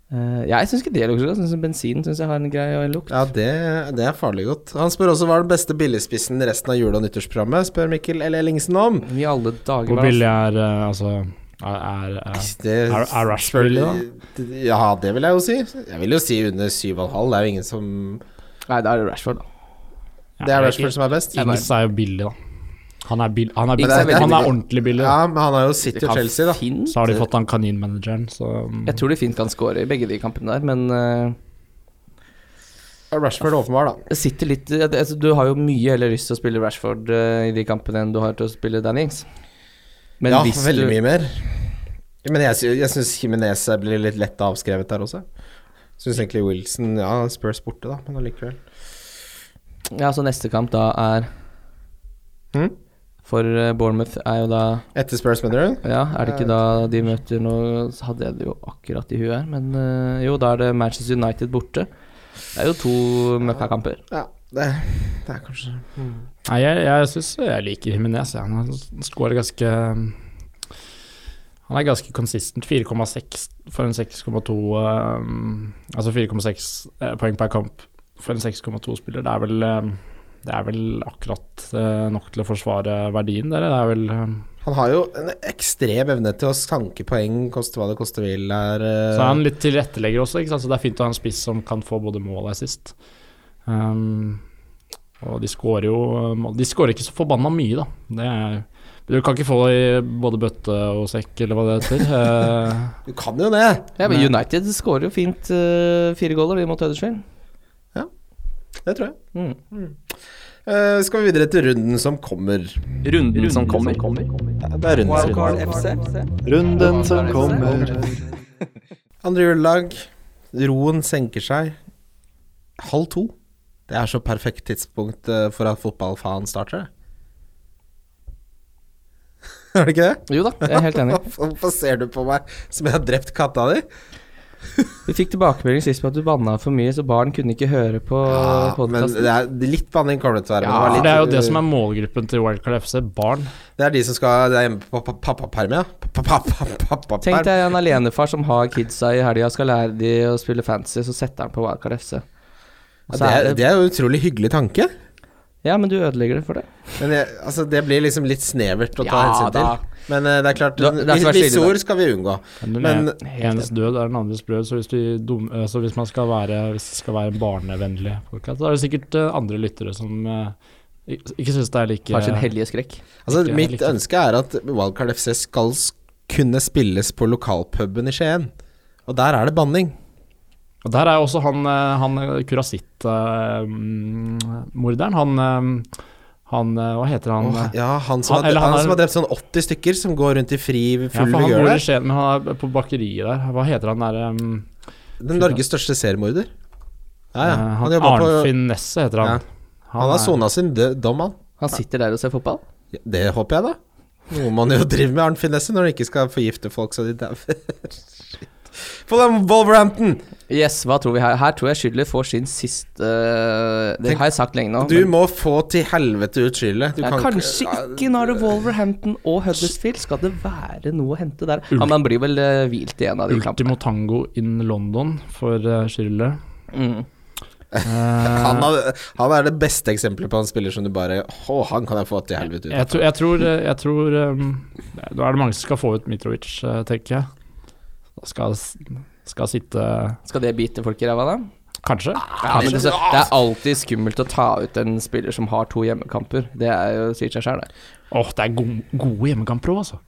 [SPEAKER 4] Eh, jeg syns ikke det lukter godt. Jeg synes Bensin syns jeg har en grei eh, lukt.
[SPEAKER 3] Ja, det, det er farlig godt. Han spør også hva er den beste billigspissen i resten av jule- og nyttårsprogrammet, spør Mikkel L. Ellingsen om.
[SPEAKER 4] I alle dager
[SPEAKER 5] Hvor
[SPEAKER 4] hva er det?
[SPEAKER 5] billig er eh, altså er, eh, er, er
[SPEAKER 3] Det,
[SPEAKER 5] Er- er Rush billig,
[SPEAKER 3] Ja, det vil jeg jo si. Jeg vil jo si under 7,5. Det er jo ingen som
[SPEAKER 4] Nei, da er det Rashford, da.
[SPEAKER 3] Det er
[SPEAKER 5] Ja,
[SPEAKER 3] Rashford som er best.
[SPEAKER 5] Ings er jo billig, da. Han er, bill, han er,
[SPEAKER 4] Ings er
[SPEAKER 5] billig.
[SPEAKER 4] veldig
[SPEAKER 5] Han er
[SPEAKER 3] billig.
[SPEAKER 5] ordentlig billig. da.
[SPEAKER 3] Ja, men han har jo City
[SPEAKER 4] De
[SPEAKER 3] og
[SPEAKER 4] kan
[SPEAKER 3] Chelsea, da.
[SPEAKER 4] fint- eh,
[SPEAKER 5] Så har de fått han kaninmanageren, så um,
[SPEAKER 4] Jeg tror de fint kan score i begge de kampene der, men eh,
[SPEAKER 3] Ja, Rashford åpenbar, da.
[SPEAKER 4] det sitter litt eh, altså, Du har jo mye heller lyst til å spille Rashford eh, i de kampene enn du har til å spille Danny Ings. Men
[SPEAKER 3] ja,
[SPEAKER 4] hvis
[SPEAKER 3] veldig
[SPEAKER 4] du,
[SPEAKER 3] mye mer. Men jeg, sy- jeg syns Jimenez blir litt lett avskrevet der også. Syns egentlig Wilson Ja, Spurs borte, da, men allikevel.
[SPEAKER 4] Ja, så neste kamp da er
[SPEAKER 3] Hm?
[SPEAKER 4] For eh, Bournemouth er jo da
[SPEAKER 3] Etter Spurs, mener du?
[SPEAKER 4] Ja, er det ikke da de møter nå så Hadde jeg det jo akkurat i huet her, men eh, jo, da er det Manchester United borte. Det er jo to møkkakamper.
[SPEAKER 3] Ja, det, det er kanskje
[SPEAKER 5] Nei, jeg, jeg syns jeg liker Jimenez. jeg. Han scorer ganske Han er ganske consistent. 4,6 for en 6,2 um, Altså 4,6 eh, poeng per kamp for en 6,2-spiller. Det er vel um, det er vel akkurat eh, nok til å forsvare verdien, dere. Det er vel um,
[SPEAKER 3] Han har jo en ekstrem evne til å sanke poeng, koste hva det koste vil. Er, eh,
[SPEAKER 5] Så er han litt tilrettelegger også, ikke sant? så det er fint å ha en spiss som kan få både mål og assist. Um, og de skårer jo eh, mål. De skårer ikke så forbanna mye, da. Det er, du kan ikke få det i både bøtte og sekk, eller hva det heter.
[SPEAKER 3] Du
[SPEAKER 5] Eh,
[SPEAKER 3] kan jo det!
[SPEAKER 4] Ja, men
[SPEAKER 5] Men-
[SPEAKER 4] United skårer jo fint eh, fire goller, de mot Huddersfield.
[SPEAKER 3] Det tror jeg.
[SPEAKER 4] Mm.
[SPEAKER 3] Eh, skal vi videre til runden som kommer.
[SPEAKER 4] Runden som kommer.
[SPEAKER 3] Ja, Det er rundens runde.
[SPEAKER 1] Wildcard FC.
[SPEAKER 2] Runden som kommer.
[SPEAKER 3] Andre juledag. Roen senker seg. Halv to. Det er så perfekt tidspunkt eh, for at fotballfaen starter. Er det ikke det?
[SPEAKER 4] Jo da, jeg er helt enig.
[SPEAKER 3] Hvorfor hvorfor ser du på meg som jeg har drept katta di?
[SPEAKER 4] Vi fikk tilbakemelding sist på at du banna for mye, så barn kunne ikke høre på
[SPEAKER 3] Ja, men
[SPEAKER 4] podkasten.
[SPEAKER 3] det er litt banning kommer det til å være. men
[SPEAKER 5] for
[SPEAKER 3] var litt,
[SPEAKER 5] det er jo det som
[SPEAKER 3] eh,
[SPEAKER 5] er målgruppen til Wildcard FC, barn.
[SPEAKER 3] det er de som skal det er hjemme på pa- pappaperm, ja. Pa- pa- pa- pa- Pappaperm.
[SPEAKER 4] Tenk deg en alenefar som har kidsa i helga, skal lære de å spille fancy, så setter han på Wildcard FC. Og
[SPEAKER 3] Ja,
[SPEAKER 4] så
[SPEAKER 3] det,
[SPEAKER 4] Altså, er
[SPEAKER 3] er, det er jo en utrolig hyggelig tanke.
[SPEAKER 4] Ja, men du ødelegger det for det.
[SPEAKER 3] Men det, altså, det blir liksom litt snevert å ta
[SPEAKER 4] Ja,
[SPEAKER 3] hensyn
[SPEAKER 4] da.
[SPEAKER 3] til. Men eh, det er klart,
[SPEAKER 4] Da- det er ikke verst
[SPEAKER 3] visse
[SPEAKER 4] ille, da.
[SPEAKER 3] ord skal vi unngå.
[SPEAKER 5] Den
[SPEAKER 3] Men-
[SPEAKER 5] en- enes død er den andres brød, så hvis, du, dum- eh, så hvis man skal være, hvis det skal være en barnevennlig podcast, så er det sikkert eh, andre lyttere som eh, ikke ikke syns det er like
[SPEAKER 4] Har sin hellige skrekk.
[SPEAKER 3] Altså,
[SPEAKER 5] Ikke
[SPEAKER 3] mitt
[SPEAKER 5] riktig.
[SPEAKER 3] ønske er at Wildcard FC skal s- kunne spilles på lokalpuben i Skien. Og der er det banning.
[SPEAKER 5] Og Der er jo også han, eh, han kurasitt-morderen. Han, eh, han eh, Hva heter han?
[SPEAKER 3] Åh, ja, han som,
[SPEAKER 5] Han-
[SPEAKER 3] har,
[SPEAKER 5] eller han
[SPEAKER 3] han
[SPEAKER 5] er-
[SPEAKER 3] som har drept sånn 80 stykker, som går rundt i fri,
[SPEAKER 5] ja,
[SPEAKER 3] full
[SPEAKER 5] for han
[SPEAKER 3] vigør
[SPEAKER 5] bor i
[SPEAKER 3] der.
[SPEAKER 5] Skien, men han er på bakeriet der. Hva heter han der? Um,
[SPEAKER 3] Den Norges største seriemorder. Ja, ja.
[SPEAKER 5] eh,
[SPEAKER 3] Han
[SPEAKER 5] han
[SPEAKER 3] jobba på
[SPEAKER 5] Arnfinn Nesset heter han.
[SPEAKER 3] Han har sona sin dø- dom, han.
[SPEAKER 4] Han sitter der og ser fotball.
[SPEAKER 3] Ja, Det håper jeg, da. Noe man jo driver med arnfinesse når man ikke skal forgifte folk så de dauer. Shit. Fulham Wolverhampton!
[SPEAKER 4] Yes, hva tror vi her? Her tror jeg Schüller får sin siste eh, Det
[SPEAKER 3] Tenk-
[SPEAKER 4] har jeg sagt lenge nå.
[SPEAKER 3] Du
[SPEAKER 4] men-
[SPEAKER 3] må få til helvete ut skyldet. Du
[SPEAKER 4] ja,
[SPEAKER 3] kan
[SPEAKER 4] kanskje ikke når det er Wolverhampton og Huddersfield. Skal det være noe å hente der? Ja, men han blir vel eh, hvilt i en av de kampene.
[SPEAKER 5] Ultimo tango in London for uh, Schiller.
[SPEAKER 4] Mm.
[SPEAKER 3] han, er, han er det beste eksempelet på en spiller som du bare Å, han kan jeg få til helvete ut.
[SPEAKER 5] Eh, Jeg, tror- jeg tror, eh, jeg tror um, Nå er det mange som skal få ut Mitrovic, eh, tenker jeg. Da skal, skal sitte
[SPEAKER 4] Skal det bite folk i ræva, da?
[SPEAKER 5] Kanskje.
[SPEAKER 4] Ja, men det, det er alltid skummelt å ta ut en spiller som har to hjemmekamper. Det er jo, sier seg sjøl, det.
[SPEAKER 5] Åh, det er gode, gode hjemmekamper også, altså.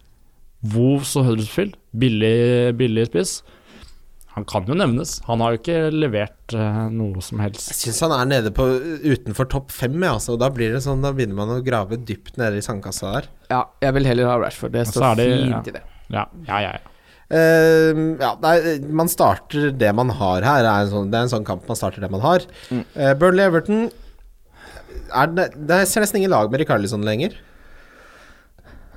[SPEAKER 5] Wolves og Huddersfield. Billig, billig spiss. Han kan jo nevnes. Han har jo ikke levert eh, noe som
[SPEAKER 3] Jeg
[SPEAKER 5] helst.
[SPEAKER 3] syns han er nede på utenfor topp fem, ja, altså. Da blir det sånn, da begynner man å grave dypt nede i sandkassa der.
[SPEAKER 4] Ja, jeg vil heller ha Rashford. Det
[SPEAKER 5] Og så
[SPEAKER 4] står
[SPEAKER 5] er det-
[SPEAKER 4] fint i det.
[SPEAKER 5] Ja, ja, ja. ja.
[SPEAKER 3] Eh, ja, nei, man starter det man har her. Er en sånn, det er en sånn kamp man starter det man har.
[SPEAKER 4] Mm.
[SPEAKER 3] Eh, Burnley Everton er det, det er- ser nesten ingen lag med Rikarlison lenger.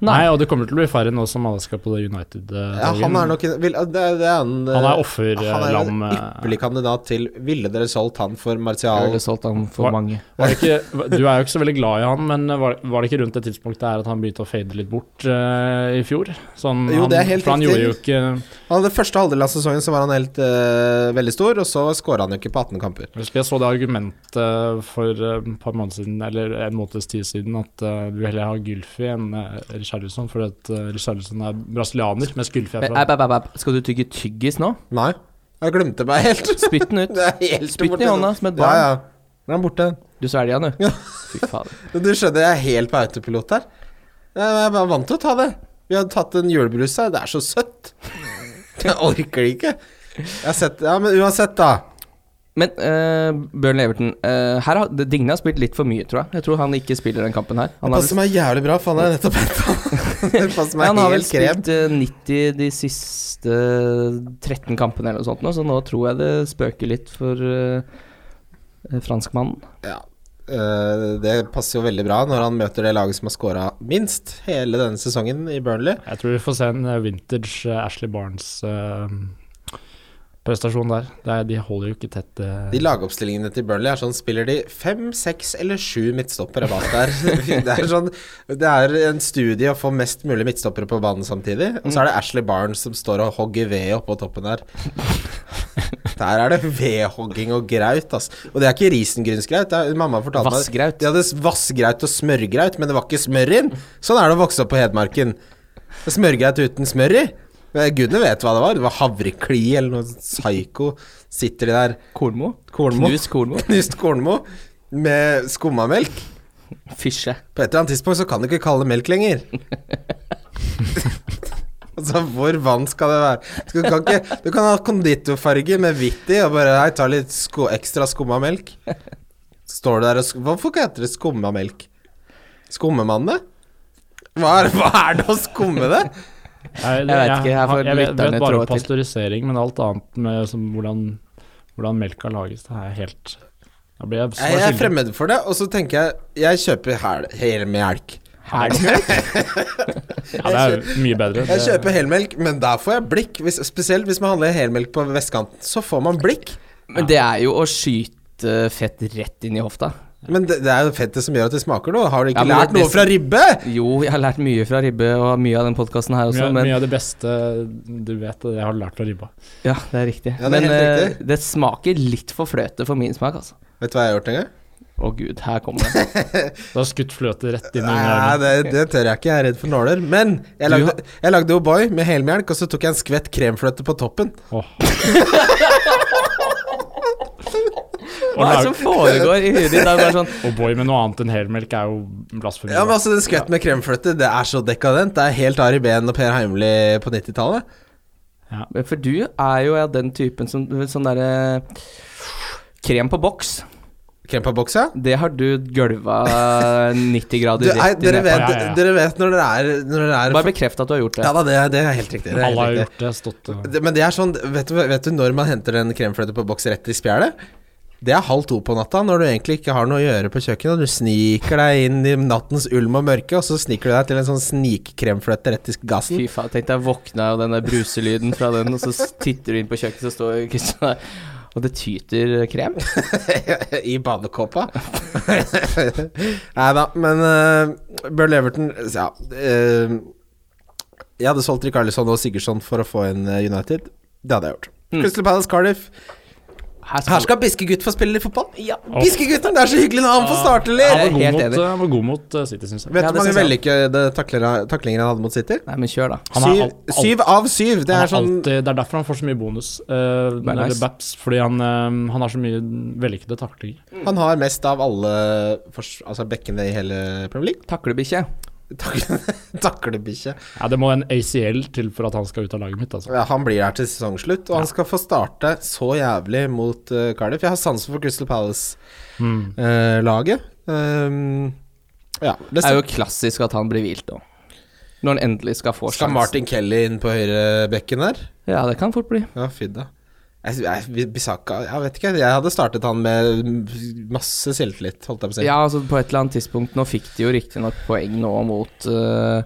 [SPEAKER 5] Nei. og det kommer til å bli færre nå som alle skal på det United. eh,
[SPEAKER 3] Ja, han er
[SPEAKER 5] dagen.
[SPEAKER 3] nok vil, det, er- det er en, eh,
[SPEAKER 5] Han er offer, eh,
[SPEAKER 3] Han er jo en
[SPEAKER 5] lam, eh.
[SPEAKER 3] ypperlig kandidat til Ville dere solgt han for
[SPEAKER 4] Jeg ville
[SPEAKER 3] Martial?
[SPEAKER 4] solgt han for
[SPEAKER 5] Hva-
[SPEAKER 4] mange.
[SPEAKER 5] Var det ikke, du er jo ikke så veldig glad i han, men var, var det ikke rundt det tidspunktet her at han begynte å fade litt bort eh, i fjor? Sånn,
[SPEAKER 3] Jo,
[SPEAKER 5] han,
[SPEAKER 3] det er helt
[SPEAKER 5] for han
[SPEAKER 3] riktig.
[SPEAKER 5] gjorde jo ikke
[SPEAKER 3] Han hadde første halvdel av sesongen så var han helt eh, veldig stor, og så skåra han jo ikke på 18 kamper.
[SPEAKER 5] Jeg husker jeg så det argumentet for eh, et par måneder siden, eller en måneds tid siden, at eh, du heller har Gylfi enn uh, Richarlison, fordi at uh, Richarlison er brasilianer, mens Gylfi er
[SPEAKER 4] Men,
[SPEAKER 5] fra
[SPEAKER 4] æb, æb, æb, æb. Skal du tygge tyggis nå?
[SPEAKER 3] Nei, jeg glemte meg helt.
[SPEAKER 4] Spytt den ut.
[SPEAKER 3] Det er helt
[SPEAKER 4] Spytt den i
[SPEAKER 3] borte.
[SPEAKER 4] hånda som et
[SPEAKER 3] Ja,
[SPEAKER 4] barn.
[SPEAKER 3] ja. Den er borte.
[SPEAKER 4] Du svelger han, du.
[SPEAKER 3] Ja.
[SPEAKER 4] Fy fader.
[SPEAKER 3] Men Du skjønner, jeg er helt på autopilot her. Jeg jeg er vant til å ta det. Vi har tatt en julebrus her. Det er så søtt. Jeg orker det ikke. Jeg har sett, ja, men uansett, da.
[SPEAKER 4] Men eh, Bjørn Leverton eh, her har, Digne har spilt litt for mye, tror jeg. Jeg tror han ikke spiller den kampen her. Han
[SPEAKER 3] Han
[SPEAKER 4] har,
[SPEAKER 3] passer meg jævlig bra, for han er nettopp henta. Det passer meg
[SPEAKER 4] han har vel
[SPEAKER 3] helt krem.
[SPEAKER 4] spilt eh, 90 de siste 13 kampene eller noe sånt, nå, så nå tror jeg det spøker litt for eh, eh, franskmannen.
[SPEAKER 3] Ja. Eh, det passer jo veldig bra når han møter det laget som har scora minst hele denne sesongen i Burnley.
[SPEAKER 5] Jeg tror vi får se en eh, vintage eh, Ashley Barnes-prestasjon der. Det er, de holder jo ikke tett eh,
[SPEAKER 3] De lagoppstillingene til Burnley er sånn Spiller de fem, seks eller sju midtstoppere bak der? det, er sånn, det er en studie å få mest mulig midtstoppere på banen samtidig. Og så er det Ashley Barnes som står og hogger ved oppå toppen der. Der er det vedhogging og graut, ass. Og det er ikke risengrynsgraut. det er- Mamma fortalte
[SPEAKER 4] Vassgraut.
[SPEAKER 3] meg De hadde s- vassgraut og smørgraut, men det var ikke smør i den. Sånn er det å vokse opp på Hedmarken. Det er Smørgraut uten smør i. Men Gudene vet hva det var. Det var havrekli eller noe psyko. Sitter de der
[SPEAKER 4] Kornmo?
[SPEAKER 3] Kornmo.
[SPEAKER 4] Knust Kornmo.
[SPEAKER 3] Knust kornmo med skummamelk.
[SPEAKER 4] Fisje.
[SPEAKER 3] På et eller annet tidspunkt så kan du ikke kalle det melk lenger. altså, hvor vann skal det være? Du kan, ikke, du kan ha konditorfarge med hvitt i og bare Nei, ta litt sko, ekstra skumma melk. Står du der og sk- Hvorfor heter det skumma melk? Skummer man det? Hva er, hva er det å skumme det?
[SPEAKER 4] Jeg
[SPEAKER 5] Jeg,
[SPEAKER 4] vet ikke, jeg får
[SPEAKER 5] jeg vet,
[SPEAKER 4] lytterne
[SPEAKER 5] vet bare
[SPEAKER 4] trå
[SPEAKER 5] om
[SPEAKER 4] til.
[SPEAKER 5] pasteurisering, men alt annet med som, hvordan, hvordan melka lages, det er helt Da blir jeg
[SPEAKER 3] Jeg er
[SPEAKER 5] skyldig.
[SPEAKER 3] fremmed for det, og så tenker jeg Jeg kjøper hel, hel melk.
[SPEAKER 5] Ja, det er jo mye bedre.
[SPEAKER 3] Jeg
[SPEAKER 5] Det-
[SPEAKER 3] kjøper helmelk, men der får jeg blikk. Hvis, spesielt hvis man handler helmelk på vestkanten, så får man blikk.
[SPEAKER 4] Men det er jo å skyte fett rett inn i hofta.
[SPEAKER 3] Men det, det er jo fettet som gjør at det smaker noe. Har du ikke
[SPEAKER 4] Ja, men
[SPEAKER 3] lært
[SPEAKER 4] det-
[SPEAKER 3] noe fra ribbe?
[SPEAKER 4] Jo, jeg har lært mye fra ribbe og mye av den podkasten her også,
[SPEAKER 5] Mye,
[SPEAKER 4] Altså, men
[SPEAKER 5] mye av det beste du vet, det har du lært fra ribba.
[SPEAKER 4] Ja, det er riktig.
[SPEAKER 3] Ja, det er
[SPEAKER 4] men
[SPEAKER 3] helt
[SPEAKER 4] eh,
[SPEAKER 3] riktig.
[SPEAKER 4] det smaker litt for fløte for min smak, altså.
[SPEAKER 3] Vet du hva jeg har gjort en gang?
[SPEAKER 4] Å gud, her kommer det.
[SPEAKER 5] Du har skutt fløte rett inn i
[SPEAKER 3] Nei,
[SPEAKER 5] øynene.
[SPEAKER 3] det, det tør jeg ikke. Jeg er redd for nåler. Men jeg
[SPEAKER 4] Du
[SPEAKER 3] lagde, jeg lagde O'boy med helmelk, og så tok jeg en skvett kremfløte på toppen.
[SPEAKER 5] Åh.
[SPEAKER 4] Hva er det som foregår i huet ditt? Det er bare sånn
[SPEAKER 5] Og boy med noe annet enn helmelk er jo blasfemi.
[SPEAKER 3] Ja, men altså Den skvetten med kremfløte, det er så dekadent. Det er helt Ari Behn og Per Heimli på 90-tallet.
[SPEAKER 4] For du er jo av den typen som sånn derre Krem på boks,
[SPEAKER 3] Krem på boks, ja.
[SPEAKER 4] det har du gølva 90
[SPEAKER 3] Du,
[SPEAKER 4] grader
[SPEAKER 3] nei,
[SPEAKER 4] rett i
[SPEAKER 3] dere, vet,
[SPEAKER 4] ned på.
[SPEAKER 5] Ja, ja, ja.
[SPEAKER 3] dere vet når dere er, når dere er
[SPEAKER 4] Bare bekreft at du har gjort det.
[SPEAKER 3] Ja da, det, er- det er helt riktig. Det er
[SPEAKER 5] Alle har
[SPEAKER 3] helt riktig.
[SPEAKER 5] gjort det. Stått og
[SPEAKER 3] Det- Men det er sånn vet du, vet du når man henter en kremfløte på boks rett i spjælet? Det er halv to på natta, når du egentlig ikke har noe å gjøre på kjøkkenet. og Du sniker deg inn i nattens ulm og mørke, og så sniker du deg til en sånn snikkremfløte rett i gassen.
[SPEAKER 4] Fy faen, tenk deg våkna av den der bruselyden fra den, og så s- titter du inn på kjøkkenet, så står Kristian der, og det tyter krem.
[SPEAKER 3] I badekåpa. Nei da, men uh, Bjørn Leverton Ja. eh, jeg hadde solgt Rikarlisson og Sigurdsson for å få inn eh, United. Det hadde jeg gjort.
[SPEAKER 4] Mm.
[SPEAKER 3] Crystal Palace Cardiff.
[SPEAKER 4] Her
[SPEAKER 3] Her skal Biskegutt få spille litt fotball.
[SPEAKER 4] Ja.
[SPEAKER 3] Biskegutten, det er så hyggelig når han får starte, eller?
[SPEAKER 4] Jeg er helt
[SPEAKER 5] Han var god mot,
[SPEAKER 4] enig.
[SPEAKER 5] han var god mot eh, City, syns jeg.
[SPEAKER 3] Vet du hvor
[SPEAKER 4] Ja, det
[SPEAKER 3] mange
[SPEAKER 4] synes jeg.
[SPEAKER 3] vellykkede taklere- taklinger han hadde mot City?
[SPEAKER 4] Nei, men kjør, da.
[SPEAKER 5] Han er
[SPEAKER 3] syv,
[SPEAKER 5] al- al-
[SPEAKER 3] syv av syv! Det
[SPEAKER 5] han
[SPEAKER 3] er sånn
[SPEAKER 5] alltid, det er derfor han får så mye bonus. eh, eller
[SPEAKER 4] nice.
[SPEAKER 5] Baps, fordi han, eh, han har så mye vellykkede taklinger.
[SPEAKER 3] Han har mest av alle fors, altså bekkene i hele Premier League.
[SPEAKER 4] Taklebikkje.
[SPEAKER 3] Tak, Taklebikkje.
[SPEAKER 5] Ja, det må en ACL til for at han skal ut av laget mitt. Altså.
[SPEAKER 3] Ja, han blir her til sesongslutt, og han skal få starte så jævlig mot eh, Cardiff. Jeg har sansen for Crystal
[SPEAKER 5] Mm.
[SPEAKER 3] Palace-laget. Ehm, ja. Det
[SPEAKER 4] Det er jo klassisk at han blir hvilt nå. Når han endelig skal få
[SPEAKER 3] skal Martin Kelly inn på høyrebekken der?
[SPEAKER 4] Ja, det kan fort bli.
[SPEAKER 3] Ja, fy da. Jeg, jeg, Bissaka Jeg vet ikke. Jeg hadde startet han med masse selvtillit, holdt jeg på å si.
[SPEAKER 4] Ja, altså på et eller annet tidspunkt Nå fikk de jo riktignok poeng nå mot eh,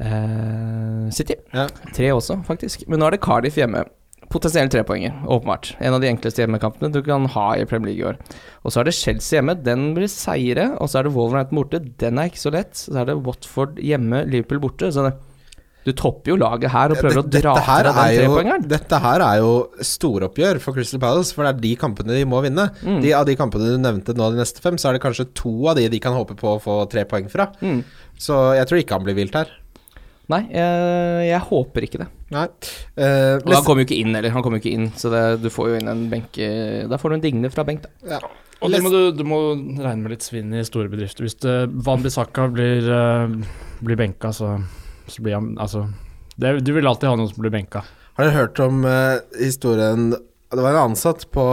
[SPEAKER 4] eh, City.
[SPEAKER 3] Ja.
[SPEAKER 4] Tre også, faktisk. Men nå er det Cardiff hjemme. Potensielt trepoenger, åpenbart. En av de enkleste hjemmekampene du kan ha i Premier League i år. Og så er det Chelsea hjemme, den blir seire. Og så er det Wolverhampton borte, den er ikke så lett. Så er det Watford hjemme, Liverpool borte. Så det, du topper jo laget her og prøver å dra
[SPEAKER 3] dette her
[SPEAKER 4] fra den
[SPEAKER 3] er jo,
[SPEAKER 4] trepoengeren.
[SPEAKER 3] Dette her er jo storoppgjør for Crystal Palace, for det er de kampene de må vinne.
[SPEAKER 4] Mm.
[SPEAKER 3] De, av de kampene du nevnte nå, de neste fem, så er det kanskje to av de de kan håpe på å få tre poeng fra.
[SPEAKER 4] Mm.
[SPEAKER 3] Så jeg tror ikke han blir vilt her.
[SPEAKER 4] Nei, eh, jeg, jeg håper ikke det.
[SPEAKER 3] Nei. Eh,
[SPEAKER 4] Og han kommer jo ikke inn heller. Han kommer jo ikke inn, så det, du får jo inn en benke Da får du en digne fra benk, da.
[SPEAKER 3] neste- ja.
[SPEAKER 5] Og du må, du, du må regne med litt svinn i store bedrifter. Hvis det, Van Bissaka blir, eh, blir benka, så, så blir han Altså det, du vil alltid ha noen som blir benka.
[SPEAKER 3] Har dere hørt om eh, historien Det var en ansatt på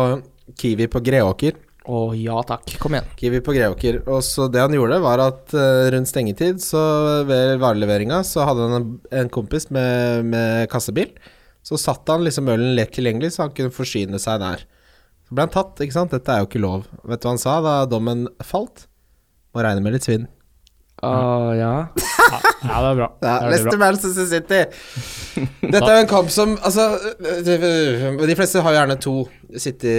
[SPEAKER 3] Kiwi på Greåker.
[SPEAKER 4] Å ja takk, kom igjen.
[SPEAKER 3] Kiwi på Greåker. Og så det han gjorde, var at eh, rundt stengetid, så ved vareleveringa, så hadde han en, en kompis med, med kassebil. Så satte han liksom ølen lett tilgjengelig, så han kunne forsyne seg der. Så ble han tatt, ikke sant. Dette er jo ikke lov. Vet du hva han sa da dommen falt? Må regne med litt svinn.
[SPEAKER 4] Å Ah, ja.
[SPEAKER 5] Ja, det er bra.
[SPEAKER 3] Ja,
[SPEAKER 5] Det er veldig
[SPEAKER 3] Leicester
[SPEAKER 5] bra.
[SPEAKER 3] Manchester City. Dette er jo en kamp som Altså, de fleste har gjerne to. City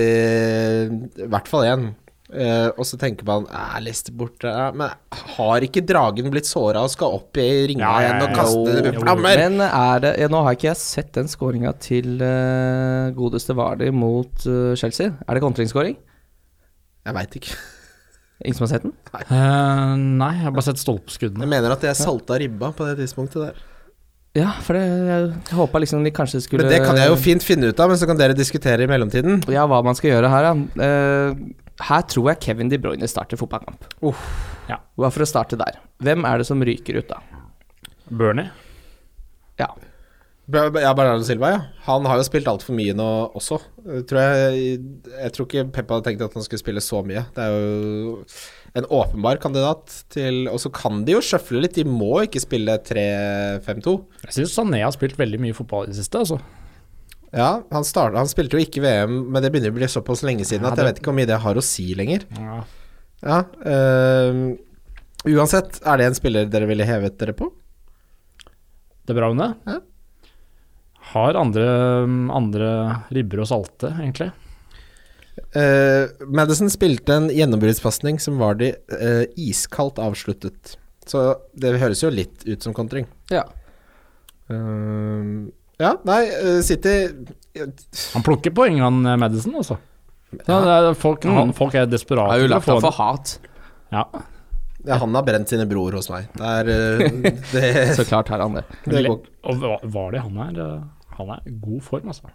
[SPEAKER 3] i hvert fall én. Eh, og så tenker man er Leicester borte Ja, Men har ikke dragen blitt såra og skal opp i ringa
[SPEAKER 5] Ja, ja,
[SPEAKER 3] igjen og
[SPEAKER 5] ja,
[SPEAKER 3] kaste
[SPEAKER 5] jo,
[SPEAKER 3] det med
[SPEAKER 5] jo.
[SPEAKER 3] flammer?
[SPEAKER 4] Men er det ja, Nå har ikke jeg sett den skåringa til eh, godeste Vardy mot eh, Chelsea. Er det kontringskåring?
[SPEAKER 3] Jeg veit ikke.
[SPEAKER 4] Ingen som har sett den?
[SPEAKER 5] Eh, nei, jeg har bare sett stolpeskuddene.
[SPEAKER 3] Jeg mener at jeg salta ribba på det tidspunktet der.
[SPEAKER 4] Ja, for det, jeg, jeg håpa liksom de kanskje skulle
[SPEAKER 3] Men det kan jeg jo fint finne ut av, men så kan dere diskutere i mellomtiden.
[SPEAKER 4] Ja, hva man skal gjøre her, ja. Eh, her tror jeg Kevin De Bruyne starter fotballkamp.
[SPEAKER 3] Uff.
[SPEAKER 5] Ja.
[SPEAKER 4] Bare for å starte der. Hvem er det som ryker ut, da?
[SPEAKER 5] Bernie.
[SPEAKER 4] Ja.
[SPEAKER 3] Ja, Bernardo Silva, ja. Han har jo spilt altfor mye nå også. Jeg Tror jeg, jeg tror ikke Pep hadde tenkt at han skulle spille så mye. Det er jo en åpenbar kandidat til Og så kan de jo sjøfle litt. De må ikke spille 3-5-2.
[SPEAKER 5] Jeg syns Sané har spilt veldig mye fotball i det siste. Altså.
[SPEAKER 3] Ja, han, startet, han spilte jo ikke VM, men det begynner å bli såpass lenge siden
[SPEAKER 5] Ja,
[SPEAKER 3] at jeg
[SPEAKER 5] det-
[SPEAKER 3] vet ikke hvor mye det har å si lenger.
[SPEAKER 5] Ja.
[SPEAKER 3] Ja, øhm, Uansett, er det en spiller dere ville hevet dere på?
[SPEAKER 5] Det er bra, Une.
[SPEAKER 3] Ja.
[SPEAKER 5] Har andre, andre ribber og salte, egentlig.
[SPEAKER 3] Eh, Madison spilte en gjennombruddspasning som var de eh, iskaldt avsluttet. Så det høres jo litt ut som kontring.
[SPEAKER 4] ja.
[SPEAKER 3] Ehm, ja, nei, eh, City
[SPEAKER 5] Han plukker poeng, han eh, Madison, altså. Ja, det er, folk, han, folk er desperate.
[SPEAKER 4] Har jo
[SPEAKER 5] til å
[SPEAKER 4] lagt
[SPEAKER 5] få
[SPEAKER 4] opp for
[SPEAKER 5] han.
[SPEAKER 4] hat.
[SPEAKER 5] Ja.
[SPEAKER 3] ja, Han har brent sine broer hos meg. Det er eh, det,
[SPEAKER 4] Så klart har han det.
[SPEAKER 3] det går
[SPEAKER 5] Og hva- var det han er eh, Han er i god form, altså.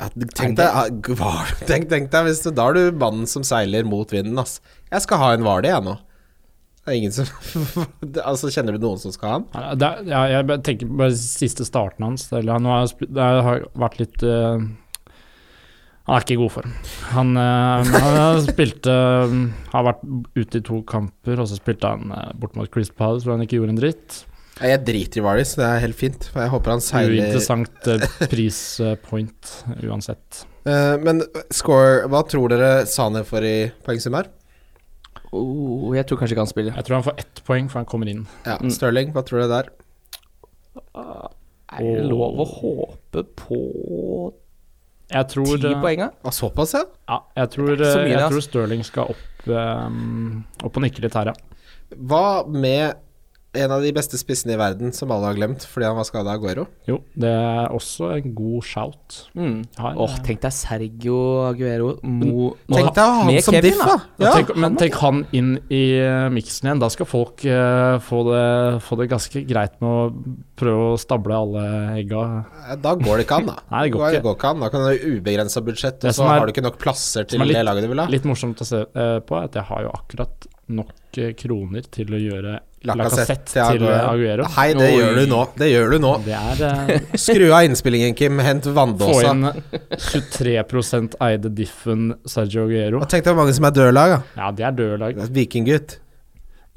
[SPEAKER 3] ja, Tenk deg ah, hva- Tenk, tenk deg hvis du, Da er du mannen som seiler mot vinden, ass. Jeg skal ha en Hvaler, jeg, nå. Det er ingen som Altså, kjenner du noen som skal ha den?
[SPEAKER 5] Ja, Det er, ja, jeg bare tenker på den siste starten hans. Eller han har, sp- det har vært litt eh, Han er ikke i god form. Han, eh, han spilte eh, Har vært ute i to kamper, og så spilte han eh, bort mot Chris Palace hvor han ikke gjorde en dritt.
[SPEAKER 3] Nei, Jeg driter i Varys, det er helt fint. for Jeg håper han seiler
[SPEAKER 5] Uinteressant eh, prispoint uansett.
[SPEAKER 3] Eh, Men score Hva tror dere Sane får i poengsum her?
[SPEAKER 4] Oh, jeg tror kanskje ikke han spiller.
[SPEAKER 5] Jeg tror han får ett poeng, for han kommer inn.
[SPEAKER 3] Ja,
[SPEAKER 4] Mm.
[SPEAKER 3] Sterling, hva tror dere der?
[SPEAKER 4] Er det lov å håpe på
[SPEAKER 5] Jeg tror,
[SPEAKER 4] ti
[SPEAKER 5] eh,
[SPEAKER 4] poenga?
[SPEAKER 3] Ah, såpass, ja?
[SPEAKER 5] Ja, jeg tror,
[SPEAKER 4] Det er så
[SPEAKER 5] eh,
[SPEAKER 4] mye,
[SPEAKER 5] jeg
[SPEAKER 4] altså.
[SPEAKER 5] tror Stirling skal opp, eh, opp og nikke litt her, ja.
[SPEAKER 3] Hva med en av de beste spissene i verden som alle har glemt fordi han var skada av Guero?
[SPEAKER 5] Jo, det er også en god shout.
[SPEAKER 4] Mm.
[SPEAKER 5] Her,
[SPEAKER 4] Åh,
[SPEAKER 5] eh.
[SPEAKER 4] tenk deg Sergio Aguero mo,
[SPEAKER 3] Tenk deg å ha han
[SPEAKER 4] med
[SPEAKER 3] som
[SPEAKER 4] Kevin,
[SPEAKER 3] diff, da!
[SPEAKER 4] da.
[SPEAKER 5] Ja,
[SPEAKER 3] Ja.
[SPEAKER 5] tenk, men tenk han inn i eh, miksen igjen. Da skal folk eh, få, det, få det ganske greit med å prøve å stable alle egga.
[SPEAKER 3] Eh, Da går det ikke an, da.
[SPEAKER 5] Nei, det går
[SPEAKER 3] Da
[SPEAKER 5] ikke.
[SPEAKER 3] an. Da kan du ha ubegrensa budsjett, og
[SPEAKER 5] Det
[SPEAKER 3] så
[SPEAKER 5] som er-
[SPEAKER 3] har du ikke nok plasser til
[SPEAKER 5] som er litt-
[SPEAKER 3] det laget du vil ha.
[SPEAKER 5] Litt morsomt å se eh, på er at jeg har jo akkurat nok eh, kroner til å gjøre
[SPEAKER 3] Lacazette
[SPEAKER 5] Lacassette til eh, Aguero.
[SPEAKER 3] Hei, det
[SPEAKER 4] Oi.
[SPEAKER 3] gjør du nå. Det gjør du nå.
[SPEAKER 5] Det er eh,
[SPEAKER 3] Skru av innspillingen, Kim. Hent
[SPEAKER 5] få
[SPEAKER 3] vanndåsa.
[SPEAKER 5] inn 23 eide diffen Sergio Aguero.
[SPEAKER 3] Og tenk deg hvor mange som er døde lag, da.
[SPEAKER 5] Ja, det er døde lag.
[SPEAKER 3] Det er et Vikinggutt.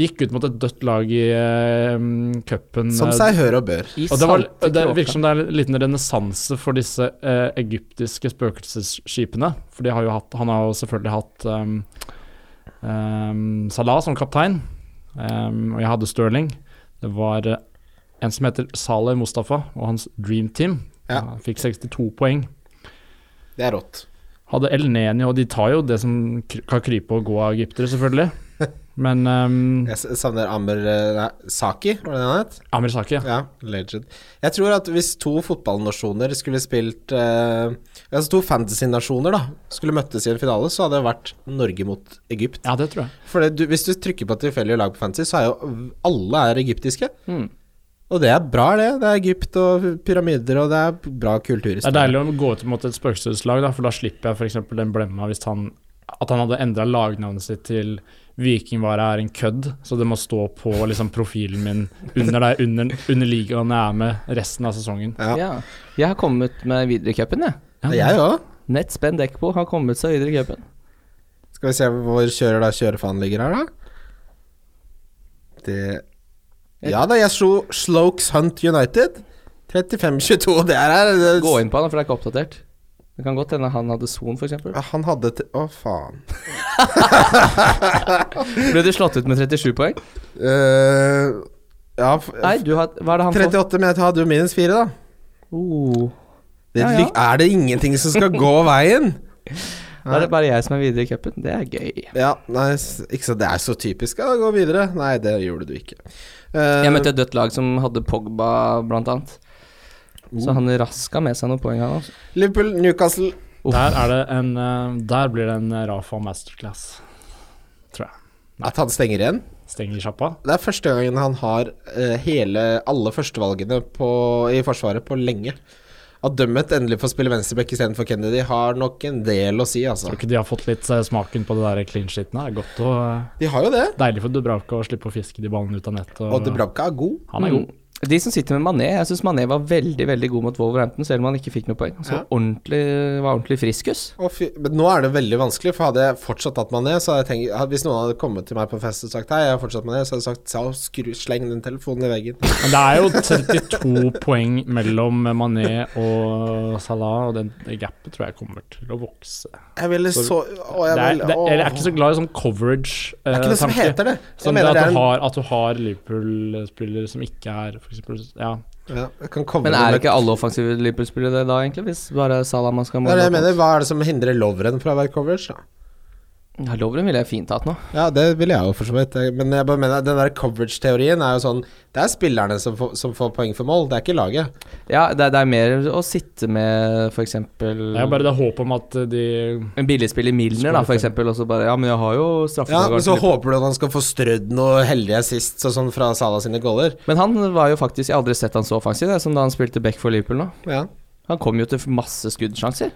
[SPEAKER 5] Gikk ut mot et dødt lag i eh, cupen.
[SPEAKER 3] Som
[SPEAKER 5] eh,
[SPEAKER 3] seg hør og bør.
[SPEAKER 4] I
[SPEAKER 5] Og det, var,
[SPEAKER 4] salte
[SPEAKER 5] det virker
[SPEAKER 4] kråka.
[SPEAKER 5] som det er en liten renessanse for disse eh, egyptiske spøkelsesskipene. For de har jo hatt, han har jo selvfølgelig hatt ehm, ehm, Salah som kaptein. Ehm, og jeg hadde Sterling. Det var eh, en som heter Saleh Mustafa og hans dream team.
[SPEAKER 3] Ja.
[SPEAKER 5] Han fikk 62 poeng.
[SPEAKER 3] Det er rått.
[SPEAKER 5] Hadde El Nenio, og de tar jo det som kry- kan krype og gå av egyptere, selvfølgelig. Men ehm,
[SPEAKER 3] Jeg s- savner Amber eh, nei, Saki, var det det han het?
[SPEAKER 5] Amir Saki, ja.
[SPEAKER 3] Ja, legend. Jeg tror at hvis to fotballnasjoner skulle spilt eh, Altså to fantasy-nasjoner da skulle møttes i en finale, så hadde det vært Norge mot Egypt.
[SPEAKER 5] ja, det tror jeg.
[SPEAKER 3] For det, du, hvis du trykker på tilfeldige lag på fantasy, så er jo alle er egyptiske.
[SPEAKER 4] Mm.
[SPEAKER 3] Og det er bra, det. Det er Egypt og pyramider, og det er bra kulturhistorie.
[SPEAKER 5] Det er deilig å gå ut mot et spøkelseslag, da, for da slipper jeg f.eks. den blemma hvis han At han hadde endra lagnavnet sitt til Vikingvare er en kødd, så det må stå på liksom, profilen min under der, under, under ligaen jeg er med resten av sesongen.
[SPEAKER 3] Ja.
[SPEAKER 4] Ja. Jeg har kommet meg videre i cupen, jeg.
[SPEAKER 5] Ja,
[SPEAKER 3] Jeg òg.
[SPEAKER 4] Nett Spen Dekpo har kommet seg videre i cupen.
[SPEAKER 3] Skal vi se hvor kjører da kjørefanen ligger her, da. Det Ja da, jeg slo Slokes Hunt United. 35-22, det her er det-
[SPEAKER 4] Gå inn på han, for det er ikke oppdatert. Det kan godt hende han hadde son, f.eks.
[SPEAKER 3] Ja, Han hadde til Å, faen.
[SPEAKER 4] Ble du slått ut med 37 poeng?
[SPEAKER 3] Eh, ja f
[SPEAKER 4] Nei, du har Hva er det han får?
[SPEAKER 3] 38, men jeg hadde jo minus 4, da.
[SPEAKER 4] Oh.
[SPEAKER 3] Det,
[SPEAKER 4] Ja, ja.
[SPEAKER 3] lik- Er det ingenting som skal gå veien?
[SPEAKER 4] Da er det bare jeg som er videre i cupen. Det er gøy.
[SPEAKER 3] Ja, nei, s- ikke så, Det er så typisk. Ja, gå videre. Nei, det gjorde du ikke. Eh,
[SPEAKER 4] Jeg møtte et dødt lag som hadde Pogba, blant annet.
[SPEAKER 5] Oh.
[SPEAKER 4] Så han raska med seg noen poeng, han også.
[SPEAKER 3] Liverpool, Newcastle
[SPEAKER 5] Der, er det en, eh, der blir det en Rafa masterclass.
[SPEAKER 3] At han stenger igjen?
[SPEAKER 5] Stenger sjappa.
[SPEAKER 3] Det er første gangen han har eh, hele, alle førstevalgene på, i Forsvaret på lenge. At Dømmet endelig får spille venstreback istedenfor Kennedy, har nok en del å si, altså.
[SPEAKER 5] Tror ikke de har fått litt eh, smaken på det der clean sheeten. Det er godt og eh,
[SPEAKER 3] De har jo det.
[SPEAKER 5] deilig for Dubravka å slippe å fiske de ballene ut av nettet.
[SPEAKER 3] Og Dubravka er god.
[SPEAKER 5] Han er god.
[SPEAKER 4] Mm. De som sitter med Mané, jeg syns Mané var veldig veldig god mot Wolverhampton, selv om han ikke fikk noe poeng. Så
[SPEAKER 3] Ja.
[SPEAKER 4] ordentlig, var ordentlig friskus.
[SPEAKER 3] Å, fy, men nå er det veldig vanskelig, for hadde jeg fortsatt hatt mané, så hadde jeg tenkt hadde- Hvis noen hadde kommet til meg på en fest og sagt hei, jeg har fortsatt mané, så hadde jeg sagt «Sa- skru, sleng den telefonen i veggen.
[SPEAKER 5] Men det er jo 32 poeng mellom Mané og Salah, og den det gapet tror jeg kommer til å vokse.
[SPEAKER 3] Jeg ville
[SPEAKER 5] Så-
[SPEAKER 3] så Å,
[SPEAKER 5] Det
[SPEAKER 3] jeg
[SPEAKER 5] er,
[SPEAKER 3] vil
[SPEAKER 5] det,
[SPEAKER 3] åh.
[SPEAKER 5] jeg er ikke så glad i sånn coverage.
[SPEAKER 3] Det er ikke noe som heter det. Jeg
[SPEAKER 5] Som det
[SPEAKER 3] mener
[SPEAKER 5] at,
[SPEAKER 3] det er
[SPEAKER 5] du
[SPEAKER 3] en
[SPEAKER 5] har, at du har Liverpool-spillere som ikke er for eksempel, ja.
[SPEAKER 3] ja, jeg kan komme
[SPEAKER 4] Men
[SPEAKER 3] med-
[SPEAKER 4] er det ikke alle offensive Liverpool-spillere det da, egentlig? Hvis bare Salah man skal
[SPEAKER 3] Det er det jeg mener. Hva er det som hindrer Lovren fra å være coverage, da?
[SPEAKER 4] Ja, Lovren ville jeg fint hatt nå.
[SPEAKER 3] Ja, det ville jeg jo for så vidt. Jeg- Men jeg bare mener at den der coverage-teorien er jo sånn Det er spillerne som får, som får poeng for mål, det er ikke laget.
[SPEAKER 4] Ja, det, er- det er mer å sitte med f.eks.
[SPEAKER 5] Det er bare det håpet om at de
[SPEAKER 4] en billigspill i Milner, da, f.eks., og så bare Ja, men jeg har jo
[SPEAKER 3] Ja, men
[SPEAKER 4] straffekonkurransen.
[SPEAKER 3] så håper du at han skal få strødd noe heldige assist og sånn fra Salah sine goller.
[SPEAKER 4] men han var jo faktisk Jeg har aldri sett han så offensiv, det, som da han spilte back for Liverpool nå.
[SPEAKER 3] Ja.
[SPEAKER 4] Han kom jo til masse skuddsjanser.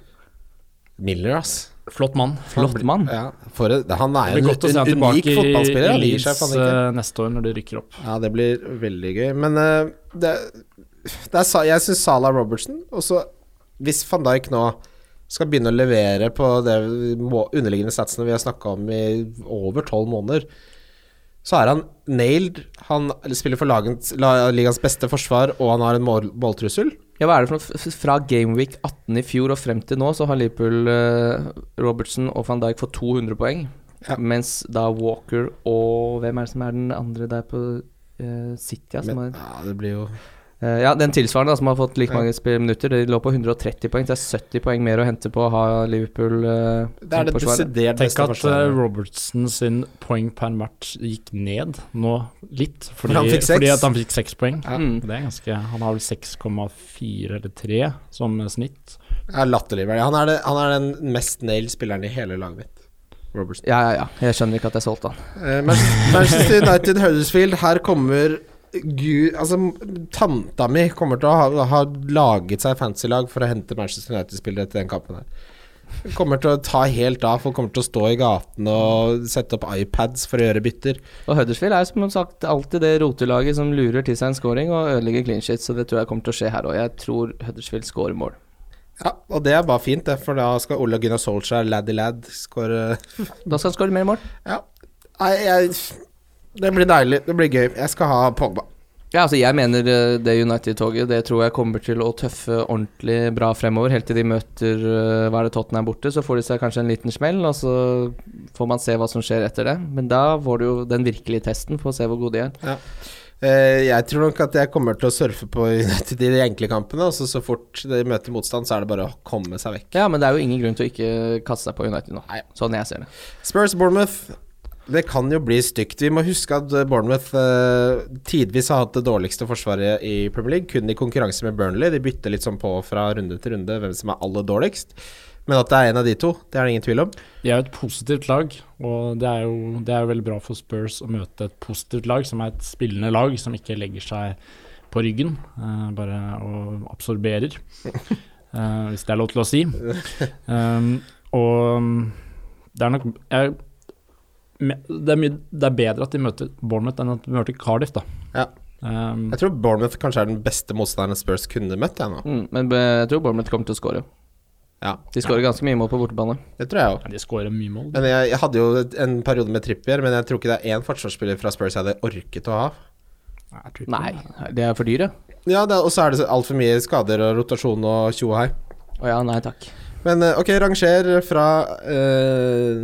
[SPEAKER 3] Miller, ass.
[SPEAKER 5] Flott mann.
[SPEAKER 4] Flott mann.
[SPEAKER 3] Ja, for et, han er jo
[SPEAKER 5] Det blir
[SPEAKER 3] en,
[SPEAKER 5] godt å se ham
[SPEAKER 3] en unik
[SPEAKER 5] tilbake i,
[SPEAKER 3] fotballspiller.
[SPEAKER 5] i
[SPEAKER 3] Han gir
[SPEAKER 5] Leeds
[SPEAKER 3] seg faen ikke.
[SPEAKER 5] eh, neste år når de rykker opp.
[SPEAKER 3] Ja, det blir veldig gøy. Men eh, det, det er, Sa- jeg syns Salah Robertson Og så hvis van Dijk nå skal begynne å levere på det må, underliggende statsene vi har snakka om i over tolv måneder, så er han nailed. Han spiller for lagens, la, ligaens beste forsvar, og han har en mål, måltrussel.
[SPEAKER 4] Ja, hva er det for noe? F- f- Fra Gameweek 18 i fjor og frem til nå så har Liverpool eh, Robertson og van Dijk fått 200 poeng.
[SPEAKER 3] Ja.
[SPEAKER 4] Mens da Walker og Hvem er det som er den andre der på eh, City? Ja, som
[SPEAKER 3] Men
[SPEAKER 4] har,
[SPEAKER 3] ja, det blir jo
[SPEAKER 4] eh, ja, den tilsvarende da, som har fått like mange spill- minutter. De lå på 130 poeng. Det er 70 poeng mer å hente på å ha Liverpool eh,
[SPEAKER 3] Det er det
[SPEAKER 4] forsvaret.
[SPEAKER 3] desidert
[SPEAKER 5] Tenk
[SPEAKER 3] beste
[SPEAKER 5] at eh,
[SPEAKER 3] forsvaret.
[SPEAKER 5] Robertson sin poeng per match gikk ned nå litt, fordi,
[SPEAKER 3] han fikk seks.
[SPEAKER 5] fordi at han fikk seks poeng.
[SPEAKER 3] Ja.
[SPEAKER 4] Mm.
[SPEAKER 5] Det er ganske, han har vel 6,4 eller 3 som snitt.
[SPEAKER 3] er latterlig. verdig. Han er, det, han er den mest nailed spilleren i hele laget mitt. Robertson.
[SPEAKER 4] Ja, ja, ja. Jeg skjønner ikke at jeg solgte han.
[SPEAKER 3] Eh, Manchester Manchester United Huddersfield, her kommer Gud Altså, tanta mi kommer til å ha, ha laget seg fancy-lag for å hente Manchester United-spillere til den kampen her. Kommer til å ta helt av, folk kommer til å stå i gatene og sette opp iPads for å gjøre bytter.
[SPEAKER 4] Og Huddersfield er jo som sagt alltid det rotelaget som lurer til seg en scoring og ødelegger clean shit, så det tror jeg kommer til å skje her òg. Jeg tror Huddersfield scorer mål.
[SPEAKER 3] Ja, og det er bare fint, det, for da skal Ole Gunnar Solskjær, laddy lad, skåre
[SPEAKER 4] Da skal han skåre mer mål.
[SPEAKER 3] Ja. Nei, jeg Det blir deilig. Det blir gøy. Jeg skal ha Pogba.
[SPEAKER 4] Ja, altså jeg mener eh, det United-toget Det tror jeg kommer til å tøffe ordentlig bra fremover Helt til de møter eh, Hva er det Tottenham er borte Så får de seg kanskje en liten smell Og så får man se hva som skjer etter det Men da får du jo den virkelige testen For å se hvor gode de er
[SPEAKER 3] Eh, jeg tror nok at jeg kommer til å surfe på United i de enkle kampene, og så, så fort de møter motstand, så er det bare å komme seg vekk.
[SPEAKER 4] Ja, men det er jo ingen grunn til å ikke kaste seg på United nå Sånn jeg ser det
[SPEAKER 3] Spurs Bournemouth. Det kan jo bli stygt. Vi må huske at eh, Bournemouth eh, tidvis har hatt det dårligste forsvaret i Premier League, kun i konkurranse med Burnley. De bytter litt sånn på fra runde til runde hvem som er aller dårligst. Men at det er en av de to, det er det ingen tvil om.
[SPEAKER 5] De er jo et positivt lag, og det er jo, det er jo veldig bra for Spurs å møte et positivt lag, som er et spillende lag som ikke legger seg på ryggen, eh, bare og absorberer, eh, hvis det er lov til å si. Um, og um, det er nok jeg, me- det, er mye, det er bedre at de møter Bournemouth enn at de møter Cardiff, da.
[SPEAKER 3] Ja.
[SPEAKER 5] Um,
[SPEAKER 3] Jeg tror Bournemouth kanskje er den beste motstanderen Spurs kunne møtt, jeg nå.
[SPEAKER 4] mm, Men eh, jeg tror Bournemouth kommer til å skåre
[SPEAKER 3] Ja,
[SPEAKER 4] De skårer ganske mye mål på bortebane
[SPEAKER 3] det tror jeg òg.
[SPEAKER 5] ja, de skårer mye mål. de.
[SPEAKER 3] Men jeg, jeg hadde jo et- en periode med Trippier, men jeg tror ikke det er én forsvarsspiller fra Spurs jeg hadde orket å ha.
[SPEAKER 5] Nei, jeg tror ikke
[SPEAKER 4] Nei,
[SPEAKER 5] det.
[SPEAKER 4] det er for dyre
[SPEAKER 3] Ja, det, er- Og så er det så altfor mye skader og rotasjon og tjo og hei.
[SPEAKER 4] Å ja, nei takk
[SPEAKER 3] Men eh, ok, ranger fra eh,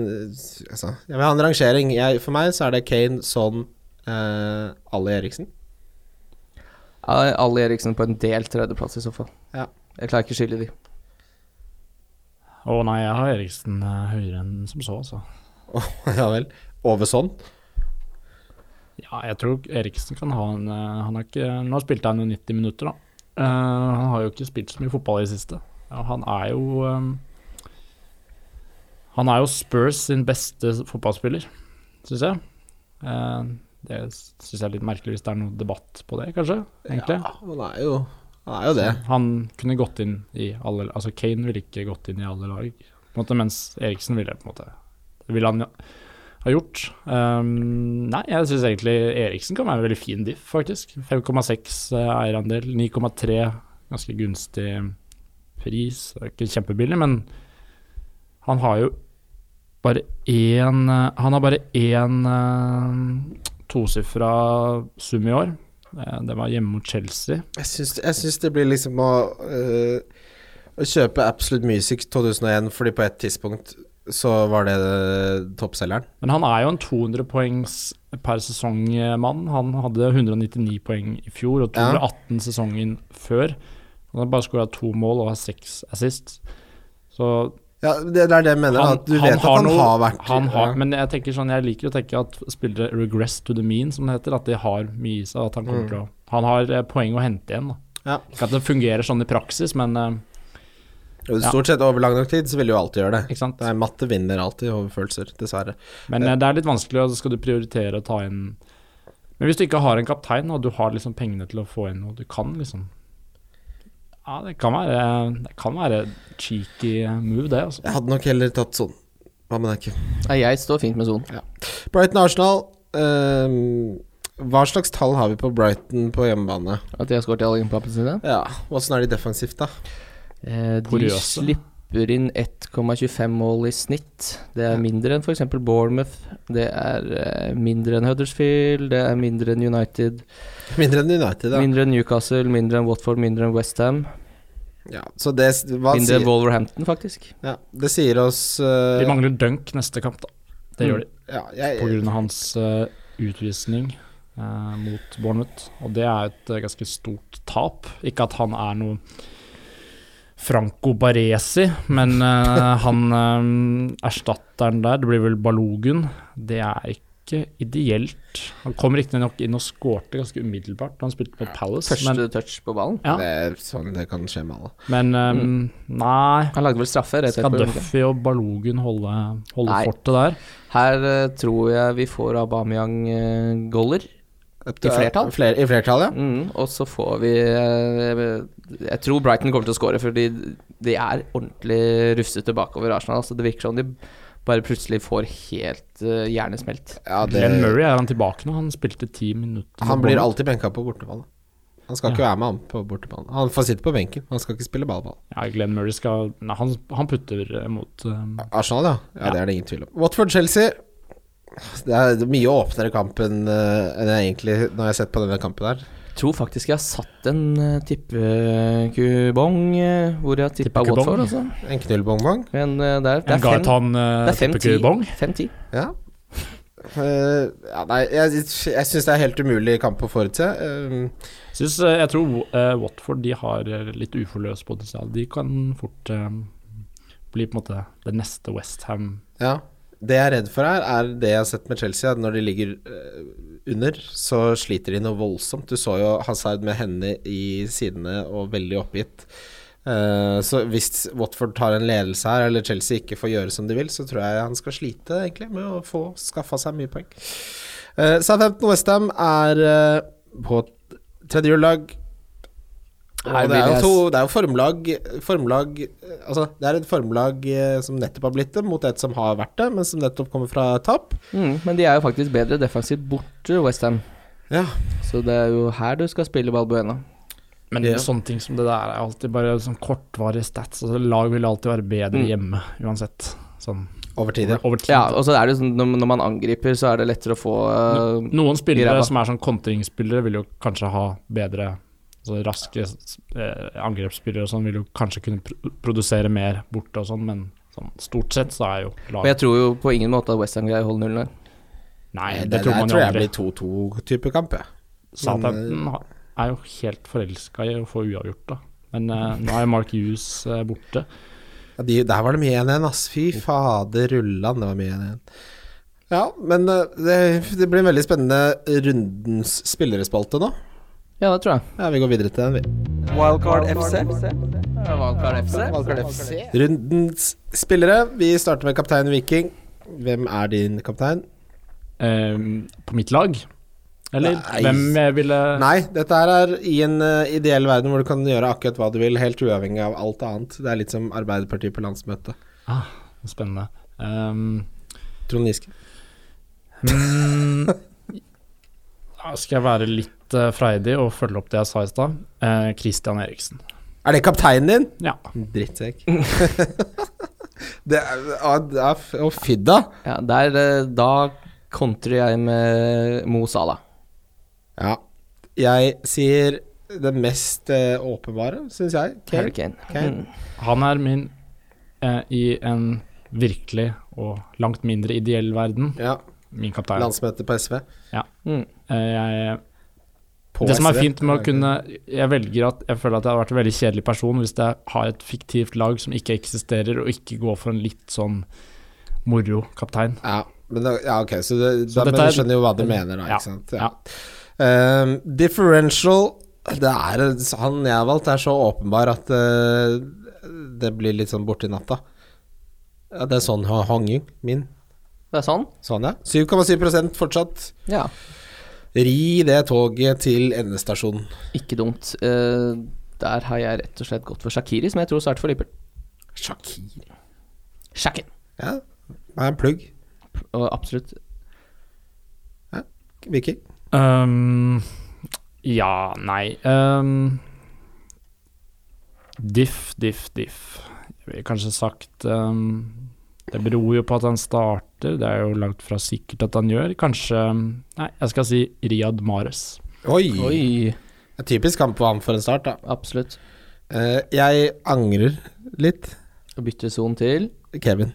[SPEAKER 3] altså, Jeg vil ha en rangering. Jeg, for meg så er det Kane, Son, uh, Ali Eriksen.
[SPEAKER 4] Ja, Alle Eriksen på en del tredjeplass i så fall
[SPEAKER 3] Ja.
[SPEAKER 4] Jeg klarer ikke å skille de
[SPEAKER 5] Å nei, jeg har Eriksen eh, høyere enn som så, altså.
[SPEAKER 3] ja vel. Over Son.
[SPEAKER 5] Ja, jeg tror Eriksen kan ha en eh, han har ikke, Nå spilte han jo 90 minutter, da. Eh, han har jo ikke spilt så mye fotball i det siste. Ja, han er jo eh, Han er jo Spurs sin beste fotballspiller, syns jeg. Eh, det syns jeg er litt merkelig hvis det er noe debatt på det, kanskje. egentlig.
[SPEAKER 3] Ja, han er jo, han er jo det.
[SPEAKER 5] Han kunne gått inn i alle Altså Kane ville ikke gått inn i alle lag, på en måte, mens Eriksen ville på en måte Det ville han ha gjort. Um, nei, jeg syns egentlig Eriksen kan være en veldig fin diff, faktisk. 5,6 eh, eierandel, 9,3 ganske gunstig pris. Det er ikke kjempebillig, men han har jo bare én eh, Han har bare én eh, tosifra sum i år. Eh, Det var hjemme mot Chelsea.
[SPEAKER 3] Jeg syns, jeg syns det blir liksom å øh, Å kjøpe Absolute Music 2001 fordi på et tidspunkt så var det eh, toppselgeren.
[SPEAKER 5] Men han er jo en 200 poengs per sesong-mann. Han hadde 199 poeng i fjor og
[SPEAKER 3] Ja.
[SPEAKER 5] 218 sesongen før. Han har bare skåra to mål og har seks assist. Så
[SPEAKER 3] Ja, det, det er det jeg mener. at du vet at han har vært
[SPEAKER 5] han har,
[SPEAKER 3] ja.
[SPEAKER 5] Men jeg tenker sånn, jeg liker å tenke at spillere regress to the mean, som det heter, at de har mye i seg. At han kommer til å Han har eh, poeng å hente igjen. Da.
[SPEAKER 3] Mm. Ja.
[SPEAKER 5] Ikke at det fungerer sånn i praksis, men eh,
[SPEAKER 3] Og Stort sett over lang nok tid så vil du jo alltid gjøre det.
[SPEAKER 5] ikke sant.
[SPEAKER 3] Nei, matte vinner alltid over følelser, dessverre.
[SPEAKER 5] Men eh, det er litt vanskelig, og så skal du prioritere å ta inn Men hvis du ikke har en kaptein, og du har liksom pengene til å få inn noe du kan, liksom Ja, det kan være, det kan være cheeky move, det, altså.
[SPEAKER 3] Jeg hadde nok heller tatt sånn. Hva med deg, Kim?
[SPEAKER 4] Nei, jeg står fint med sonen
[SPEAKER 3] Brighton Arsenal. øhm, hva slags tall har vi på Brighton på hjemmebane?
[SPEAKER 4] At de har skåret i alle innplappene sine?
[SPEAKER 3] Ja, Åssen er de defensivt, da?
[SPEAKER 4] Eh, de
[SPEAKER 5] Porøse.
[SPEAKER 4] slipper slipper inn 1,25 mål i snitt. Det er mindre enn f.eks. Bournemouth. Det er eh, mindre enn Huddersfield. Det er mindre enn United.
[SPEAKER 3] Mindre enn United, da.
[SPEAKER 4] Mindre enn Newcastle. Mindre enn Watford. Mindre enn Westham.
[SPEAKER 3] Ja, så det, hva
[SPEAKER 4] Mindre enn
[SPEAKER 3] sier,
[SPEAKER 4] Wolverhampton, faktisk.
[SPEAKER 3] ja, det sier oss eh,
[SPEAKER 5] De mangler dunk neste kamp, da. Det gjør de.
[SPEAKER 3] ja,
[SPEAKER 5] På
[SPEAKER 3] jeg,
[SPEAKER 5] grunn av hans eh, utvisning eh, mot Bournemouth. Og det er et eh, ganske stort tap. Ikke at han er noe Franco Baresi, men eh, han eh, erstatteren der, det blir vel Balogun, det er ikke ideelt. Han kom riktignok inn og skårte ganske umiddelbart da han spilte på Palace,
[SPEAKER 4] Første
[SPEAKER 5] men,
[SPEAKER 4] touch på ballen.
[SPEAKER 5] ja,
[SPEAKER 3] det er sånn det kan skje med alle.
[SPEAKER 5] men eh,
[SPEAKER 3] Mm.
[SPEAKER 5] nei.
[SPEAKER 4] Han lagde vel straffe. rett
[SPEAKER 5] Skal
[SPEAKER 4] etterpå.
[SPEAKER 5] Duffy og Balogun holde, holde
[SPEAKER 4] Nei.
[SPEAKER 5] fortet der?
[SPEAKER 4] Her eh, tror jeg vi får eh, Aubameyang-goller. I flertall?
[SPEAKER 3] Fler, I flertall, ja.
[SPEAKER 4] Mm, og så får vi eh, Jeg tror Brighton kommer til å skåre, fordi de er ordentlig rufsete bakover Arsenal. Altså, det virker som de bare plutselig får helt eh, hjernesmelt.
[SPEAKER 3] ja det,
[SPEAKER 5] Glenn Murray, er han tilbake nå? Han spilte ti minutter.
[SPEAKER 3] han blir alltid benka på bortebane. Han skal ikke være med han på bortebane. Han får sitte på benken, han skal ikke spille ballball.
[SPEAKER 5] Ja, Glenn Murray skal Nei, han, han putter eh, mot eh,
[SPEAKER 3] Arsenal, ja. ja. Det er det ingen tvil om. Watford-Chelsea. Det er mye åpnere kamp enn eh, enn jeg egentlig Når jeg har sett på denne kampen her.
[SPEAKER 4] Jeg tror faktisk jeg har satt en eh, tippekubong eh, hvor jeg har tippa
[SPEAKER 5] Tippekubong?
[SPEAKER 4] Watford, altså.
[SPEAKER 3] En knullbongbong.
[SPEAKER 4] Men eh, det er, det
[SPEAKER 5] En eh,
[SPEAKER 4] er fem.
[SPEAKER 5] Gaetan
[SPEAKER 4] Det er
[SPEAKER 5] tippekubong.
[SPEAKER 4] 5-10.
[SPEAKER 3] Ja. Eh, ja, nei, jeg, jeg syns det er helt umulig kamp å forutse. Eh,
[SPEAKER 5] Synes, eh, jeg tror eh, Watford de har eh, litt uforløst potensial. De kan fort eh, bli på en måte det neste Westham.
[SPEAKER 3] ja. Det jeg er redd for her, er det jeg har sett med Chelsea. At når de ligger eh, under, så sliter de noe voldsomt. Du så jo Hazard med hendene i sidene og veldig oppgitt. Eh, så hvis Watford tar en ledelse her, eller Chelsea ikke får gjøre som de vil, så tror jeg han skal slite egentlig med å få skaffa seg mye poeng. Uh, Southampton Westham er eh, på tredje juledag. Og det
[SPEAKER 4] Her vil
[SPEAKER 3] er jo
[SPEAKER 4] jeg
[SPEAKER 3] to Det er jo formlag, formlag eh, Altså, det er et formlag eh, som nettopp har blitt det, mot et som har vært det, men som nettopp kommer fra tap.
[SPEAKER 4] Mm, men de er jo faktisk bedre defensivt borte, Westham.
[SPEAKER 3] Ja.
[SPEAKER 4] Så det er jo her du skal spille Balbuena.
[SPEAKER 5] Men
[SPEAKER 3] Ja.
[SPEAKER 5] sånne ting som det der er alltid bare sånn kortvarige stats. Altså, lag vil alltid være bedre
[SPEAKER 4] Mm.
[SPEAKER 5] hjemme uansett. Sånn
[SPEAKER 3] Over tid, ja.
[SPEAKER 5] over tid.
[SPEAKER 4] Ja, og så er det jo sånn når, når man angriper, så er det lettere å få eh,
[SPEAKER 5] Noen spillere
[SPEAKER 4] Ræva.
[SPEAKER 5] som er sånn kontringsspillere, vil jo kanskje ha bedre altså Raske eh, angrepsspillere og sånn vil jo kanskje kunne pro produsere mer borte og sånn, men sånn, stort sett så er jo
[SPEAKER 4] Og jeg
[SPEAKER 5] laget
[SPEAKER 4] tror jo på ingen måte at Westham greier å holde nullen der.
[SPEAKER 5] Nei,
[SPEAKER 3] Det, Eh, det
[SPEAKER 5] det, tror
[SPEAKER 3] der
[SPEAKER 5] man jo
[SPEAKER 3] tror jeg
[SPEAKER 5] aldri.
[SPEAKER 3] blir 2-2-type kamp, Sånn, eh, jeg.
[SPEAKER 5] Southampton har- er jo helt forelska i å få uavgjort, da. Men eh, nå er Mark Hughes eh, borte.
[SPEAKER 3] Ja, de, der var det mye 1-1, ass. Fy fader, rullan, det var mye 1-1. Ja, men eh, det, det blir en veldig spennende rundens spillerespalte nå.
[SPEAKER 4] Ja, det tror jeg.
[SPEAKER 3] Ja, Vi går videre til den.
[SPEAKER 1] Wildcard FC.
[SPEAKER 4] Valkar FC.
[SPEAKER 3] vi. Rundens spillere. Vi starter med kaptein Viking. Hvem er din kaptein?
[SPEAKER 5] Eh, på mitt lag? Eller
[SPEAKER 3] Nei.
[SPEAKER 5] hvem jeg ville
[SPEAKER 3] Nei, dette her er i en eh, ideell verden hvor du kan gjøre akkurat hva du vil, helt uavhengig av alt annet. Det er litt som Arbeiderpartiet på landsmøtet.
[SPEAKER 5] Spennende. Um,
[SPEAKER 3] Trond Giske.
[SPEAKER 5] Mm, da skal jeg være litt eh, freidig og følge opp det jeg sa i stad. Eh, Christian Eriksen.
[SPEAKER 3] Er det kapteinen din?
[SPEAKER 5] Ja.
[SPEAKER 3] Drittsekk. det er, ja, det er f- Å, fy da.
[SPEAKER 4] Ja, der, eh, da kontrer jeg med Mo Salah.
[SPEAKER 3] Ja. Jeg sier det mest eh, åpenbare, syns jeg.
[SPEAKER 4] Harry
[SPEAKER 3] Kane.
[SPEAKER 4] Kane.
[SPEAKER 3] Kane.
[SPEAKER 4] Mm.
[SPEAKER 5] Han er min eh, i en virkelig og langt mindre ideell verden.
[SPEAKER 3] Ja.
[SPEAKER 5] Min kaptein.
[SPEAKER 3] Landsmøte på SV.
[SPEAKER 4] Mm.
[SPEAKER 5] Eh, jeg,
[SPEAKER 3] På
[SPEAKER 5] det som er
[SPEAKER 3] SV.
[SPEAKER 5] fint med å kunne Jeg velger at jeg føler at jeg har vært en veldig kjedelig person hvis jeg har et fiktivt lag som ikke eksisterer, og ikke går for en litt sånn moro kaptein.
[SPEAKER 3] Ja, men da, ja, ok, så, det,
[SPEAKER 5] Så
[SPEAKER 3] da, men
[SPEAKER 5] dette er-
[SPEAKER 3] du skjønner jo hva du mener, da.
[SPEAKER 5] Ja,
[SPEAKER 3] Ikke sant?
[SPEAKER 5] ja.
[SPEAKER 3] Ehm, differential det er, Han jeg har valgt, er så åpenbar at eh, det blir litt sånn borti natta. Ja, det er sånn ha- hanging min.
[SPEAKER 4] Det er sånn?
[SPEAKER 3] Sånn, ja. 7,7 fortsatt.
[SPEAKER 4] Ja.
[SPEAKER 3] Ri det toget til endestasjonen.
[SPEAKER 4] Ikke dumt. Eh, der har jeg rett og slett gått for Shakiri, som jeg tror starter for Liverpool.
[SPEAKER 3] Shakir.
[SPEAKER 4] Shakin.
[SPEAKER 3] Ja, det er en plugg.
[SPEAKER 4] Og absolutt.
[SPEAKER 3] Viking.
[SPEAKER 5] Um, ja, ehm, nei um, Diff, diff, diff. Jeg ville kanskje sagt um, Det beror jo på at han starter, det er jo langt fra sikkert at han gjør. Kanskje Nei, jeg skal si Riyad Mares.
[SPEAKER 3] Oi!
[SPEAKER 4] Oi,
[SPEAKER 3] Det er typisk kamp på ham for en start, da.
[SPEAKER 4] absolutt.
[SPEAKER 3] Eh, jeg angrer litt.
[SPEAKER 4] Og bytter son til
[SPEAKER 3] Kevin.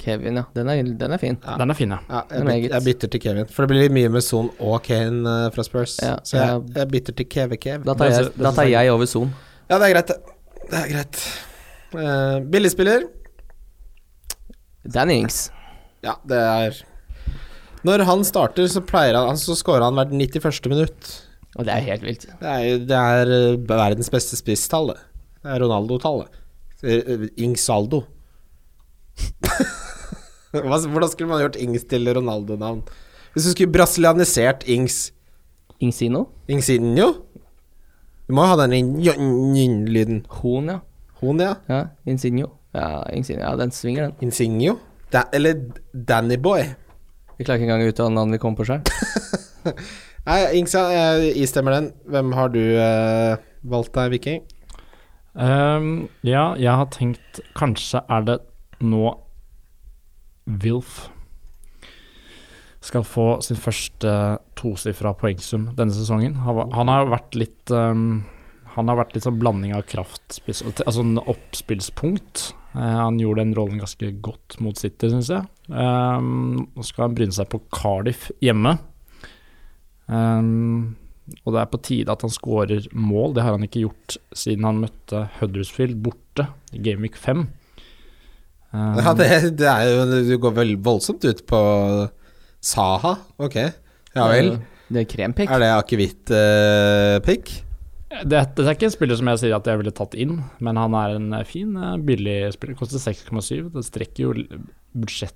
[SPEAKER 4] Kevin, ja. Den er, den er fin.
[SPEAKER 3] Ja.
[SPEAKER 5] Den er fin, ja.
[SPEAKER 3] Ja, jeg,
[SPEAKER 4] Det er meget.
[SPEAKER 3] byt, jeg bytter til Kevin, for det blir mye med Son og Kane eh, fra Spurs.
[SPEAKER 4] Ja,
[SPEAKER 3] så jeg,
[SPEAKER 4] jeg-
[SPEAKER 3] jeg bytter til Keve-Kev.
[SPEAKER 4] Da tar
[SPEAKER 5] Det er
[SPEAKER 4] jeg,
[SPEAKER 5] så- det er
[SPEAKER 4] da
[SPEAKER 5] så
[SPEAKER 4] tar
[SPEAKER 5] sant.
[SPEAKER 4] jeg over Son.
[SPEAKER 3] Ja, det er greit, det. Det er greit. Eh, billigspiller.
[SPEAKER 4] Dan Ings.
[SPEAKER 3] Ja, det er Når han starter, så pleier han altså, Så scorer han hvert 91. minutt.
[SPEAKER 4] Og det er helt vilt.
[SPEAKER 3] Det er, jo- det er eh, verdens beste spisstall, det. Det er Ronaldo-tallet. Eh, Ings saldo. Hva- Hvordan skulle man gjort Ings til Ronaldo-navn? Hvis du skulle brasilianisert Ings
[SPEAKER 4] Ingsino.
[SPEAKER 3] Ingsinio? Du må jo ha den njn-lyden.
[SPEAKER 4] Horn, ja.
[SPEAKER 3] Hon, ja.
[SPEAKER 4] ja. Insinio. Ja, Insinio. ja, den svinger, den.
[SPEAKER 3] Insignio. Da, eller Dannyboy.
[SPEAKER 4] Vi klarer ikke engang å uttale navnet vi kommer på sjøl.
[SPEAKER 3] Nei, Ingsa, jeg istemmer den. Hvem har du eh, valgt deg, Viking?
[SPEAKER 5] Um, ja, jeg har tenkt Kanskje er det nå Wilf skal få sin første eh, tosifra poengsum denne sesongen. Han var- Han har jo vært litt um, Han har vært litt sånn blanding av kraftspiss Altså en oppspillspunkt. Eh, han gjorde den rollen ganske godt mot City, syns jeg. Um, nå skal han bryne seg på Cardiff hjemme. Um, og det er på tide at han skårer mål. Det har han ikke gjort siden han møtte Huddersfield borte i Gameweek 5. Um,
[SPEAKER 3] Ja, det, det er jo Du går vel voldsomt ut på Saha. Ok. Ja vel.
[SPEAKER 4] Eh, Det er krempikk.
[SPEAKER 3] Er det eh, akevitt-pikk?
[SPEAKER 5] det, dette er ikke en spiller som jeg sier at jeg ville tatt inn, men han er en fin, eh, billig spiller. Koster 6,7. Det strekker jo l- budsjett,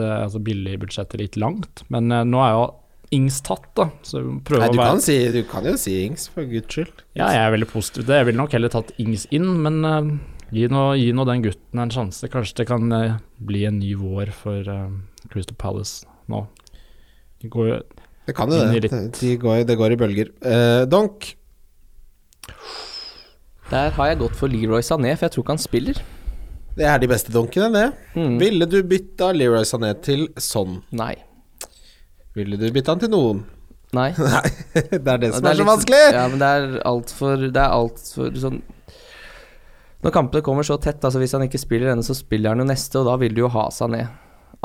[SPEAKER 5] eh, altså billig budsjettet litt langt. Men eh, nå er jo Ings tatt, da. Så vi må prøve
[SPEAKER 3] Nei,
[SPEAKER 5] å
[SPEAKER 3] du
[SPEAKER 5] være
[SPEAKER 3] kan, si, du kan jo si Ings, for guds skyld.
[SPEAKER 5] Ja, jeg er veldig positiv. til Det. Jeg ville nok heller tatt Ings inn, men eh, gi, nå, gi nå den gutten en sjanse. Kanskje det kan eh, bli en ny vår for eh, Crystal Palace nå. Det går jo
[SPEAKER 3] Det kan jo det.
[SPEAKER 5] Litt.
[SPEAKER 3] De går, det går i bølger. Eh, donk.
[SPEAKER 4] Der har jeg gått for Leroy Sané, for jeg tror ikke han spiller.
[SPEAKER 3] Det er de beste donkene, det.
[SPEAKER 4] Mm.
[SPEAKER 3] Ville du bytta Leroy Sané til sånn?
[SPEAKER 4] Nei.
[SPEAKER 3] Ville du bytta han til noen?
[SPEAKER 4] Nei.
[SPEAKER 3] Nei, det er det som er,
[SPEAKER 4] Ja, det
[SPEAKER 3] så
[SPEAKER 4] litt-
[SPEAKER 3] vanskelig!
[SPEAKER 4] Ja, men det er altfor Det er altfor sånn Når kampene kommer så tett, altså hvis han ikke spiller denne, så spiller han jo neste, og da vil du jo ha Sané.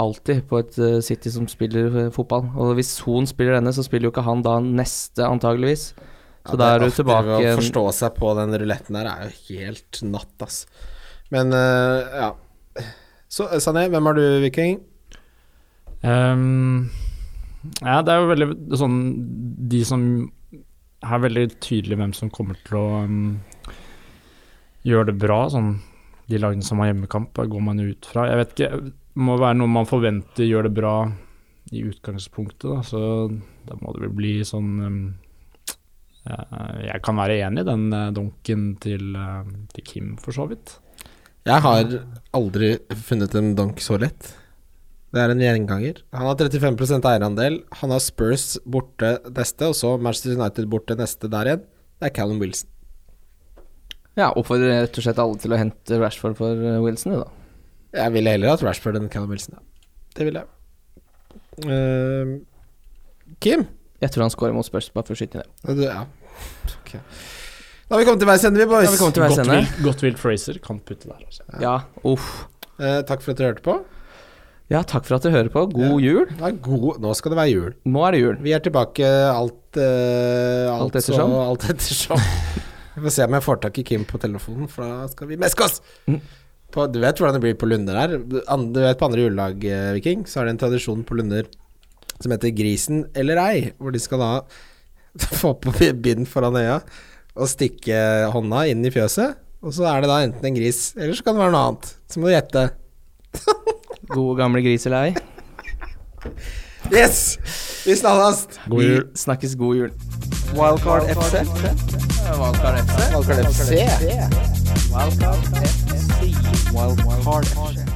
[SPEAKER 4] Alltid på et eh, City som spiller eh, fotball. Og hvis Son spiller denne, så spiller jo ikke han da neste, antageligvis. Så
[SPEAKER 3] Ja,
[SPEAKER 4] da er du
[SPEAKER 3] det alltid
[SPEAKER 4] tilbake
[SPEAKER 3] Å
[SPEAKER 4] igjen-
[SPEAKER 3] forstå seg på den ruletten der er jo helt natt, ass. Men eh, ja. Så eh, Sané, hvem har du, Viking?
[SPEAKER 5] Ehm, ja, det er jo veldig sånn De som er veldig tydelige hvem som kommer til å ehm, gjøre det bra, sånn de lagene som har hjemmekamp, da går man jo ut fra. Jeg vet ikke, det må være noe man forventer gjør det bra i utgangspunktet, da, så da må det vel bli sånn ehm, eh, Jeg kan være enig i den eh, donken til, eh, til Kim, for så vidt.
[SPEAKER 3] Jeg har aldri funnet en donk så lett. Det er en gjenganger. Han har 35 eierandel. Han har Spurs borte neste, og så Manchester United borte neste der igjen. Det er Callum Wilson.
[SPEAKER 4] Ja, oppfordrer rett og slett alle til å hente Rashford for eh, Wilson, jo da.
[SPEAKER 3] Jeg ville heller hatt Rashford enn Callum Wilson. Ja. Det ville jeg. Eh, Kim?
[SPEAKER 4] Jeg tror han scorer mot Spurs, bare for å skyte inn det.
[SPEAKER 3] Ja, du- Ja. Ok. Da har vi kommet til veis ende, vi, boys.
[SPEAKER 4] Da har vi kommet til veis
[SPEAKER 5] Godt
[SPEAKER 4] ende.
[SPEAKER 5] Will, godt Will Fraser kan putte der. Altså.
[SPEAKER 4] Ja, uff.
[SPEAKER 3] Eh, takk for at dere hørte på.
[SPEAKER 4] Ja, takk for at du hører på. God jul.
[SPEAKER 3] Det er god. Nå skal det være jul.
[SPEAKER 4] Nå er det jul.
[SPEAKER 3] Vi er tilbake alt eh,
[SPEAKER 4] Alt
[SPEAKER 3] så-
[SPEAKER 4] ettersom.
[SPEAKER 3] Alt ettersom. Vi får se om jeg får tak i Kim på telefonen, for da skal vi meske oss!
[SPEAKER 4] Mm.
[SPEAKER 3] På, du vet hvordan det blir på Lunder her. An- Du vet på andre julelag, eh, Viking, så er det en tradisjon på Lunder som heter Grisen eller ei, hvor de skal da få på bind foran øya og stikke hånda inn i fjøset. Og så er det da enten en gris, eller så kan det være noe annet. Så må du gjette.
[SPEAKER 4] God gamle gris eller ei.
[SPEAKER 3] Yes! Vi snakkes!
[SPEAKER 5] God jul.
[SPEAKER 4] Vi snakkes god jul.
[SPEAKER 1] Wildcard FC.
[SPEAKER 3] Valgkart FC.
[SPEAKER 1] Wildcard FC. Wildcard FC.